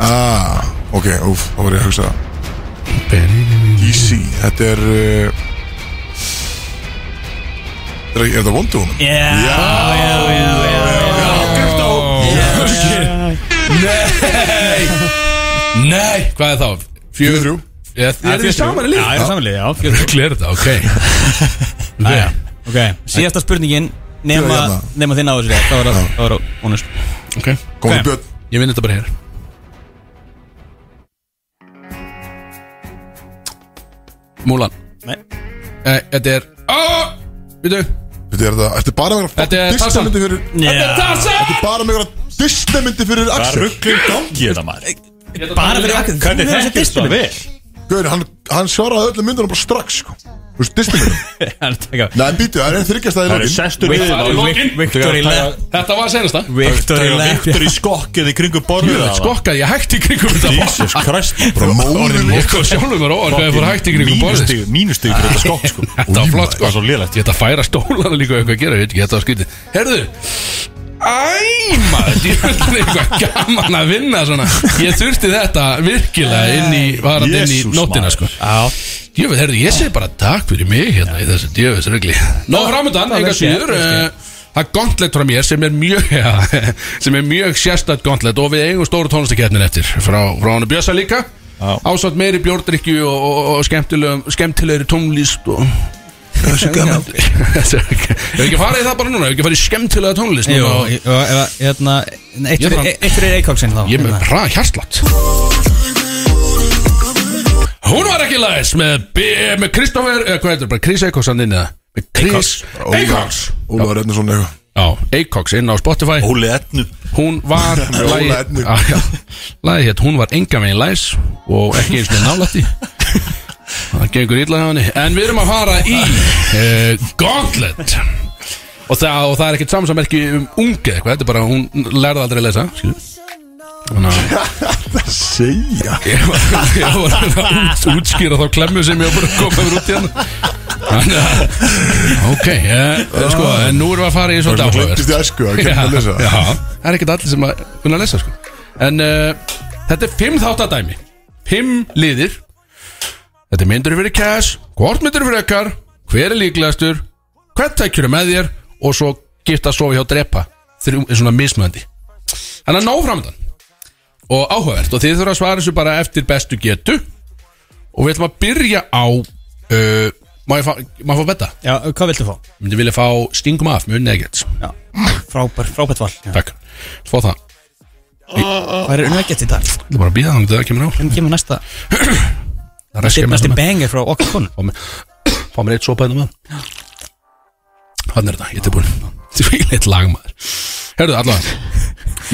Speaker 1: Ah, ok, úf, það var ég að hugsa það DC, þetta er uh, Er er þetta Wonder Woman?
Speaker 2: Já, já, já, já,
Speaker 3: Nei, hvað er þá?
Speaker 1: Fjögur þrjú
Speaker 3: Er þetta saman
Speaker 2: Já,
Speaker 3: í líf?
Speaker 2: ég er samanlega, já, fjögur.
Speaker 3: Akkur er þetta, ok
Speaker 2: Jæja, Ok, síðasta spurningin, nema,
Speaker 1: Fjögur hérna.
Speaker 2: nema þinn á þessu rétt, þá er það, þá er það, honest.
Speaker 3: Ok,
Speaker 1: Góðan
Speaker 2: Ok.
Speaker 1: Björn
Speaker 3: ég vinn þetta bara hér Múlan
Speaker 2: Nei,
Speaker 3: Þetta er Ó, Býtu
Speaker 1: Þetta er þetta, ertu bara með
Speaker 3: Þetta er Tarzan.
Speaker 1: Disneymyndi fyrir
Speaker 2: já,
Speaker 3: Tarzan
Speaker 1: Bara með Disneymyndi fyrir
Speaker 4: Hvað
Speaker 1: Axel
Speaker 4: rugglir gangi þetta maður?
Speaker 2: Bara fyrir akkur
Speaker 4: Hvernig þekkir þú það vel?
Speaker 1: Gauðin, hann, hann svaraði öllum myndunum bara strax sko. Þú veist, distum við
Speaker 2: vel
Speaker 1: Nei, en býtu, það er þryggjast að í
Speaker 4: Það eru
Speaker 1: lokin
Speaker 4: sestur
Speaker 3: það
Speaker 4: við
Speaker 3: er
Speaker 4: það
Speaker 3: lokin.
Speaker 2: Victory Lap
Speaker 3: Þetta var senasta
Speaker 2: Victory
Speaker 4: Það er
Speaker 2: Lap
Speaker 4: viktur í skokkið í kringu borðið
Speaker 3: Jöfnveld skokkaði ég hægt í kringum þetta borð.
Speaker 4: Jesus Christ
Speaker 1: Bara móðir mín.
Speaker 3: Ég kom sjálfum mér óvart hvað ég fór hægt í kringum borðið
Speaker 4: Mínustík fyrir þetta skokk sko
Speaker 3: Þetta var flott
Speaker 4: Það var svo
Speaker 3: sko
Speaker 4: lélegt
Speaker 3: Ég ætla að færa stólana líka og eitthvað að gera, ég veit ekki, þetta var skytið Herðu Æ, maður, ég er eitthvað gaman að vinna svona Ég þurfti þetta virkilega inn í, var hann inn í
Speaker 4: Jesús,
Speaker 3: nóttina
Speaker 4: maður.
Speaker 3: sko Jöfnveld, herðu, ég segi bara takk fyrir mig hérna í þessu djöfis regli Nó, framöndan,
Speaker 2: það er
Speaker 3: eitthvað
Speaker 2: skemmt,
Speaker 3: síður
Speaker 2: það er
Speaker 3: eh, Það er gauntlet frá mér sem er mjög sem er mjög sérstætt gauntlet og við eigum stóru tónlistakeppnin eftir frá, frá hann Bjösa líka
Speaker 4: Já.
Speaker 3: ásamt meiri bjórdrykju og, og, og skemmtilegum skemmtilegri tónlist og Það er svo gaman Ef ekki farið í það bara núna, ef ekki farið í skemmtilega tónlist
Speaker 2: Jú,
Speaker 3: núna og-
Speaker 2: jú, eða, hérna, eitt
Speaker 3: Ég
Speaker 2: fyrir-
Speaker 3: bara-
Speaker 2: e- eitt fyrir Eikóksinn þá
Speaker 3: Ég er með
Speaker 2: Hérna.
Speaker 3: hra hjartlátt Hún var ekki læs með, B- með Kristoffer, eða hvað heitir bara Chris Eikóks hann inn eða Með Chris Eikóks
Speaker 1: Ólafur Ednarsson eitthvað
Speaker 3: Já, Eikóks inn á Spotify
Speaker 4: Óli Ednu
Speaker 3: Hún var
Speaker 1: Með
Speaker 3: lagi-
Speaker 1: Óla Ednu.
Speaker 3: Já, já. Lagið hétt, hún var enga megin læs Og ekki eins með nálætti Það gengur illa hjá henni En við erum að fara í uh, Gauntlet og það, og það er ekkert samsamerki um unge eitthvað Þetta er bara, hún lærði aldrei að lesa skilur. Þannig að
Speaker 1: Segja
Speaker 3: ég var, ég var að reyna að út, útskýra þá klemmu sem ég var bara að koma mér út í hérna Þannig að Ok, uh, sko, en nú erum við að fara í svolítið áhugavert
Speaker 1: Klippist í æsku að kenna að lesa
Speaker 3: já, það er ekkert allir sem að kunna að lesa sko. En uh, þetta er fimm þáttadæmi Fimm liðir Þetta er myndur fyrir cash Hvort myndur fyrir ekkar Hver er líklegastur Hvert tækjur er með þér Og svo gifta sofi hjá drepa Þrjú er svona mismöndi Þannig að ná framöndan Og áhugavert Og þið þurfa að svara þessu bara eftir bestu getu Og við ætlum að byrja á uh, Má ég fá, má ég fá betta?
Speaker 2: Já, hvað viltu fá?
Speaker 3: Ég myndi vilja fá stingum af mjög negets
Speaker 2: Já, frábær, frábært val Já.
Speaker 3: Takk Fá það
Speaker 2: Hvað er unnægjast í dag?
Speaker 3: Það er bara að býða þannig að það kemur á
Speaker 2: Hvernig kemur næsta?
Speaker 3: Það reskja mér
Speaker 2: Næsti
Speaker 3: saman
Speaker 2: banger frá okkar konu
Speaker 3: Fá mér, fá mér eitt sopa hérna með Hann er þetta, ég er tilbúin Því leitt lagmaður Herðu, allavega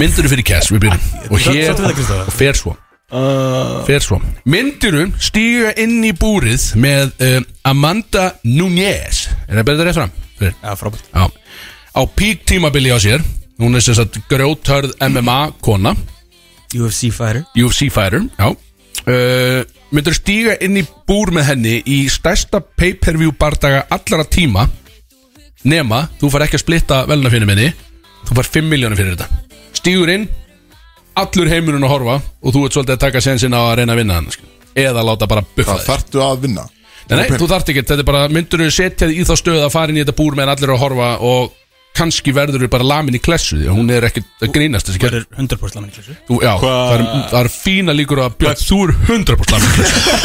Speaker 3: Myndur fyrir cash, við byrjum Og hér,
Speaker 2: Sáttu við það, Kristofur?
Speaker 3: og fer svo Fer svo Myndurum stíga inn í búrið Með um, Amanda Núñez Er það betur rétt fram? Fyrir.
Speaker 2: Já, frábært
Speaker 3: Já. Á pík tímabili á sér Hún er sem sagt grjóthörð MMA kona
Speaker 2: UFC fighter
Speaker 3: UFC fighter Já uh, Myndur stíga inn í búr með henni Í stærsta pay-per-view bardaga Allara tíma Nema, þú far ekki að splitta velna fyrir minni Þú far 5 miljónir fyrir þetta Stígur inn Allur heimurinn að horfa Og þú ert svolítið að taka sensin á að reyna að vinna hann skilur. Eða láta bara
Speaker 1: Það
Speaker 3: buffa þig
Speaker 1: þarftu að vinna
Speaker 3: Nei, nei, þú þarft ekki, þetta er bara Myndur þú setja þig í þá stöð að fara inn í þetta búr Meðan allir eru að horfa og kannski verður þú bara lamin í klessu því að hún er ekkert að grínast þessi
Speaker 2: Það er 100% laman í klísu
Speaker 3: Þú, já,
Speaker 4: Hva-
Speaker 3: það er, það er fína líkur að Björn, þú er 100% lamin sko.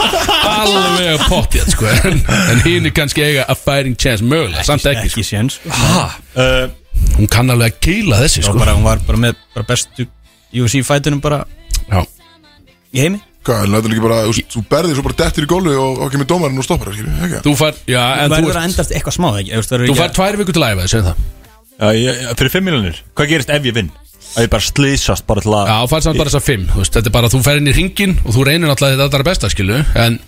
Speaker 3: Alveg pottið, sko En, en hinn er kannski eiga a fighting chance mögulega, samt ekki,
Speaker 2: Ekki séns
Speaker 3: sko ha,
Speaker 4: Uh,
Speaker 3: Hún kann alveg að keila þessi,
Speaker 2: Sko
Speaker 3: sko
Speaker 2: bara, hún var bara með bara bestu UFC fightunum bara
Speaker 3: Já,
Speaker 2: í heimi
Speaker 1: Hvað, en þetta er líka bara þú veist, Þú berðir svo bara dettir í gólfi og og kemur dómarinn og stoppar skilur, ekki?
Speaker 3: þú fær, já, en
Speaker 2: Það
Speaker 3: þú
Speaker 2: verður að
Speaker 3: ert
Speaker 2: endast eitthvað smá, ekki? Þú veist, verður
Speaker 3: Þú
Speaker 2: ekki
Speaker 3: fær
Speaker 2: að-
Speaker 3: tvær vikur til að æfa, segjum það
Speaker 4: já, ég, fyrir 5 miljonir Hvað gerist ef ég vinn? Að ég bara slýsast bara til að
Speaker 3: Já, þú fær samt bara þessar fimm, þú veist, þetta er bara að þú fær inn í ringin og þú reynir náttúrulega þetta allra besta, skilu En,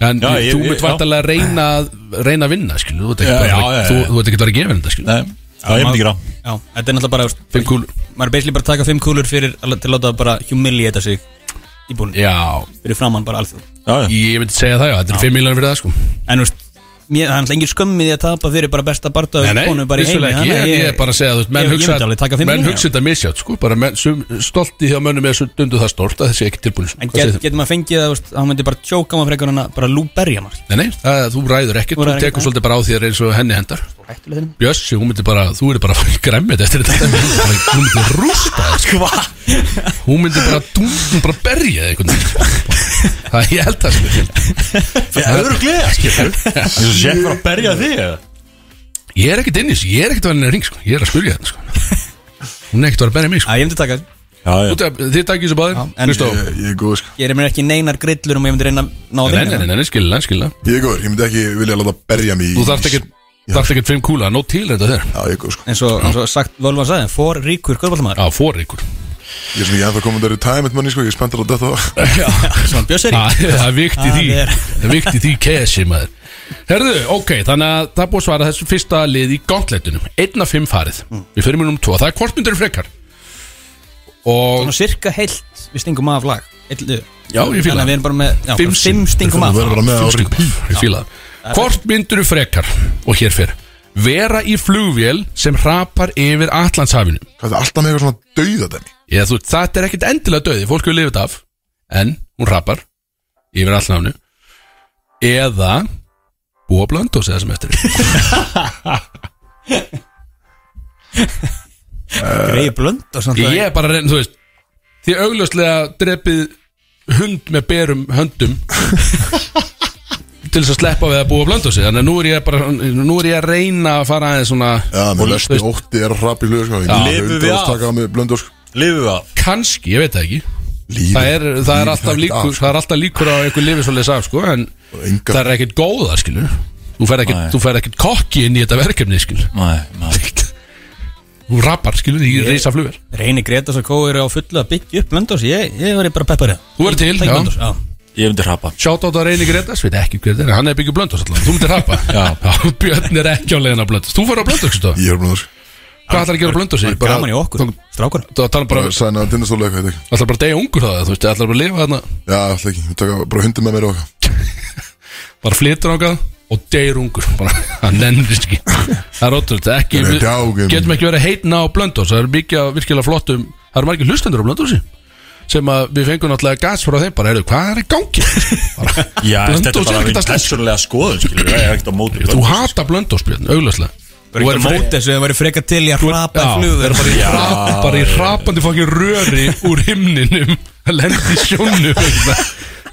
Speaker 3: en
Speaker 4: Já, ég-
Speaker 3: þú
Speaker 4: ég-
Speaker 3: mynd
Speaker 4: já.
Speaker 3: vartalega að reyna, að- reyna að vinna, skilu Þú ert ekki
Speaker 4: Já,
Speaker 3: bara-
Speaker 4: já, já,
Speaker 3: þú-
Speaker 4: já.
Speaker 3: þú ert ekki að vera gefin þetta, skilu
Speaker 4: Nei, já, ég myndi ekki rá
Speaker 2: Já, þetta er náttúrulega bara, þú veist,
Speaker 3: Fimm kúl,
Speaker 2: maður er basically bara að taka fimm kúlur fyrir að- til að láta bara humiliata sig í búinu
Speaker 3: já,
Speaker 2: fyrir framann bara alþjóð
Speaker 4: Já, já,
Speaker 3: Ég myndi segja það já, þetta er 5 miljonir fyrir það sko
Speaker 2: en þú veist mér, það er náttúrulega engin skömmið í að tapa fyrir bara besta barndag konu bara í heimi
Speaker 3: vissulega ekki,
Speaker 2: þannig
Speaker 3: ég, ég er bara að segja þú veist, menn
Speaker 2: ég- ég
Speaker 3: hugsa
Speaker 2: myndi alveg taka fimm
Speaker 3: menn
Speaker 2: miljonir,
Speaker 3: hugsa þetta misjátt sko, bara menn, sum, stolti hjá mönnum er svo dundu það stolt að þessi ekki tilbúin sko.
Speaker 2: en
Speaker 3: Hvað
Speaker 2: get,
Speaker 3: segir þú?
Speaker 2: getur maður fengið að þú veist, hann myndi bara tjóka maður frekar en að bara lúberja maður
Speaker 3: Nei, nei, það, þú ræður ekkert,
Speaker 2: Þú
Speaker 3: þú
Speaker 2: ræður
Speaker 3: tekur
Speaker 2: ekkert,
Speaker 3: svolítið bara á þér eins og henni hendar
Speaker 2: hættulega þinn
Speaker 3: Bjössi, hún myndi bara, þú eru bara græmmið eftir þetta dæmi. Hún myndi bara- Hún myndi rústa þér, sko. Hún myndi bara, dún- hún bara berja þig einhvern veginn Það ég held það sko.
Speaker 4: það eru gleða Þess að sé bara að berja þig eða?
Speaker 3: Ég er ekkert inn í þessu, ég er ekkert að henni ring sko. Ég er að spurja þetta sko. Hún er ekkert að vera að berja mig sko.
Speaker 2: að ég myndi taka þessu.
Speaker 4: Já, já,
Speaker 3: Þú tek- Þið takkir þessu báðir,
Speaker 2: en- eh,
Speaker 3: Kristó
Speaker 1: Ég, ég er góð, sko
Speaker 2: ég er mér ekki neinar grillur um ég myndi reyna að ná að
Speaker 3: Nei,
Speaker 2: vinna
Speaker 3: nei, nei,
Speaker 2: það.
Speaker 3: nei, nei, skilja, skilja
Speaker 1: Ég er góð, ég myndi ekki vilja láta berja mig í-
Speaker 3: Þú þarft ekkert þarft ekkert fimm kúla, nóg til þetta þér
Speaker 1: Já, ég er góð, sko
Speaker 2: eins og eins og sagt Völvan sagði for ríkur körbáltamaður
Speaker 3: Já, fór ykkur
Speaker 1: Ég er svona, ég er ennþá komin þar í time eitt manni, sko, ég er spenntur á þetta
Speaker 2: Svona bjösseri
Speaker 3: Það það er vikt í því
Speaker 2: Það er-
Speaker 3: Það er vikt í því kesi maður Herðu, ok, þannig að það er búið að svara þessu fyrsta lið í gauntletunum Einn af fimm farið
Speaker 2: Mm.
Speaker 3: Við fyrir mínum tvo, það er kvortmyndur frekar Og
Speaker 2: Svona cirka heilt Við stingum af lag Eitt liður.
Speaker 3: Já, ég fíla
Speaker 2: Þannig að
Speaker 3: það.
Speaker 2: við erum bara með já,
Speaker 3: Fimm
Speaker 2: bara Fimm stingum af
Speaker 1: Við verðum bara með á
Speaker 3: Fimm stíkum.
Speaker 1: repeat.
Speaker 3: Ég fíla það Hvort myndur þú frekar Og hér fyrir Vera í flugvél sem hrapar yfir Atlantshafinu
Speaker 1: Hvað er það alltaf með eitthvað svona dauða dæmi?
Speaker 3: Eða þú, þetta er ekkit endilega döði Fólk hefur lifið af En hún hrapar yfir Atlantshafinu Eða Búa blöndósi það sem eftir er.
Speaker 2: Greið blönd og svona
Speaker 3: Ég er bara að reyna, þú veist Því augljóslega drepið hund með berum höndum til þess að sleppa við að búa blöndósi þannig að nú er ég bara nú er ég að reyna að fara aðeins svona
Speaker 1: Já,
Speaker 3: Og-
Speaker 1: með lesti ótti er að hrapi hlug, sko
Speaker 3: Já.
Speaker 1: Ég
Speaker 4: Lifum
Speaker 1: myndi
Speaker 4: við
Speaker 1: að
Speaker 4: af?
Speaker 1: taka það með blöndu, sko
Speaker 4: Lifum við af
Speaker 3: kannski, ég veit það ekki
Speaker 1: Lífið-
Speaker 3: það er, það
Speaker 1: lífið
Speaker 3: er alltaf
Speaker 1: hægt
Speaker 3: líkur
Speaker 1: af, sko.
Speaker 3: það er alltaf líkur á einhver lifið svolítið af sko, en
Speaker 1: engar-
Speaker 3: það er ekkert góða skilur þú fer ekkert,
Speaker 4: Nei.
Speaker 3: þú fer ekkert kokki inn í þetta verkefni skilur
Speaker 4: Nei, nei
Speaker 3: þú rappar skilur í reysa flugur
Speaker 2: Reyni Gretas og Kói eru á fullu að byggja upp blönd Ég, ég var bara peppari
Speaker 3: Þú verður til, já.
Speaker 2: já
Speaker 4: Ég myndi hrapa
Speaker 3: sjátt á þetta reyni Gretas, veit ekki hver þetta er hann er byggju blöndos alltaf, þú myndir rappa Já, Björn er ekki á leiðin á blöndos, þú fer á blöndos þú?
Speaker 1: Ég er blöndu, sko
Speaker 3: hvað ætlar að gera blöndos í?
Speaker 2: Gaman í okkur Strákur
Speaker 3: það tala bara,
Speaker 1: Sæna tindastólu eitthvað, eitthvað
Speaker 3: ætlar bara að deyja ungur það þú veist, ætlar bara að lifa þarna,
Speaker 1: Já, alltaf ekki, ég taka bara hundum með mér og eitthvað
Speaker 3: bara flytur ákað og deyr ungur, bara, hann nennir þessu ekki það er ótrúlega, ekki
Speaker 1: Nei,
Speaker 3: við
Speaker 1: djágum.
Speaker 3: getum ekki verið að heitna á Blöndós það er mikið af virkilega flottum, það eru margir hlustendur á Blöndósi sem að við fengum náttúrulega gas frá þeim bara, heyrðu, hvað er í gangi? Bara,
Speaker 4: Já, þetta er
Speaker 3: Blönduós er
Speaker 4: bara
Speaker 3: ekkert
Speaker 4: mín
Speaker 3: að slessa
Speaker 4: personlega skoðun, skilur Það er ekkert á móti
Speaker 3: þú hata Blöndós, Björn, auglöslega
Speaker 2: Þú verður mót þessu Þú verður frekar til í að hrapa í
Speaker 3: það
Speaker 2: flugur
Speaker 3: er bara í, rap, bara í rapandi fokkin röri úr himninum að lendi sjónu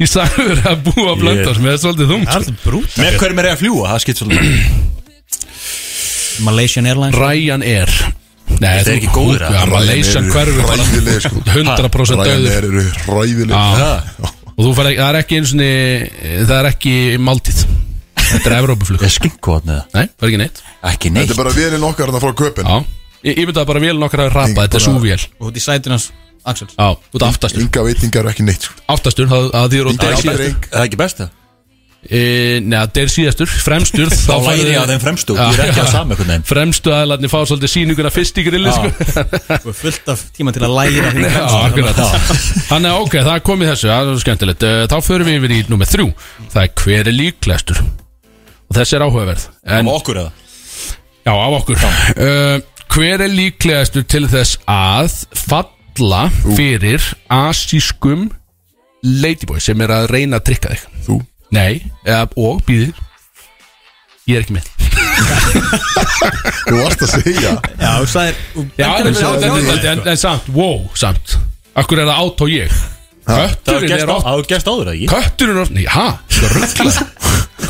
Speaker 3: í sagður að búa Blöndós með svolítið þung
Speaker 2: Það er alltaf brút
Speaker 4: Með hverjum er ég að fljúa, það skipt svolítið
Speaker 2: Malaysian Airlines
Speaker 3: Ryan Air Nei,
Speaker 4: Þetta er ekki góður, eða?
Speaker 3: að Malaysian
Speaker 1: Ryanair eru
Speaker 3: hverfi bara
Speaker 1: hræðilegir, sko.
Speaker 3: 100% döður
Speaker 1: Ræðir eru ræðileg
Speaker 3: Já. Og þú fær ekki, það er ekki eins og það er ekki máltíð Þetta er Evrópuflug
Speaker 4: Er skinkóðan eða?
Speaker 3: Nei, það er ekki neitt
Speaker 4: Ekki
Speaker 1: Þetta
Speaker 4: neitt
Speaker 1: er bara vélinn okkar þarna frá köpinn
Speaker 3: Já Ég, ég myndi að bara vél nokkar hafi rapað, þetta er súvél Já,
Speaker 2: Og út í sætun hans Axel
Speaker 3: út af aftastur
Speaker 1: Enga veitingar, ekki neitt, sko
Speaker 3: Aftastur, það það þýðir og
Speaker 1: Enga
Speaker 3: deyr síðastur
Speaker 1: dreng
Speaker 4: Er það ekki besta?
Speaker 3: E, Nei, það er síðastur, fremstur
Speaker 4: Þá læri ég á þeim fremstu Ég er ekki á sama einhvern veginn
Speaker 3: Fremstu aðlarni fá svolítið sýninguna fyrst í grilli sko.
Speaker 2: Þú er fullt af tíma til að læra því
Speaker 3: Já, akkurat Þannig að ok, það er komið þessu, það er svo skemmtilegt Eh, Þá förum við yfir í nummer þrjú Það er hver er líklegstur Og þessi er áhugaverð en,
Speaker 4: Á okkur eða?
Speaker 3: Já, af okkur uh, Hver er líklegstur til þess að falla fyrir asískum ladyboy sem er að reyna að trykka þig
Speaker 1: Þú,
Speaker 3: Nei, eða, og býðir Ég er ekki með
Speaker 1: þú varst að segja
Speaker 2: Já, þú sagðir þú-
Speaker 3: Já, en, en,
Speaker 1: sagði
Speaker 3: en,
Speaker 1: því.
Speaker 3: en, en, en samt, wow, samt Akkur er það át og ég
Speaker 4: Það
Speaker 3: Kötturinn er oft
Speaker 4: hefur gerst áður, eða ekki?
Speaker 3: Kötturinn er oft, nei, hæ, það ruggla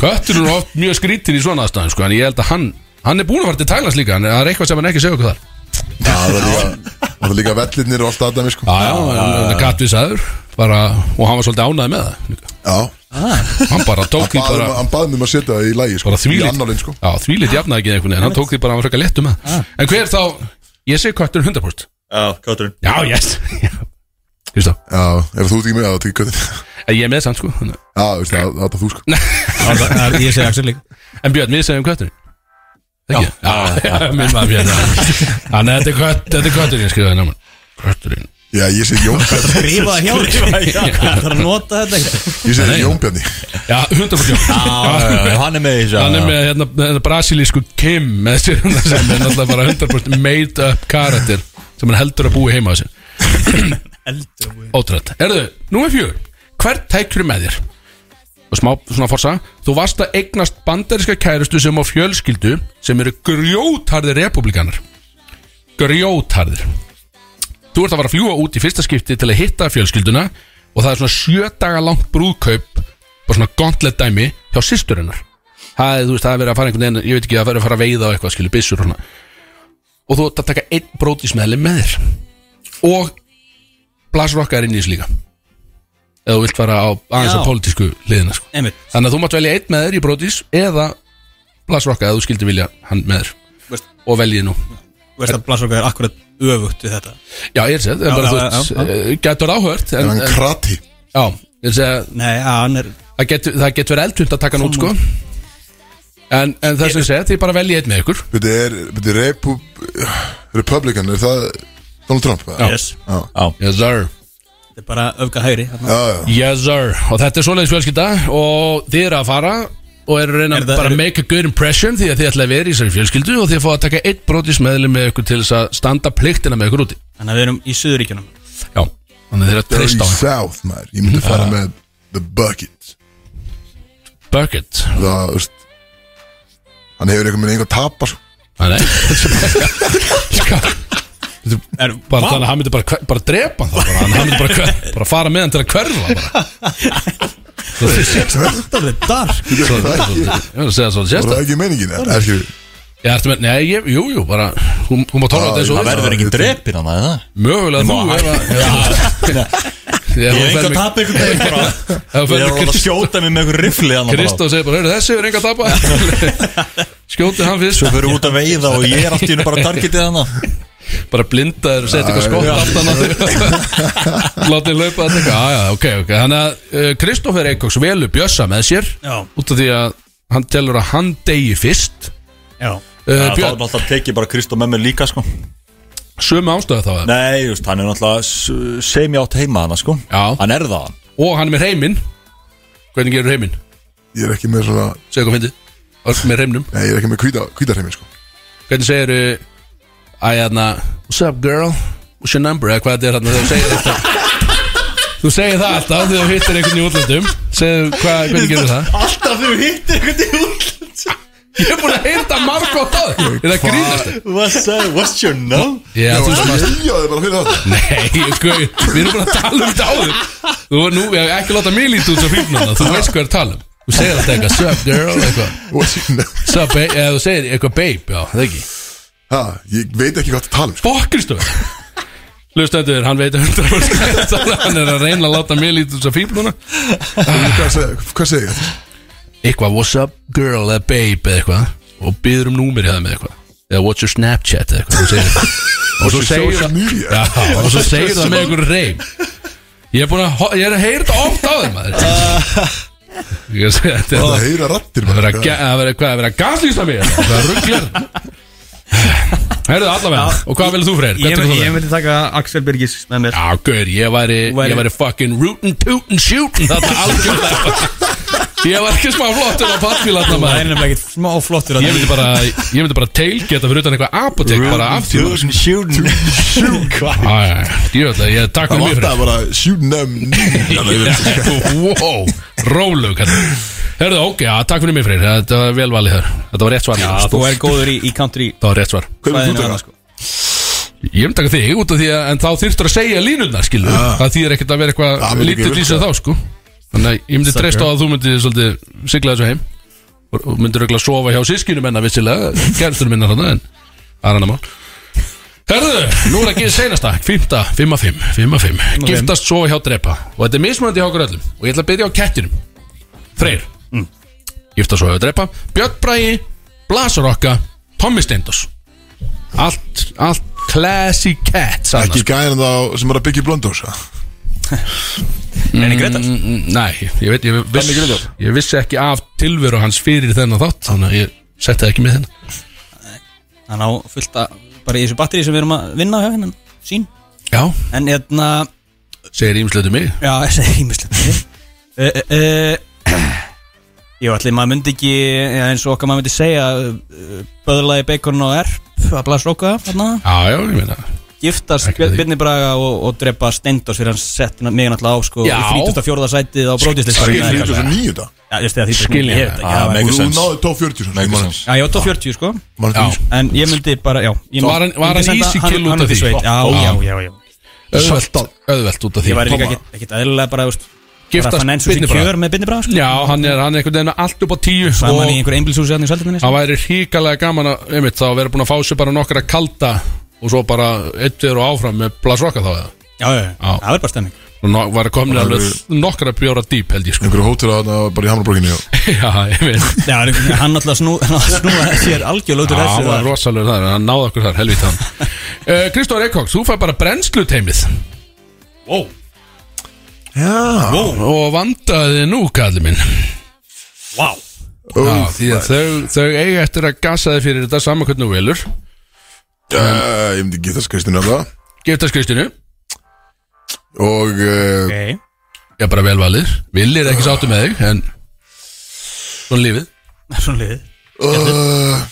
Speaker 3: Kötturinn er oft mjög skrítin í svona aðstæðan sko, En ég held að hann, hann er búin að fara til Thailands líka En það er eitthvað sem hann ekki segja okkur þar
Speaker 1: Já, það er líka Það er líka vellirnir og allt að dæmi, sko
Speaker 3: Já, já, hann er kattvísaður bara, Og hann var svolítið ánæði með það líka.
Speaker 1: Já,
Speaker 3: Hann bara tók
Speaker 1: hann
Speaker 3: því
Speaker 1: bað um-
Speaker 3: bara
Speaker 1: hann baði mér um að setja það í lægi, sko
Speaker 3: bara
Speaker 1: Í
Speaker 3: þvílít
Speaker 1: annálinn, sko
Speaker 3: Já, þvílít jafnaði ekki einhvern veginn Hann tók því bara að hann var frekar léttum með það. En hver þá, ég segi kötturinn 100%
Speaker 4: Já, kötturinn
Speaker 3: Já, yes Kristó,
Speaker 1: Já, ef þú ert ekki með, þá tekur köttin Já,
Speaker 3: en ég er með samt sko þannig að-
Speaker 1: þú veist, það það er þú, sko
Speaker 2: Já, það- það er- Ég segi Axel líka
Speaker 3: En Björn, við segjum kötturinn Ekki? Já, já, minn maður Björn já. Þannig að þetta er kött- þetta er kötturinn skrifaði náman Kötturinn
Speaker 1: Já, ég segi Jón Bjarni
Speaker 2: Rífa hjá þér Það er að nota þetta
Speaker 1: Ég segi Jón Bjarni
Speaker 3: Já, 100%
Speaker 4: Já, hann er með í þessu
Speaker 3: Hann er með hérna, hérna brasilísku Kim með sér hérna sem er náttúrulega bara 100% made up karakter sem hann heldur að búi heima á sér Ótrúlega Erðu, númer fjör Hvert tækjur með þér? Og smá svona forsa Þú varst að eignast bandaríska kærustu sem á fjölskyldu sem eru grjótharðir republikanar Grjótharðir Þú ert að fara að fljúa út í fyrsta skipti til að hitta fjölskylduna og það er svona sjö daga langt brúðkaup bara svona gauntlet dæmi hjá sýsturinnar það er, þú veist, það er verið að fara einhvern veginn ég veit ekki, það er verið að fara að veiða og eitthvað, skilur, byssur og svona og þú ert að taka einn brótismæli með þér og blasur okkar inn í þessu líka eða þú vilt fara á aðeins
Speaker 2: Já.
Speaker 3: á pólitísku liðina sko.
Speaker 2: Einmitt
Speaker 3: þannig að þú mátt velja einn með þér í brótis eða blasur okkar eða þú skildir vilja hann með þér
Speaker 2: Veist.
Speaker 3: og veljið nú
Speaker 9: Þú veist að blassorka er akkurat öfugt við þetta
Speaker 3: Já, ég sé, það er bara,
Speaker 9: já,
Speaker 3: þú
Speaker 9: já,
Speaker 3: veist,
Speaker 9: já,
Speaker 3: eh, getur áhört
Speaker 1: En
Speaker 3: en,
Speaker 1: hann
Speaker 3: en,
Speaker 1: krati
Speaker 3: Já, ég sé, að
Speaker 9: Nei, að hann er
Speaker 3: það getur það getur verið eldhunt að taka hann út, sko En, en það sem ég segi, þið bara veljið einn með ykkur
Speaker 1: Þetta er, þetta er Repu, Republican, er það Donald Trump? eða?
Speaker 9: yes,
Speaker 1: Já,
Speaker 3: Yes, sir
Speaker 9: Þetta er bara öfga hægri þarna.
Speaker 1: já, já.
Speaker 3: Yes, sir Og þetta er svoleiðis fjölskylda Og þið eru að fara Og eru að reyna
Speaker 9: Er það-
Speaker 3: bara
Speaker 9: eru-
Speaker 3: að make a good impression Því að þið ætlaði að vera í þessari fjölskyldu Og þið fá að taka eitt brotis meðlum með ykkur Til þess að standa pliktina með ykkur úti
Speaker 9: Þannig að við erum í Suðuríkjunum
Speaker 3: Já, þannig að þið eru að
Speaker 1: Dirty
Speaker 3: treysta á hann
Speaker 1: South, maður Ég myndi fara með The Bucket
Speaker 3: Bucket
Speaker 1: Það, þú veist Hann hefur einhvern veginn einhvern tapar sko.
Speaker 3: Nei, nei Ska- Þetta er
Speaker 9: Er- Vá.
Speaker 3: Bara þannig að hann myndi bara, hver- bara drepa hann þá bara, hann hann myndi bara, hver, bara fara með hann til að hverfa bara. Þú veist,
Speaker 9: Þetta er dark
Speaker 1: Það
Speaker 3: svo-
Speaker 1: er ekki-
Speaker 3: ég var að segja svo
Speaker 1: var
Speaker 3: sérst
Speaker 1: það ekki meiningin, eða ekki
Speaker 3: Ég ætti með, nei, ég, jú, jú, bara hún, hún má tóra þetta eins og
Speaker 1: Það
Speaker 3: við.
Speaker 1: verður ekki
Speaker 4: drepin hann að það
Speaker 3: Mögulega þú ef að- Þegar
Speaker 4: Ég
Speaker 3: hún
Speaker 4: hef
Speaker 3: fer
Speaker 4: enga að
Speaker 3: með-
Speaker 4: tapa einhvern veginn bara
Speaker 3: þegar hún
Speaker 4: Ég
Speaker 3: fer
Speaker 4: er
Speaker 3: með
Speaker 4: alveg að
Speaker 3: Krist-
Speaker 4: skjóta mig með einhver rifli hann bara
Speaker 3: Kristó segir bara, heyrðu þessi er enga að tapa Skjóti hann fyrst
Speaker 4: Svo fyrir út að veiða og ég er allt í hennu bara targetið hann
Speaker 3: Eh, bara blinda þér og setja eitthvað skott aftan á þig látið laupa þetta eitthvað, já, já, ok, ok þannig að uh, Kristoffer Eikoks velu bjössa með sér
Speaker 9: Já.
Speaker 3: út af því að hann telur að hann degi fyrst
Speaker 9: Já,
Speaker 3: uh,
Speaker 4: Það er
Speaker 3: Björn,
Speaker 4: alltaf tekið bara Kristó með mér líka sko
Speaker 3: sömu ástöðu þá eða?
Speaker 4: Nei, just, hann er náttúrulega sem ég átt heima hann sko
Speaker 3: Já.
Speaker 4: Hann er það
Speaker 3: og hann er með heiminn hvernig gerur heiminn,
Speaker 1: Ég er ekki með svona
Speaker 3: segja hvað fyndið Öll með reimnum,
Speaker 1: Nei, ég er ekki með hvíta- hvítarheimi, sko
Speaker 3: hvernig segir uh, að hérna, what's up girl what's your number, eða hvað þetta er hérna þegar þú segir þetta Þú segir það alltaf þegar þú hittir einhvern í útlöndum Segðu, hvað, hvernig gerir það?
Speaker 4: Alltaf þegar við hittir einhvern í útland
Speaker 3: Ég er búin að heyrta margótt á þér Er það grínast?
Speaker 4: What's, up? What's your name?
Speaker 3: Já, þú sem að
Speaker 1: Ég er bara fyrir það
Speaker 3: Nei, sko, við erum bara að tala um þetta áður Þú er nú, ég hef ekki láta mig lítið út svo fíknuna Þú veist hvað er að tala um Þú segir alltaf eitthvað, sup girl, eitthvað
Speaker 1: What's your name?
Speaker 3: Sup, babe, eða þú segir eitthvað babe, já, það ekki
Speaker 1: Ha, Ég veit ekki hvað það tala um, sko
Speaker 3: Bokkristofur Hlustendur, hann veit 100% Hann er að reyna að láta mig lítið út svo fíknuna
Speaker 1: Hvað segir- Hvað segir ég?
Speaker 3: Eitthvað, what's up girl, eða babe, eða eitthvað Og býður um númeri það með eitthvað Eða what's your snapchat, eða eitthvað Þú segir Og svo segir
Speaker 1: Social
Speaker 3: það
Speaker 1: media
Speaker 3: Já, og svo segir það með einhver reym Ég er búin að, ho- ég er að heyra þetta oft á þeim maður Ég er að segja þetta
Speaker 1: Það
Speaker 3: er
Speaker 1: heyra rattir
Speaker 3: að vera að ge- að vera, hvað, að vera að gaslýsa mig Það er að ruggla Herðu allavega, og hvað vilja þú freyr?
Speaker 9: ég,
Speaker 3: Hvað tekur þú
Speaker 9: ég
Speaker 3: þér?
Speaker 9: myndi taka Axel Birgis með mér
Speaker 3: Já, gaur, ég væri,
Speaker 9: Þú væri-
Speaker 3: ég væri fucking rootin', tootin', shootin' Þetta algjörlega Ég var ekki smá flottur á pallfíla
Speaker 9: Það
Speaker 3: þarna
Speaker 9: er
Speaker 3: maður
Speaker 9: nefnilega ekkert smá flottur að
Speaker 3: Ég myndi bara, ég myndi bara tailgeta fyrir utan eitthvað apotek bara af því maður.
Speaker 4: Shooting, shooting, shooting
Speaker 3: Æ, djöfull, ég takk
Speaker 1: Það
Speaker 3: fyrir mig fyrir
Speaker 1: vantar bara sjúnum
Speaker 3: wow, rólu kallar. Herðu, ok, já, takk fyrir mig fyrir Þetta var vel valið þar, þetta var rétt svar
Speaker 9: Já, þú er góður í, í country
Speaker 3: Þetta var rétt svar
Speaker 1: Hvernig þú
Speaker 9: svæðinu
Speaker 1: taka?
Speaker 9: annars, sko.
Speaker 3: Ég vil taka þig út af því að En þá þyrftur að segja línurnar, skilu Það þýðir ekkert að vera
Speaker 1: Ah. Það
Speaker 3: eitthvað
Speaker 1: myndi ekki
Speaker 3: lítið lýsa þá, sko Þannig að ég myndi treysta á að þú myndi svolítið sigla þessu heim Og- Og myndir örugglega sofa hjá sískinum enna vissilega Kæristur minna þarna, en Það er annar mál Herðu, nú er það ekki seinasta, fymta, fimm að fimm, fimm að fimm Giftast svo hjá drepa Og þetta er mismunandi hjá okkur öllum Og ég ætla að byrja á kettinum Freyr, giftast svo hjá drepa Björn Bræi, Blasarokka, Tommy Steindos Allt, allt classy cats annars.
Speaker 1: Ekki gæðan þá sem er að byggja í blöndós ha?
Speaker 9: Lenny Gretar
Speaker 3: Mm, mm, Nei, ég veit, ég
Speaker 1: Tommy Grindor.
Speaker 3: viss, ég vissi ekki af tilveru hans fyrir þennan þátt Þannig að ég setti það ekki með henn
Speaker 9: Hann á fullt að bara í þessu batteri sem við erum að vinna hjá hennan sín
Speaker 3: Já,
Speaker 9: En hérna,
Speaker 3: segir ímsluðu mig
Speaker 9: já, þessi er ímislega Eh, Jó, allir eh, maður myndi ekki já, eins og okkar maður myndi segja uh, Böðurlagi bacon og erp að blasa okka þarna
Speaker 3: Já, já, ég meina
Speaker 9: giftast
Speaker 3: Ekki því.
Speaker 9: Bjarni Braga og, og drepa Steindors fyrir hann setti mig náttúrulega á sko
Speaker 3: Já.
Speaker 9: í 34. sætið á
Speaker 1: Ég
Speaker 3: Skil-
Speaker 9: bróðislistar
Speaker 1: er
Speaker 9: Já,
Speaker 1: 39 þetta
Speaker 9: ég veist það, því
Speaker 3: Skilja.
Speaker 9: ég veit ekki,
Speaker 4: Ah,
Speaker 9: já,
Speaker 4: mega
Speaker 1: Og þú
Speaker 4: sense.
Speaker 1: náðu top 40 sko, ég man-
Speaker 4: Megasens
Speaker 9: Já, ég var 40 sko
Speaker 1: man
Speaker 3: Já.
Speaker 1: ekki, sko.
Speaker 9: En ég myndi bara, já ég
Speaker 3: Var hann- var
Speaker 9: myndi
Speaker 3: hann
Speaker 9: senda
Speaker 3: easy kill
Speaker 9: hann
Speaker 3: út af
Speaker 9: út í
Speaker 3: því?
Speaker 9: sveit. Já,
Speaker 3: Já.
Speaker 9: já, já, já
Speaker 3: Öðvelt, öðvelt út af því
Speaker 9: Ég væri líka ekkit- ekkit eðlilega bara, þú veist bara
Speaker 3: Giftast
Speaker 9: financial
Speaker 3: Birni Braga.
Speaker 9: secure með Bjarni Braga sko
Speaker 3: Já, hann er, hann er einhvern veginn allt upp á tíu
Speaker 9: Saman í
Speaker 3: Og
Speaker 9: einhver einbilshúsi hann í sæltinni
Speaker 3: hann væri hríkalega gaman að, einmitt, þá vera búin að fá sér bara nokkra kalda Og svo bara eittir og áfram með Blas Rokka þá eða
Speaker 9: Já, já, já, það verður bara stemming
Speaker 3: Nú var komin alveg nokkra bjóra dýp held ég sko
Speaker 1: einhverju hótel að bara í Hamlaborginni og
Speaker 3: Já, ég veit
Speaker 9: Já, hann- hann alltaf snú, hann snúa sér algjörlega út úr
Speaker 3: Já, hann
Speaker 9: þessu
Speaker 3: var
Speaker 9: þar.
Speaker 3: rosalur þar, hann náði okkur þar, helvítið hann uh, Kristóður Eikók, þú fær bara brennsluteimið
Speaker 4: Wow,
Speaker 1: Já
Speaker 3: Og vandaði nú, kalli minn
Speaker 4: wow
Speaker 3: Já, því að þau, þau eiga eftir að gasa þig fyrir þetta saman hvernig þú velur
Speaker 1: Eh, Ég myndi geta skristinu af það
Speaker 3: Giftast Kristinu,
Speaker 1: Og eh,
Speaker 9: Ok.
Speaker 3: ég bara vel valið Villir ekki sáttu með þig, en Svona lífið
Speaker 9: Svona liðið
Speaker 1: eh,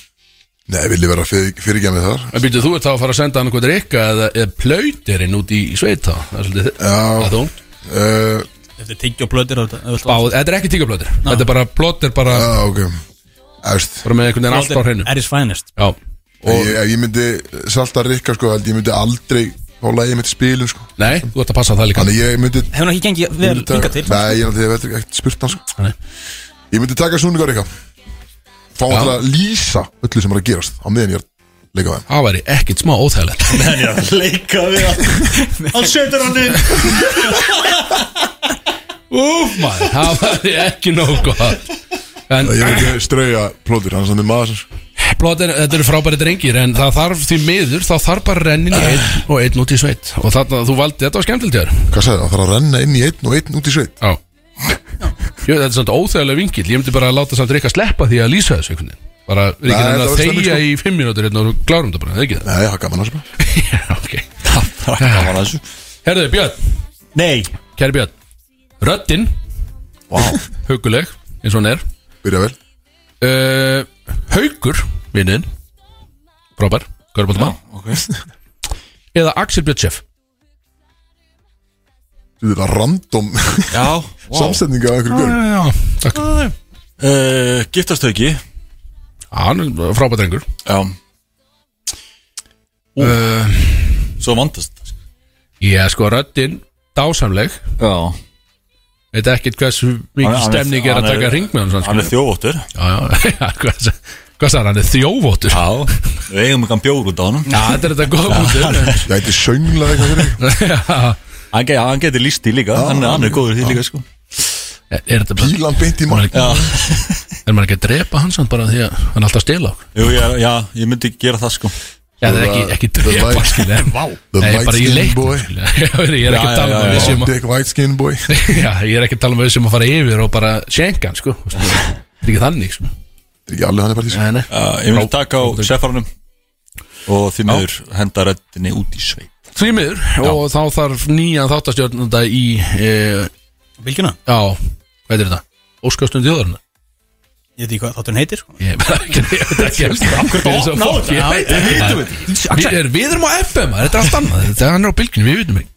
Speaker 1: Nei, villi vera fyrirgjæmið þar
Speaker 3: En býtu þú ert þá að fara að senda hann eitthvað rikka eða, eða plautirinn út í sveit þá Það er svolítið þi- það er
Speaker 1: Já
Speaker 3: þungt.
Speaker 1: eh,
Speaker 9: Eftir tyggja og blöðir
Speaker 3: Báð, þetta er ekki tíkaplótir Þetta er bara plótir bara,
Speaker 1: Já, ah, ok Æst
Speaker 3: bara með einhvern veginn allt á hreinu
Speaker 9: Er þess fænest
Speaker 3: Já, og
Speaker 1: ég, ég myndi salta rikka sko held Ég myndi aldrei fá lagið mitt spilum sko
Speaker 3: nei, þú ert að passa það líka
Speaker 1: Þannig ég myndi
Speaker 9: Hefur hann ekki gengið vel
Speaker 1: myndi
Speaker 9: hingað til
Speaker 1: Nei, ég náttúrulega veit ekki spurt hann sko
Speaker 3: Nei.
Speaker 1: Ég myndi taka snúningar rikka Fá hann til að lýsa öllu sem er að gerast Á meðan ég er að leika það
Speaker 3: Það væri ekkert smá óþægilegt
Speaker 4: En ég að leika við hann Hann setur hann inn
Speaker 3: Úf maður, það væri ekki nóg gott En
Speaker 1: Ég myndi strauja plótur, hann er þannig maður sem sko
Speaker 3: plotin, þetta eru frábæri drengir En það þarf því miður, þá þarf bara rennin í einn og einn út í sveit Og þarna þú valdi, þetta var skemmtilegt hjá þér
Speaker 1: Hvað sagði það? Það þarf að renna inn í einn og einn út í sveit
Speaker 3: Já Jú, þetta er samt óþægilega vingil Ég myndi bara að láta samt Rikka sleppa því að lýsa þessu einhvern veginn Bara Rikki
Speaker 1: Nei,
Speaker 3: hann
Speaker 1: þetta
Speaker 3: að
Speaker 1: var stemning,
Speaker 3: þegja
Speaker 1: sko.
Speaker 3: í fimm mínútur hérna og klárum þetta bara, eða ekki það?
Speaker 1: Nei, það er gaman sko. að sem
Speaker 3: Já, ok
Speaker 4: Það var þessu
Speaker 3: Herðu, Björn,
Speaker 4: Nei
Speaker 3: kæri Björn Röddinn,
Speaker 1: Vá,
Speaker 3: huguleg, eins og hann er
Speaker 1: byrja vel
Speaker 3: uh, Haukur, vinnin Brópar, Görbóttmann Eða Axel Björnsef
Speaker 1: Þú veit að random
Speaker 4: Já
Speaker 1: samsetninga af einhverjum görum
Speaker 3: já, takk
Speaker 4: uh, Giftast þau ekki
Speaker 3: Hann er frábært rengur
Speaker 4: Já
Speaker 3: uh,
Speaker 4: Svo vandast sko.
Speaker 3: Ég er sko röddinn, dásamleg
Speaker 4: Já
Speaker 3: Veit ekkert hversu mikið
Speaker 4: Hann- hann er-
Speaker 3: stemning er
Speaker 4: hann
Speaker 3: að
Speaker 4: er-
Speaker 3: taka ring með hann
Speaker 4: Hann er þjóvóttur
Speaker 3: Já, já, já, hvað sa- hvað sagði hann, hann er þjófótur Já,
Speaker 4: Já Við eigum ekki hann bjór út á hann
Speaker 3: þetta er þetta góð punktur
Speaker 1: Ég ætti sönglega eitthvað fyrir mig.
Speaker 3: Já.
Speaker 4: Hann, ge hann getur líst í líka hann, er- hann er góður í því líka sko
Speaker 3: Er er þetta bara,
Speaker 1: Pílan beint í mark
Speaker 4: Já
Speaker 3: er maður ekki að drepa hans bara því að hann er alltaf að stela okkur
Speaker 4: Jú, já, já Ég myndi gera það sko
Speaker 3: Já, það er ekki, ekki
Speaker 1: The
Speaker 3: drepa,
Speaker 1: light-
Speaker 3: skilja en Vá,
Speaker 1: The
Speaker 3: Nei, bara í
Speaker 1: light-skinned boy.
Speaker 3: leiknum, skilja Já, ég er ekki að
Speaker 4: Já,
Speaker 3: tala um
Speaker 4: já,
Speaker 3: að
Speaker 4: já.
Speaker 3: við séum að
Speaker 1: Dick White Skin Boy
Speaker 3: Já, ég er ekki að tala um að við séum að fara yfir og bara sjenka hann, sko Veistu, Það er ekki þannig, sko
Speaker 1: Það er ekki alveg hann er bara því sko.
Speaker 3: nei
Speaker 4: Já, Ég myndi taka á sefaranum Og því miður henda röddinni út í sveit
Speaker 3: Því miður, og þá þarf nýjan þáttastjórnanda í e,
Speaker 9: Vilkjuna?
Speaker 3: Já, hvað er þetta? Óskastund þjóðarinnar
Speaker 9: Ég veit ekki hvað þáttur hann heitir sko.
Speaker 3: Ég veit ekki, ég veit ekki Akkur bótt ná þetta Við er- við erum á FM, maður, þetta er allt annað Þetta er hann er á bylginu, við vitum ekki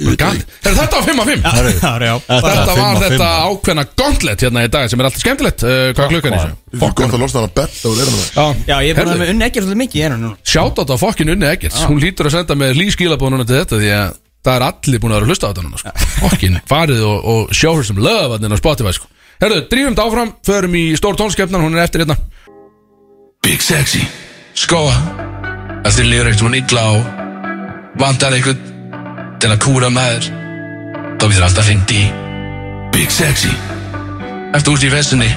Speaker 3: Bara galið. Herra, Þetta var 5 af 5
Speaker 9: Já, já
Speaker 3: Þetta
Speaker 4: fimm
Speaker 3: var
Speaker 4: af fimm.
Speaker 3: þetta ákveðna gauntlet hérna í dag sem er alltaf skemmtilegt uh, Hvað er klukkan í þessu?
Speaker 1: Það er gott að losna hann að betta úr erum það
Speaker 3: Já,
Speaker 9: Já, ég er búin að
Speaker 3: Herðu.
Speaker 9: með unni ekkert svolítið mikið í einu núna
Speaker 3: Shoutout á fokkin Unni Eggerts Hún lítur að senda með lískilabónuna til þetta Því að það er allir búin að vera að hlusta á þetta núna sko. Fokkin, farið og, og sjá hér sem löf Þannig á Spotify sko. Herðu, drífum þetta áfram Förum í stór tónskefnan, hún er eftir hérna Big Sexy Skóa að Sko, þér líður eitthvað illa á Vandar eitthvað Til að kúra með þér Þá við alltaf hringt í Big Sexy Eftir út í vesinni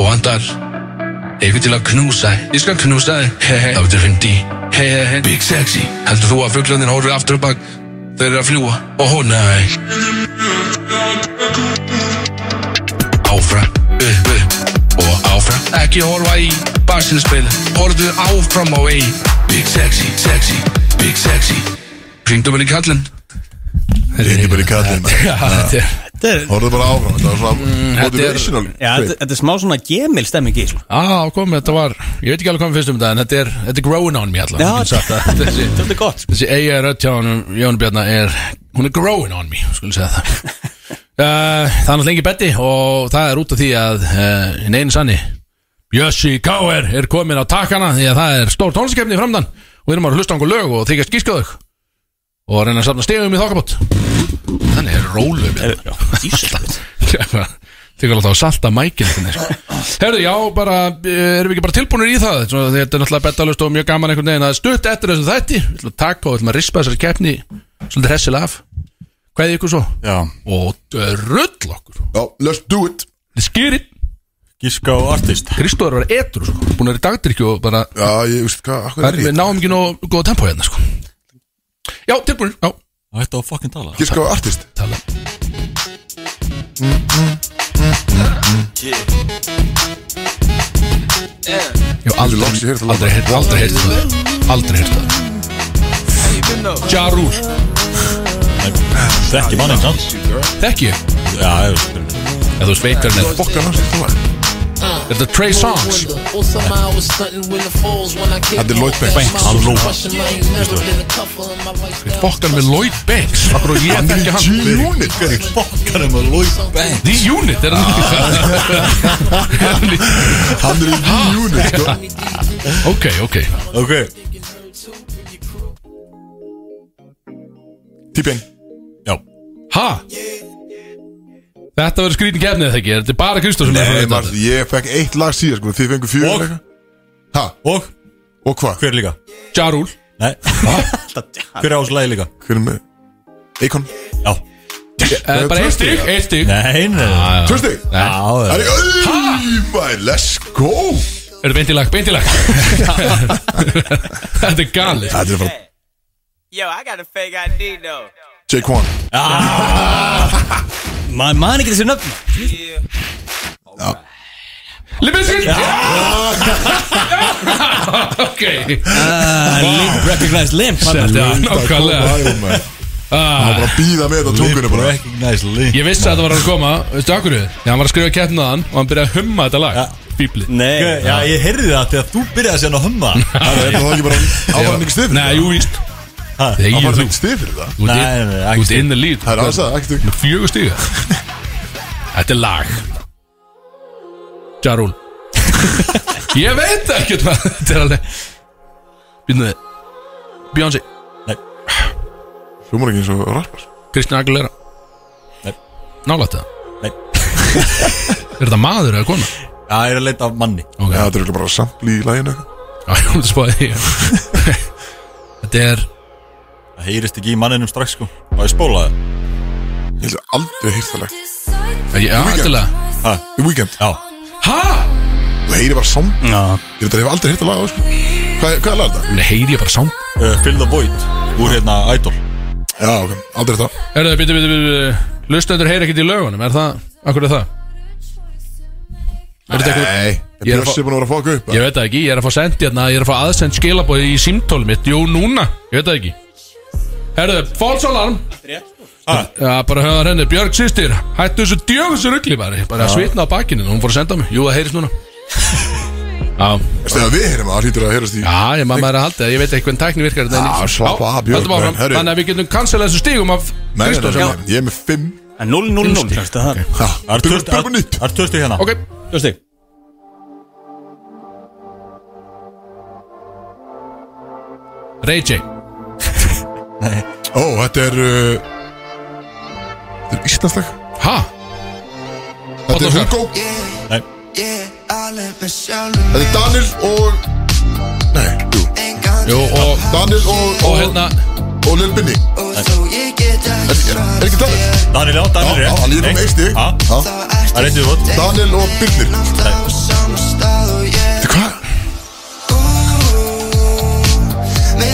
Speaker 3: Og vandar Eitthvað til að knúsa þig. Ég skal knúsa þig Hei hei Það verður hindi Hei hei hei Big sexy Heldur þú að fugglöndin horfið aftur á bak Þau eru að fljúa Ó oh, nei Áfram Upp upp Og áfram Ekki horfa í Barsinspil Horfðu áfram á vegi Big sexy Sexy Big sexy Hringdu bara í kallinn
Speaker 1: Ringi bara í kallin
Speaker 3: Já, þetta er
Speaker 9: Þetta er,
Speaker 1: Horfðu bara áfram Þetta var
Speaker 3: Mm,
Speaker 1: svona motivational
Speaker 9: já, þetta, þetta er smá svona gemil stemming í sko.
Speaker 3: Á, Ah, kom, þetta var, ég veit ekki alveg hvað við finnst um þetta en þetta er, þetta er growing on me allan
Speaker 9: Já,
Speaker 3: ég get sagt það. þessi,
Speaker 9: Þetta er gott sko.
Speaker 3: þessi eiga rödd hjá hann Jón Bjarnar er, hún er growing on me skulum segja það uh, það er náttúrulega í betti og það er út af því að uh, hinn einu sanni Jössi Káer er komin á takkana því að það er stór tónlistakefni framdann og við erum að hlusta á einhver lög og þykja skískaðug og reyna að safna stegum í þokkabót þannig er rólum Þegar alltaf að salta mækinn þinni, sko. Herðu, já, bara, eh, erum við ekki bara tilbúinir í það Svo, Þetta er náttúrulega bettalust og mjög gaman einhvern veginn að stutt eftir þessu þætti Við ætlum að taka og við ætlum að rispa þessari keppni Svolítið hressil af hvað ykkur svo
Speaker 4: Já,
Speaker 3: og rull okkur
Speaker 1: Já, let's do it
Speaker 3: skýrit,
Speaker 4: gíska og artist
Speaker 3: Kristóður var etru sko. búin að vera í dagdrykju og bara
Speaker 1: Já, ég veist hvað, hvað er
Speaker 3: Það er, við
Speaker 1: ég?
Speaker 3: náum ekki nóg góða tempo hérna sko Já, tilbúin, já
Speaker 4: Þetta var fucking tala
Speaker 1: Ég sko artist
Speaker 3: Tala Já,
Speaker 1: Þessi
Speaker 3: aldrei,
Speaker 1: loks ég heyrði það
Speaker 3: aldrei, heyrt- aldrei heyrði það Aldrei heyrði það Ja Rule,
Speaker 4: Þekki manning samt
Speaker 3: þekki ég
Speaker 4: Já, ég veist
Speaker 3: Ef þú veist veit hvernig er
Speaker 1: Bokka hann sem þú var
Speaker 3: Er þetta Trey Songs?
Speaker 1: Þetta er Lloyd Banks.
Speaker 4: Hann ló.
Speaker 3: Fokkan með Lloyd Banks Akkur og ég
Speaker 1: Hann er í
Speaker 3: þekki hann
Speaker 1: G-Unit
Speaker 4: Hver er fokkanum um að lói bæn?
Speaker 3: The Unit, er hann
Speaker 1: Hann er í G-Unit sko
Speaker 3: Ok, ok
Speaker 4: Ok,
Speaker 1: T-Pain
Speaker 4: já
Speaker 3: Ha? Þetta verður skrítin kefnið þegar ekki, er þetta bara Kristóð sem er
Speaker 1: Nei,
Speaker 3: að vita
Speaker 1: maður, ég fekk eitt lag síðan sko Þið fengu fjögur
Speaker 4: Og?
Speaker 1: eða eitthvað Ha,
Speaker 4: Og
Speaker 1: og hvað?
Speaker 4: hver líka?
Speaker 3: þetta? Ja Rule,
Speaker 4: Nei Hver er áslæði líka?
Speaker 1: Hver er með Eikon
Speaker 4: Já
Speaker 3: Eh, bara eitt stík, eitt stík
Speaker 4: Nei, nei Ah, Já,
Speaker 1: Tvö stig
Speaker 4: já
Speaker 1: Það er auðvæg Let's go
Speaker 3: Er það beintilag, beintilag Þetta er galið
Speaker 1: Þetta er bara
Speaker 9: Yo, I got a fake ID though
Speaker 1: Jake One
Speaker 9: Maður man ekki þessu nöfn
Speaker 3: Limbiskin Ok
Speaker 9: Recognize Limp
Speaker 3: Þetta er
Speaker 1: Það
Speaker 3: nákvæmlega
Speaker 1: er bara maður. Það
Speaker 3: Ah,
Speaker 1: er bara að býða með þetta tungunum bara
Speaker 4: Recognize link
Speaker 3: Ég vissi að þetta var að koma, veistu akkur við? Þegar hann var að skrifa keppnaðan og hann byrjaði að humma þetta lag Bíbli
Speaker 9: Nei,
Speaker 4: Já, ég heyrði það þegar þú byrjaði að segja hann að humma
Speaker 1: Það er það ekki bara Áfæðan ekki stið fyrir
Speaker 3: Nei, jú, víst
Speaker 4: Ha?
Speaker 3: Þegar
Speaker 1: Áfæðan
Speaker 3: þú
Speaker 1: ekki stið fyrir það
Speaker 3: Þú ert
Speaker 4: Nei,
Speaker 3: inn-
Speaker 4: nei,
Speaker 3: þú
Speaker 4: ekki
Speaker 3: ert
Speaker 4: stig.
Speaker 3: inn að líð
Speaker 1: Það er aðeins það, ekkert um-
Speaker 3: Með fjögur stiga Þetta er lag Jarúl Ég veit ekkert hvað Þetta er alveg Býtnuði Beyoncé
Speaker 1: Þú múr ekki eins og rappar
Speaker 3: Kristina Aguilera
Speaker 4: Nei.
Speaker 3: Nálætt það
Speaker 4: Nei.
Speaker 3: Er þetta maður eða kona?
Speaker 4: Já, ég er að leita af manni
Speaker 3: Ok
Speaker 1: Já,
Speaker 3: Já,
Speaker 1: þetta er örugglega bara sampli í læginu eitthvað.
Speaker 3: ég kom til að spáði því Þetta er
Speaker 4: Það heyrist ekki í manninum strax sko Og ég spóla það
Speaker 1: Ég held að aldrei hýrt það lag
Speaker 3: Já, ætlilega
Speaker 1: The Weeknd
Speaker 4: Já
Speaker 3: Oh Ha?
Speaker 1: Þú heyri bara sam Ég held að ég hef aldrei hýrt það lag á sko. Hvað hvað er lag þetta?
Speaker 3: Nei, heyri ég bara sám
Speaker 4: uh, Fill the Void Úr hérna Idol
Speaker 1: Já, ok, aldrei þetta
Speaker 3: Er það, býttu, býttu, býttu Lustendur heyri ekkert í lögunum Er það, akkur er það? Er þetta eitthvað
Speaker 1: Nei,
Speaker 3: Ég er að
Speaker 1: Bjössi er búin að vera að fokka upp
Speaker 3: Ég veit það ekki, ég er að fá sendi hérna Ég er að fá aðsend skilabóð í símtólum mitt Jú, núna, ég veit það ekki Herðu, false alarm Já, bara höfðar henni, Björg sýstir Hættu þessu djöfisur rugli bara Bara að svitna á bakinu, hún fór að senda mig Jú, það heyrist núna Já,
Speaker 1: Þessi að við heyrim að það hýtur að heyrast í
Speaker 3: já, ég mamma er að halda það Ég veit ekki hvernig tækni virkar þetta
Speaker 1: Já,
Speaker 3: en-
Speaker 1: slappa
Speaker 3: Já,
Speaker 1: af, Björg,
Speaker 3: höldum áfram.
Speaker 1: menn, herru.
Speaker 3: Þannig að við getum cancelað þessu stígum af
Speaker 1: Nei, nei,
Speaker 3: Kristofs
Speaker 1: nei, nei, Ég er með fimm
Speaker 9: 0-0-0 Þetta það
Speaker 1: Ha,
Speaker 4: Það er
Speaker 1: byrjum-
Speaker 4: tvö-
Speaker 1: byrjum nýtt
Speaker 4: það er tvö stig hérna
Speaker 3: Ok,
Speaker 9: Þú veist þig
Speaker 3: Ray J
Speaker 1: Ó, þetta er uh, Þetta er íslenslag
Speaker 3: Ha?
Speaker 1: Þetta er
Speaker 3: Oddakar.
Speaker 1: Hugo
Speaker 4: Nei.
Speaker 1: Þetta er Daniel og Nei, jú
Speaker 3: Jú, og,
Speaker 1: Daniel og
Speaker 3: og hérna
Speaker 1: og Lil Binni Er er ekki Daniel?
Speaker 4: Daniel, já, Daniel
Speaker 1: Já, já, hann er komið eitt stig.
Speaker 4: Já,
Speaker 1: Já.
Speaker 4: Það er eitt í vot
Speaker 1: Daniel og Birnir Þetta hvað?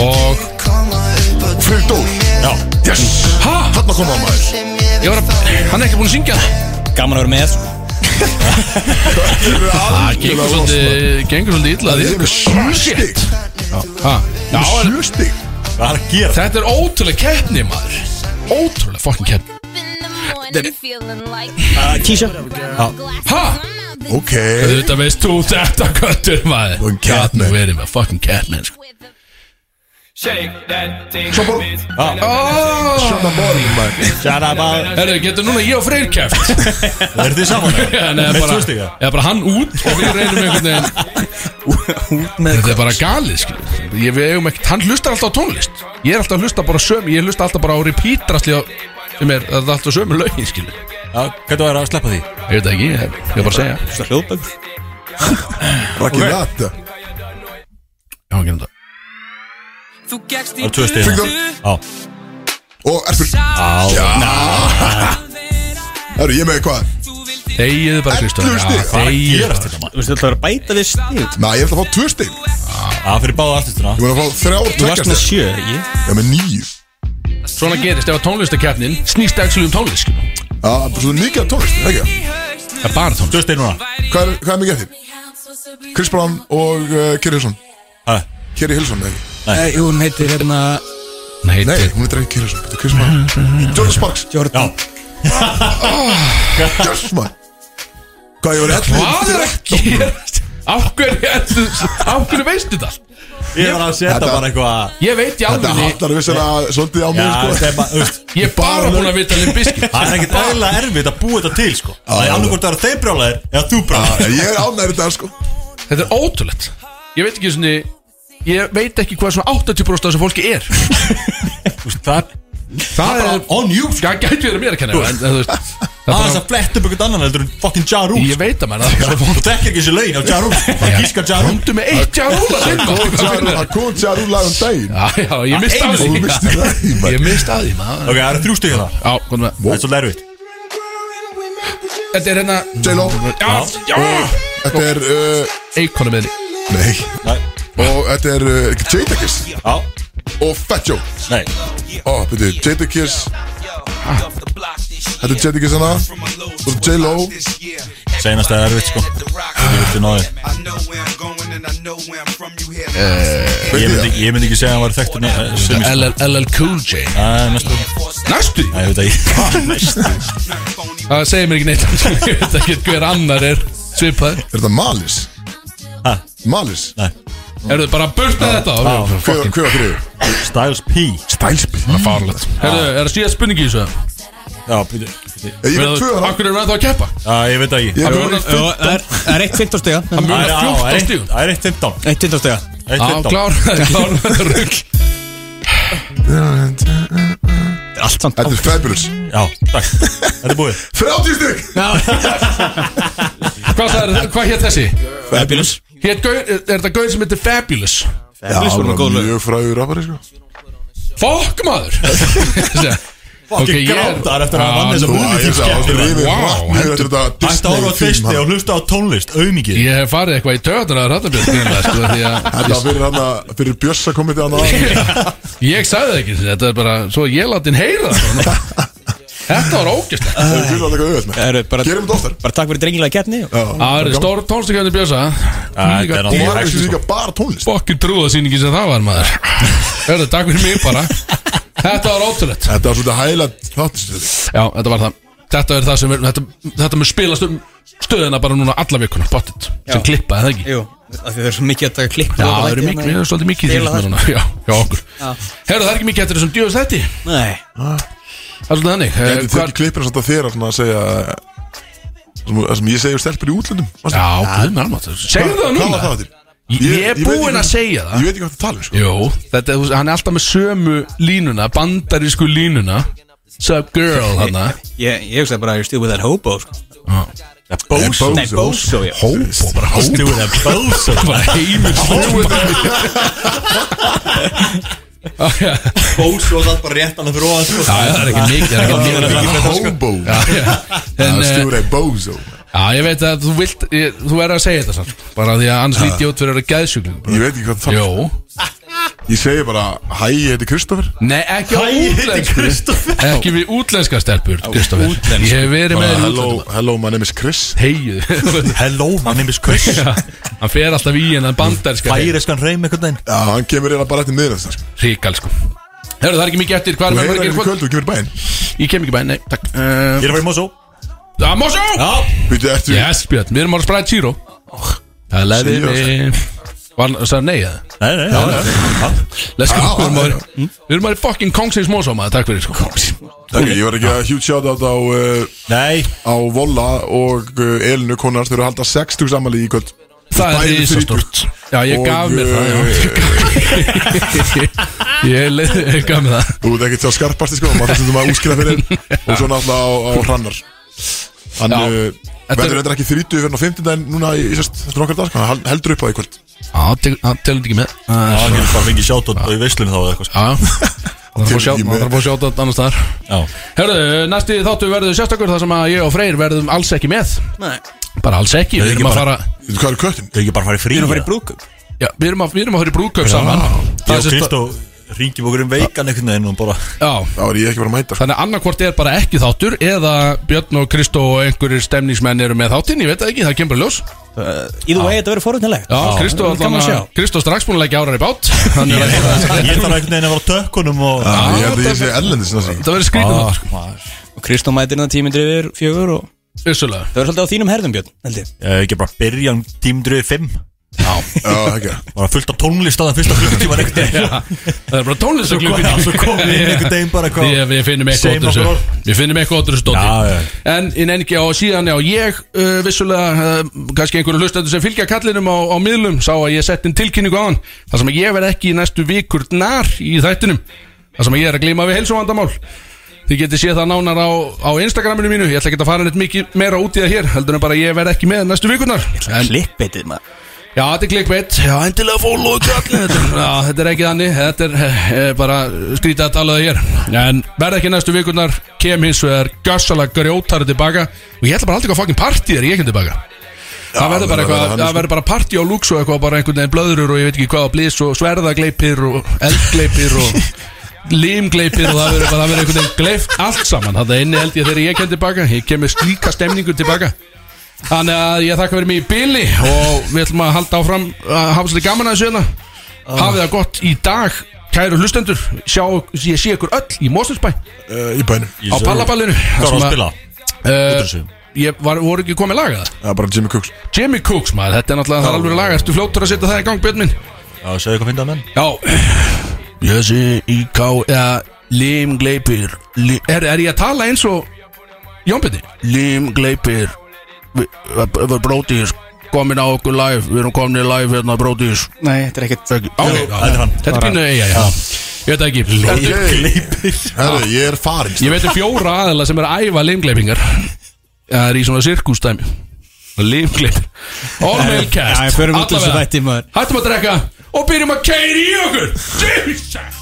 Speaker 3: Og,
Speaker 1: Freyr Dól
Speaker 4: Já
Speaker 1: Yes
Speaker 3: ha?
Speaker 1: Þarna koma maður
Speaker 3: Ég var að, hann er ekki búin að syngja það
Speaker 9: Gaman að vera með sko.
Speaker 3: Það gengur svolítið, gengur svolítið illa
Speaker 1: Það er með sjö stig
Speaker 3: Ha, já, en
Speaker 1: Sjö stig
Speaker 4: Hvað er að gera?
Speaker 3: þetta er ótrúlega keppni maður Ótrúlega fokkin keppni
Speaker 9: Kísja
Speaker 3: Ha,
Speaker 1: Ok
Speaker 3: þetta veist þú þetta köttur maður
Speaker 1: Fucking cat, man.
Speaker 3: Gat nú verið með fokkin keppni sko.
Speaker 1: Svo bara
Speaker 3: oh,
Speaker 1: Sjöna morgun maður
Speaker 4: Sjara bara
Speaker 3: Herru, getur núna ég og Freyr keppt
Speaker 4: Er þið saman?
Speaker 3: En eða
Speaker 4: Með
Speaker 3: bara,
Speaker 4: tvö stig já
Speaker 3: eða bara hann út og við reynum einhvern veginn Þetta er bara galið skilur. Ég við eigum ekkert, hann hlustar alltaf á tónlist Ég er alltaf að hlusta bara söm Ég hlusta alltaf bara á repeat drasli á sem er, það er alltaf sömu lögin skilur
Speaker 4: Já, Hvernig var að sleppa því?
Speaker 3: Ég veit það ekki, ég, ég er bara að segja Já,
Speaker 9: Þú veist hljóðbækur
Speaker 1: Raki Nata
Speaker 3: hann gerum það
Speaker 4: Það er tvö stig
Speaker 1: Fingum
Speaker 4: hérna Já
Speaker 1: Og erfur Já Það eru ég er með hvað
Speaker 3: Þegiðu bara Kristján
Speaker 1: 11 stig. Hvað er að
Speaker 3: Þegiðu
Speaker 4: Gerast
Speaker 3: bara
Speaker 4: þetta maður
Speaker 9: Þú veist, þetta var að bæta við stíl
Speaker 1: Næ, ég ætla að fá tvö stig Ég
Speaker 4: Það fyrir báða artistuna
Speaker 1: mun að fá þrjá
Speaker 4: Þú varst
Speaker 1: tvekja
Speaker 4: með
Speaker 1: stig
Speaker 4: sjö, ekki?
Speaker 1: Ég er með nýju
Speaker 3: Svona gerist ef að tónlistakeppnin snýst ekki um tónlist skilur.
Speaker 1: Já, það er svolítið mikið af tónlist er það Ekki
Speaker 3: Það er bara tónlist
Speaker 4: Tvö stein núna
Speaker 1: Hvað er, hvað er mikið af því? Chris Brown og uh, Kerry Hilson
Speaker 4: Ha,
Speaker 1: Kerry Hilson, eða ekki
Speaker 2: Nei, Jú, hún heitir hérna
Speaker 3: Nei,
Speaker 1: Nei,
Speaker 3: þetta er-
Speaker 1: hún er ekki Kerry Hilson Þetta er Chris Brown
Speaker 3: Mhm.
Speaker 1: Jordan Sparks
Speaker 2: Jordan
Speaker 1: Yes, man Hvað ég var rétt
Speaker 3: Ah. Hvað er að gerast? Af hverju, ertu- af hverju veistu þetta? allt?
Speaker 4: Ég var að setja
Speaker 1: Þetta-
Speaker 4: bara eitthvað
Speaker 3: Ég veit í
Speaker 1: Þetta
Speaker 3: alveg
Speaker 1: hallar vissulega svolítið á
Speaker 4: Já,
Speaker 1: mig sko.
Speaker 4: stemma, þú veist
Speaker 3: Ég er bara búin að vita um Limp Bizkit
Speaker 4: Það er ekkert eðlilega erfitt að búa þetta til, sko
Speaker 1: já,
Speaker 4: Það er annarkvort að vera þeir brjálæðir eða þú
Speaker 1: Já,
Speaker 4: brjálæðir
Speaker 1: Ég er ánæri þetta sko
Speaker 3: Þetta er ótrúlegt Ég veit ekki svona Ég veit ekki hvað svona 80% af þessu fólki er
Speaker 4: Þú veist, Það er
Speaker 3: Það er
Speaker 4: on you, sko
Speaker 3: Það gæti verið mér að kenna en- en þú veist, Það er
Speaker 4: Það er
Speaker 3: bara
Speaker 4: þess að fletta upp eitthvað annan heldur en fucking Ja Rule
Speaker 3: Ég veit að maður það er bara-
Speaker 4: Þú tekir ekki þessi laun á Ja Rule Það gíska Ja Rule
Speaker 3: Komdu með eitt ja rúla
Speaker 1: Það kom til að rúla um daginn
Speaker 3: Já, já, ég mist að
Speaker 1: Og þú mistir
Speaker 3: því
Speaker 1: það í
Speaker 3: Ég
Speaker 1: maður
Speaker 3: mist að því maður
Speaker 4: Ok, það eru þrjú stig hérna
Speaker 3: Já, komdu með
Speaker 4: Það er svolítið erfitt
Speaker 3: Þetta er hérna
Speaker 1: J-Lo
Speaker 3: Já, já
Speaker 1: Þetta er uh,
Speaker 3: Eikonu með því
Speaker 1: Nei
Speaker 4: Nei,
Speaker 1: Og þetta er uh, Jadakiss
Speaker 4: já,
Speaker 1: Og Fat Joe
Speaker 4: nei
Speaker 1: Ó, byrju, Jadakiss Þetta er Jadakiss hérna. hana Svo er J-Lo
Speaker 4: Seinast er erfitt, sko Ég veit ekki náði Ég myndi,
Speaker 1: Veit
Speaker 4: ég myndi ekki segja að hann var þekktur ne- sem í-
Speaker 3: LL LL Cool J
Speaker 4: Það er næstu
Speaker 3: Næstu því
Speaker 4: Nei, ég veit ekki Næstu Eh.
Speaker 3: Það segir mér ekki neitt Ég veit ekki hver annar er svipaður
Speaker 1: Er þetta Malis?
Speaker 4: Ha?
Speaker 1: Malis?
Speaker 3: Erðu bara burt með þetta
Speaker 1: Hver hver var þriðu?
Speaker 4: Styles P
Speaker 1: Styles P Ég
Speaker 3: Farlegt Erðu, er það síðast spurningi í þessu?
Speaker 4: Já, býtu
Speaker 1: veit tvö hana
Speaker 3: Akkur er það að keppa?
Speaker 4: Já, ég veit ekki
Speaker 1: Ég
Speaker 3: Hann
Speaker 1: veit
Speaker 9: Jú, Það er- það er eitt 15 stiga
Speaker 3: Það
Speaker 4: Það er-
Speaker 3: munar
Speaker 4: já,
Speaker 3: 14
Speaker 4: eitt-
Speaker 3: stígum
Speaker 4: Það er 1.15
Speaker 9: Eitt 15 stiga
Speaker 3: Já,
Speaker 4: 1.15
Speaker 3: klár, klár þetta rugg
Speaker 9: Allt samt
Speaker 1: Þetta er Fabulous
Speaker 4: Já, takk Þetta er búið
Speaker 1: 30 stygg
Speaker 3: Hvað sagði, hvað hétt þessi?
Speaker 9: Fabulous
Speaker 3: Hét gaur, er þetta gaur sem heitir Fabulous?
Speaker 1: Já, hann var mjög fræður rafari sko
Speaker 3: Fokk maður Ok,
Speaker 4: Fucking
Speaker 3: ég er-
Speaker 4: grátar eftir að
Speaker 3: Já,
Speaker 4: hann vann þess
Speaker 1: Þú
Speaker 4: að
Speaker 1: að
Speaker 4: búið
Speaker 1: ég sagði Það
Speaker 4: Þetta
Speaker 1: rifið
Speaker 3: Wow,
Speaker 1: rætt niður eftir þetta
Speaker 4: er ára á fyrsti
Speaker 1: Disney-film
Speaker 4: og hlusta á tónlist Auðmikið
Speaker 3: Ég hef farið eitthvað í töðunar að rættabjörn sko, því að
Speaker 1: Þetta var fyrir hann að Fyrir Bjössa komið til hann að
Speaker 3: ég sagði það ekki þetta er bara, svo ég láti hinn heyra það bara. Þetta var ógæslega
Speaker 1: Það er fyrir að taka auðvitað með
Speaker 9: Það eru bara
Speaker 1: Gerum þetta oftar
Speaker 9: Bara takk fyrir drengilega getni
Speaker 1: Já,
Speaker 3: Það er
Speaker 1: gaman.
Speaker 3: stór tónstakjöndi bjösa
Speaker 4: þetta er
Speaker 1: Hún var
Speaker 4: náttúrulega-
Speaker 1: ekki líka bara tónlist
Speaker 3: Fokkin trúðasýningi sem það var maður Hörðu, takk fyrir mig bara Þetta var ótrúlegt
Speaker 1: Þetta var svolítið hægilegt þáttistöði
Speaker 3: Já, þetta var það Þetta er það sem er, þetta, þetta mun spilast um stöðina bara núna alla vikuna, bottit sem
Speaker 9: Já.
Speaker 3: klippa, eða ekki?
Speaker 9: Jú Af því það er svo mikið að taka klipp
Speaker 3: Já, það eru mikið, við erum svolítið mikið í því
Speaker 9: Deila
Speaker 3: hérna
Speaker 9: það.
Speaker 3: núna Já, já, okkur Herru, það er ekki mikið eftir þessum djöðast þetta
Speaker 9: Nei
Speaker 3: Það er svolítið þannig Eh,
Speaker 1: Þetta
Speaker 3: hvar-
Speaker 1: er klippina svolítið að þér að svona segja eh, sem, það sem ég segi stelpur í útlöndum manstu?
Speaker 3: Já, guð með almátt Segðu
Speaker 1: Hvað- Hvað var
Speaker 3: það núna
Speaker 1: það til?
Speaker 3: Ég- Ég er
Speaker 1: veit
Speaker 3: búinn
Speaker 1: ekki-
Speaker 3: að segja
Speaker 1: Ég
Speaker 3: það
Speaker 1: veit ekki hvað það tala um sko
Speaker 3: Jú, þetta, þú- hann er alltaf með sömu línuna Bandarísku línuna Sub girl, hana
Speaker 9: Ég ég hugsaði bara að ég stíð with that hobo sko.
Speaker 1: Bóso
Speaker 9: Nei, Bozo já.
Speaker 1: Hópo bara
Speaker 4: Stu with a Bozo
Speaker 3: Bara heimil Já,
Speaker 4: Bozo og það bara rétt alveg fyrir ofan sko.
Speaker 3: já, það er ekki mikið Það er ekki mikið
Speaker 1: Hópo
Speaker 3: Já, já. En, eh,
Speaker 1: Stjúrið Bóso
Speaker 3: Já, ég veit að þú vilt ég, Þú er að segja þetta samt Bara því að annars líti ég út fyrir að vera gæðsjúkling
Speaker 1: Ég veit ekki hvað það tala um.
Speaker 3: Jó
Speaker 1: Ég segi bara Hæ, ég heiti Kristoffer
Speaker 3: Nei, ekki á útlensku
Speaker 4: Kristoffer.
Speaker 3: Ekki við útlenska stelpur, Kristoffer Ég hef verið með þér í
Speaker 1: Hello,
Speaker 3: útlensku
Speaker 1: hello, my name is Chris
Speaker 3: Heyju
Speaker 4: Hello, my name is Chris
Speaker 3: Hann fer alltaf í en hann bandarska
Speaker 4: Færeskan reym einhvern veginn
Speaker 1: Já, hann kemur hérna bara eftir miðnætt sko.
Speaker 3: Ríkal sko Hörru, það er ekki mikið eftir Hvað
Speaker 1: Þú
Speaker 3: er
Speaker 1: heyrir
Speaker 3: það
Speaker 1: ekki í
Speaker 3: ekki kvöld?
Speaker 1: kvöld, þú kemur í bæinn
Speaker 3: Ég kem ekki bæn, nei, takk
Speaker 4: Ég er að fara í Mosó
Speaker 3: Það má sjá
Speaker 4: Já
Speaker 1: Býttu, ertu
Speaker 3: Yes, Björn, við erum ára að spræða Zero Það leði
Speaker 1: Zero,
Speaker 3: mig Var það nei eða?
Speaker 4: Nei, nei, já, já
Speaker 3: Let's go,
Speaker 1: Já,
Speaker 3: við erum
Speaker 1: já,
Speaker 3: ára Við erum ára í fucking Kongsins Mosó maður, takk fyrir sko
Speaker 1: Ok, ég var ekki að huge shoutout á uh,
Speaker 4: Nei,
Speaker 1: á Volla og uh, Elinu konar þeir eru að halda 60 samali í kvöld
Speaker 3: Það er
Speaker 1: Bæði
Speaker 3: risastórt Já, ég
Speaker 1: Og,
Speaker 3: gaf mér það já.
Speaker 1: eh,
Speaker 3: Ég leið- ég gaf mér það
Speaker 1: Þú veit ekki til að skarpast sko, maður þessum að úskýra fyrir og svo náttúrulega á, á hrannar Hann
Speaker 3: Já.
Speaker 1: uh,
Speaker 3: Þetta
Speaker 1: verður
Speaker 3: er-
Speaker 1: reyndar ekki 30 fyrir á 50 en núna í, í sérst, þetta er nokkar dag sko, hann heldur upp á í kvöld
Speaker 3: Já, tek- það telur ekki með
Speaker 4: það er bara fengið sjátt og í veislunni þá eða eitthvað sko.
Speaker 3: Ah, Já, Það þarf að fá
Speaker 1: Til
Speaker 3: sjá-
Speaker 1: í
Speaker 3: það
Speaker 1: með-
Speaker 3: þarf að fá sjátt að annars þar
Speaker 4: Já,
Speaker 3: Herðu, næsti þáttu verður sérstakur þar sem að ég og Freyr verðum alls ekki með
Speaker 9: Nei.
Speaker 3: Bara alls ekki, við
Speaker 4: ekki
Speaker 3: erum að
Speaker 4: bara-
Speaker 3: fara
Speaker 1: Veitu hvað er köttin?
Speaker 4: þau ekki bara farið frí
Speaker 9: Við erum að fara í
Speaker 4: eða?
Speaker 9: brúðkaup
Speaker 3: Já, við erum að, við erum að fara í brúðkaup saman
Speaker 4: Ég
Speaker 3: Það
Speaker 4: og
Speaker 3: er sem sagt-
Speaker 4: Kristó ringjum okkur um veikan einhvern veginn og bara
Speaker 3: Já,
Speaker 1: Þá er ég ekki bara að mæta sko.
Speaker 3: Þannig annarkvort er bara ekki þáttur eða Björn og Kristó og einhverjir stemningsmenn eru með þáttinn, ég veit það ekki, það kemur bara í ljós
Speaker 9: Í þú vegi þetta verið forutnilegt
Speaker 3: Já, Kristó
Speaker 9: það er gaman að
Speaker 3: allan
Speaker 9: sjá.
Speaker 3: að Kristó strax búin að leggja árar í bát Þannig að þetta
Speaker 4: Ég þarf einhvern veginn að vera á tökkunum og
Speaker 1: Já, Ég held að
Speaker 3: þetta-
Speaker 1: ég sé ellendis næst því.
Speaker 3: þetta verður skrítið þáttur, sko.
Speaker 9: Og Kristó mætir hérna tímindri yfir fjögur og
Speaker 3: vissulega
Speaker 9: það verður svolítið á þínum herðum Björn held ég
Speaker 4: Ég hef ekki bara byrja um tímdröði 5
Speaker 1: Já, það ekki
Speaker 4: Bara fullt af tónlist á það fyrsta klukkutíma einhvern veginn
Speaker 3: Það er bara tónlist og
Speaker 4: Já, Svo komum við inn einhvern veginn bara hvað
Speaker 3: Við, við finnum eitthvað
Speaker 4: Segjum
Speaker 3: út úr
Speaker 4: okkur
Speaker 3: þessu Við finnum eitthvað út úr þessu
Speaker 4: Já, já.
Speaker 3: dóti En í nefngi á síðan já, ég uh, vissulega uh, kannski einhverju hlustendur sem fylgja kallinum á, á miðlum sá að ég sett inn tilkynningu á hann þar sem að ég verð ekki í næstu vikur nær í þættinum þar sem að ég er að glíma við heilsumvandamál Þið getið séð það nánar á, á Instagraminu mínu Ég ætla ekki að fara neitt mikið meira út í það hér heldur en bara ég verð ekki með næstu vikunar en,
Speaker 9: Klippbeitið maður
Speaker 3: Já, þetta er clickbait Já, endilega follow kallin Já, þetta er ekki þannig Þetta er eh, bara skrítið að tala það hér En verð ekki næstu vikurnar Kem hins vegar gjössalega grjótari tilbaka Og ég ætla bara aldrei eitthvað fucking party þegar ég kem tilbaka Það verður bara
Speaker 1: verður
Speaker 3: eitthvað
Speaker 1: þannig,
Speaker 3: Það
Speaker 1: sko.
Speaker 3: verður bara party á lúks og eitthvað Bara einhvern veginn blöðurur og ég veit ekki hvað á blís Og sverðagleipir og eldgleipir og limgleipir og það verður bara- það verður einhvern veginn gleipt allt saman Þetta inni held ég þegar ég kem tilbaka Ég kem með slíka stemningu tilbaka Þannig að ég þakka fyrir mig í bili og við ætlum að halda áfram að hafa svolítið gaman að þessu hérna
Speaker 4: Ah.
Speaker 3: Hafið það gott í dag, kæru hlustendur Sjá, ég sé ykkur öll í Mósinsbæ á
Speaker 1: Eh, Í bænum
Speaker 3: pallaballinu
Speaker 4: Hvað var að spila?
Speaker 3: Uh, ég var, voru ekki komið lagað
Speaker 1: Já, bara Jimmy Cooks
Speaker 3: Jimmy Cooks maður, þetta er náttúrulega það er alveg lagað Ertu fljóttur að setja það í gang, Björn minn?
Speaker 4: Já, segðu hvað fyndað menn
Speaker 3: Já Jössi, íká, eða E Lim gleipir li, er, er ég að tala eins og Jónbjörni? Lim gleipir Við erum brótis Komin á okkur live, við erum komin í live hérna brótis
Speaker 9: Nei, þetta er ekkert
Speaker 3: Ekki- á, já,
Speaker 4: þetta er hann.
Speaker 3: Þetta er pínu eiga, já Ég veit það ekki Þetta-
Speaker 1: Gleipir Herru, ég er farin
Speaker 3: Ég veit um fjóra aðeila sem er að æfa limgleipingar Það er í svona sirkústæmi Limgleip All male cast
Speaker 9: Já, ég förum út úr þessu
Speaker 3: Allavega.
Speaker 9: þætti, maður.
Speaker 3: Hættum að drekka og byrjum að keiri í okkur Jesus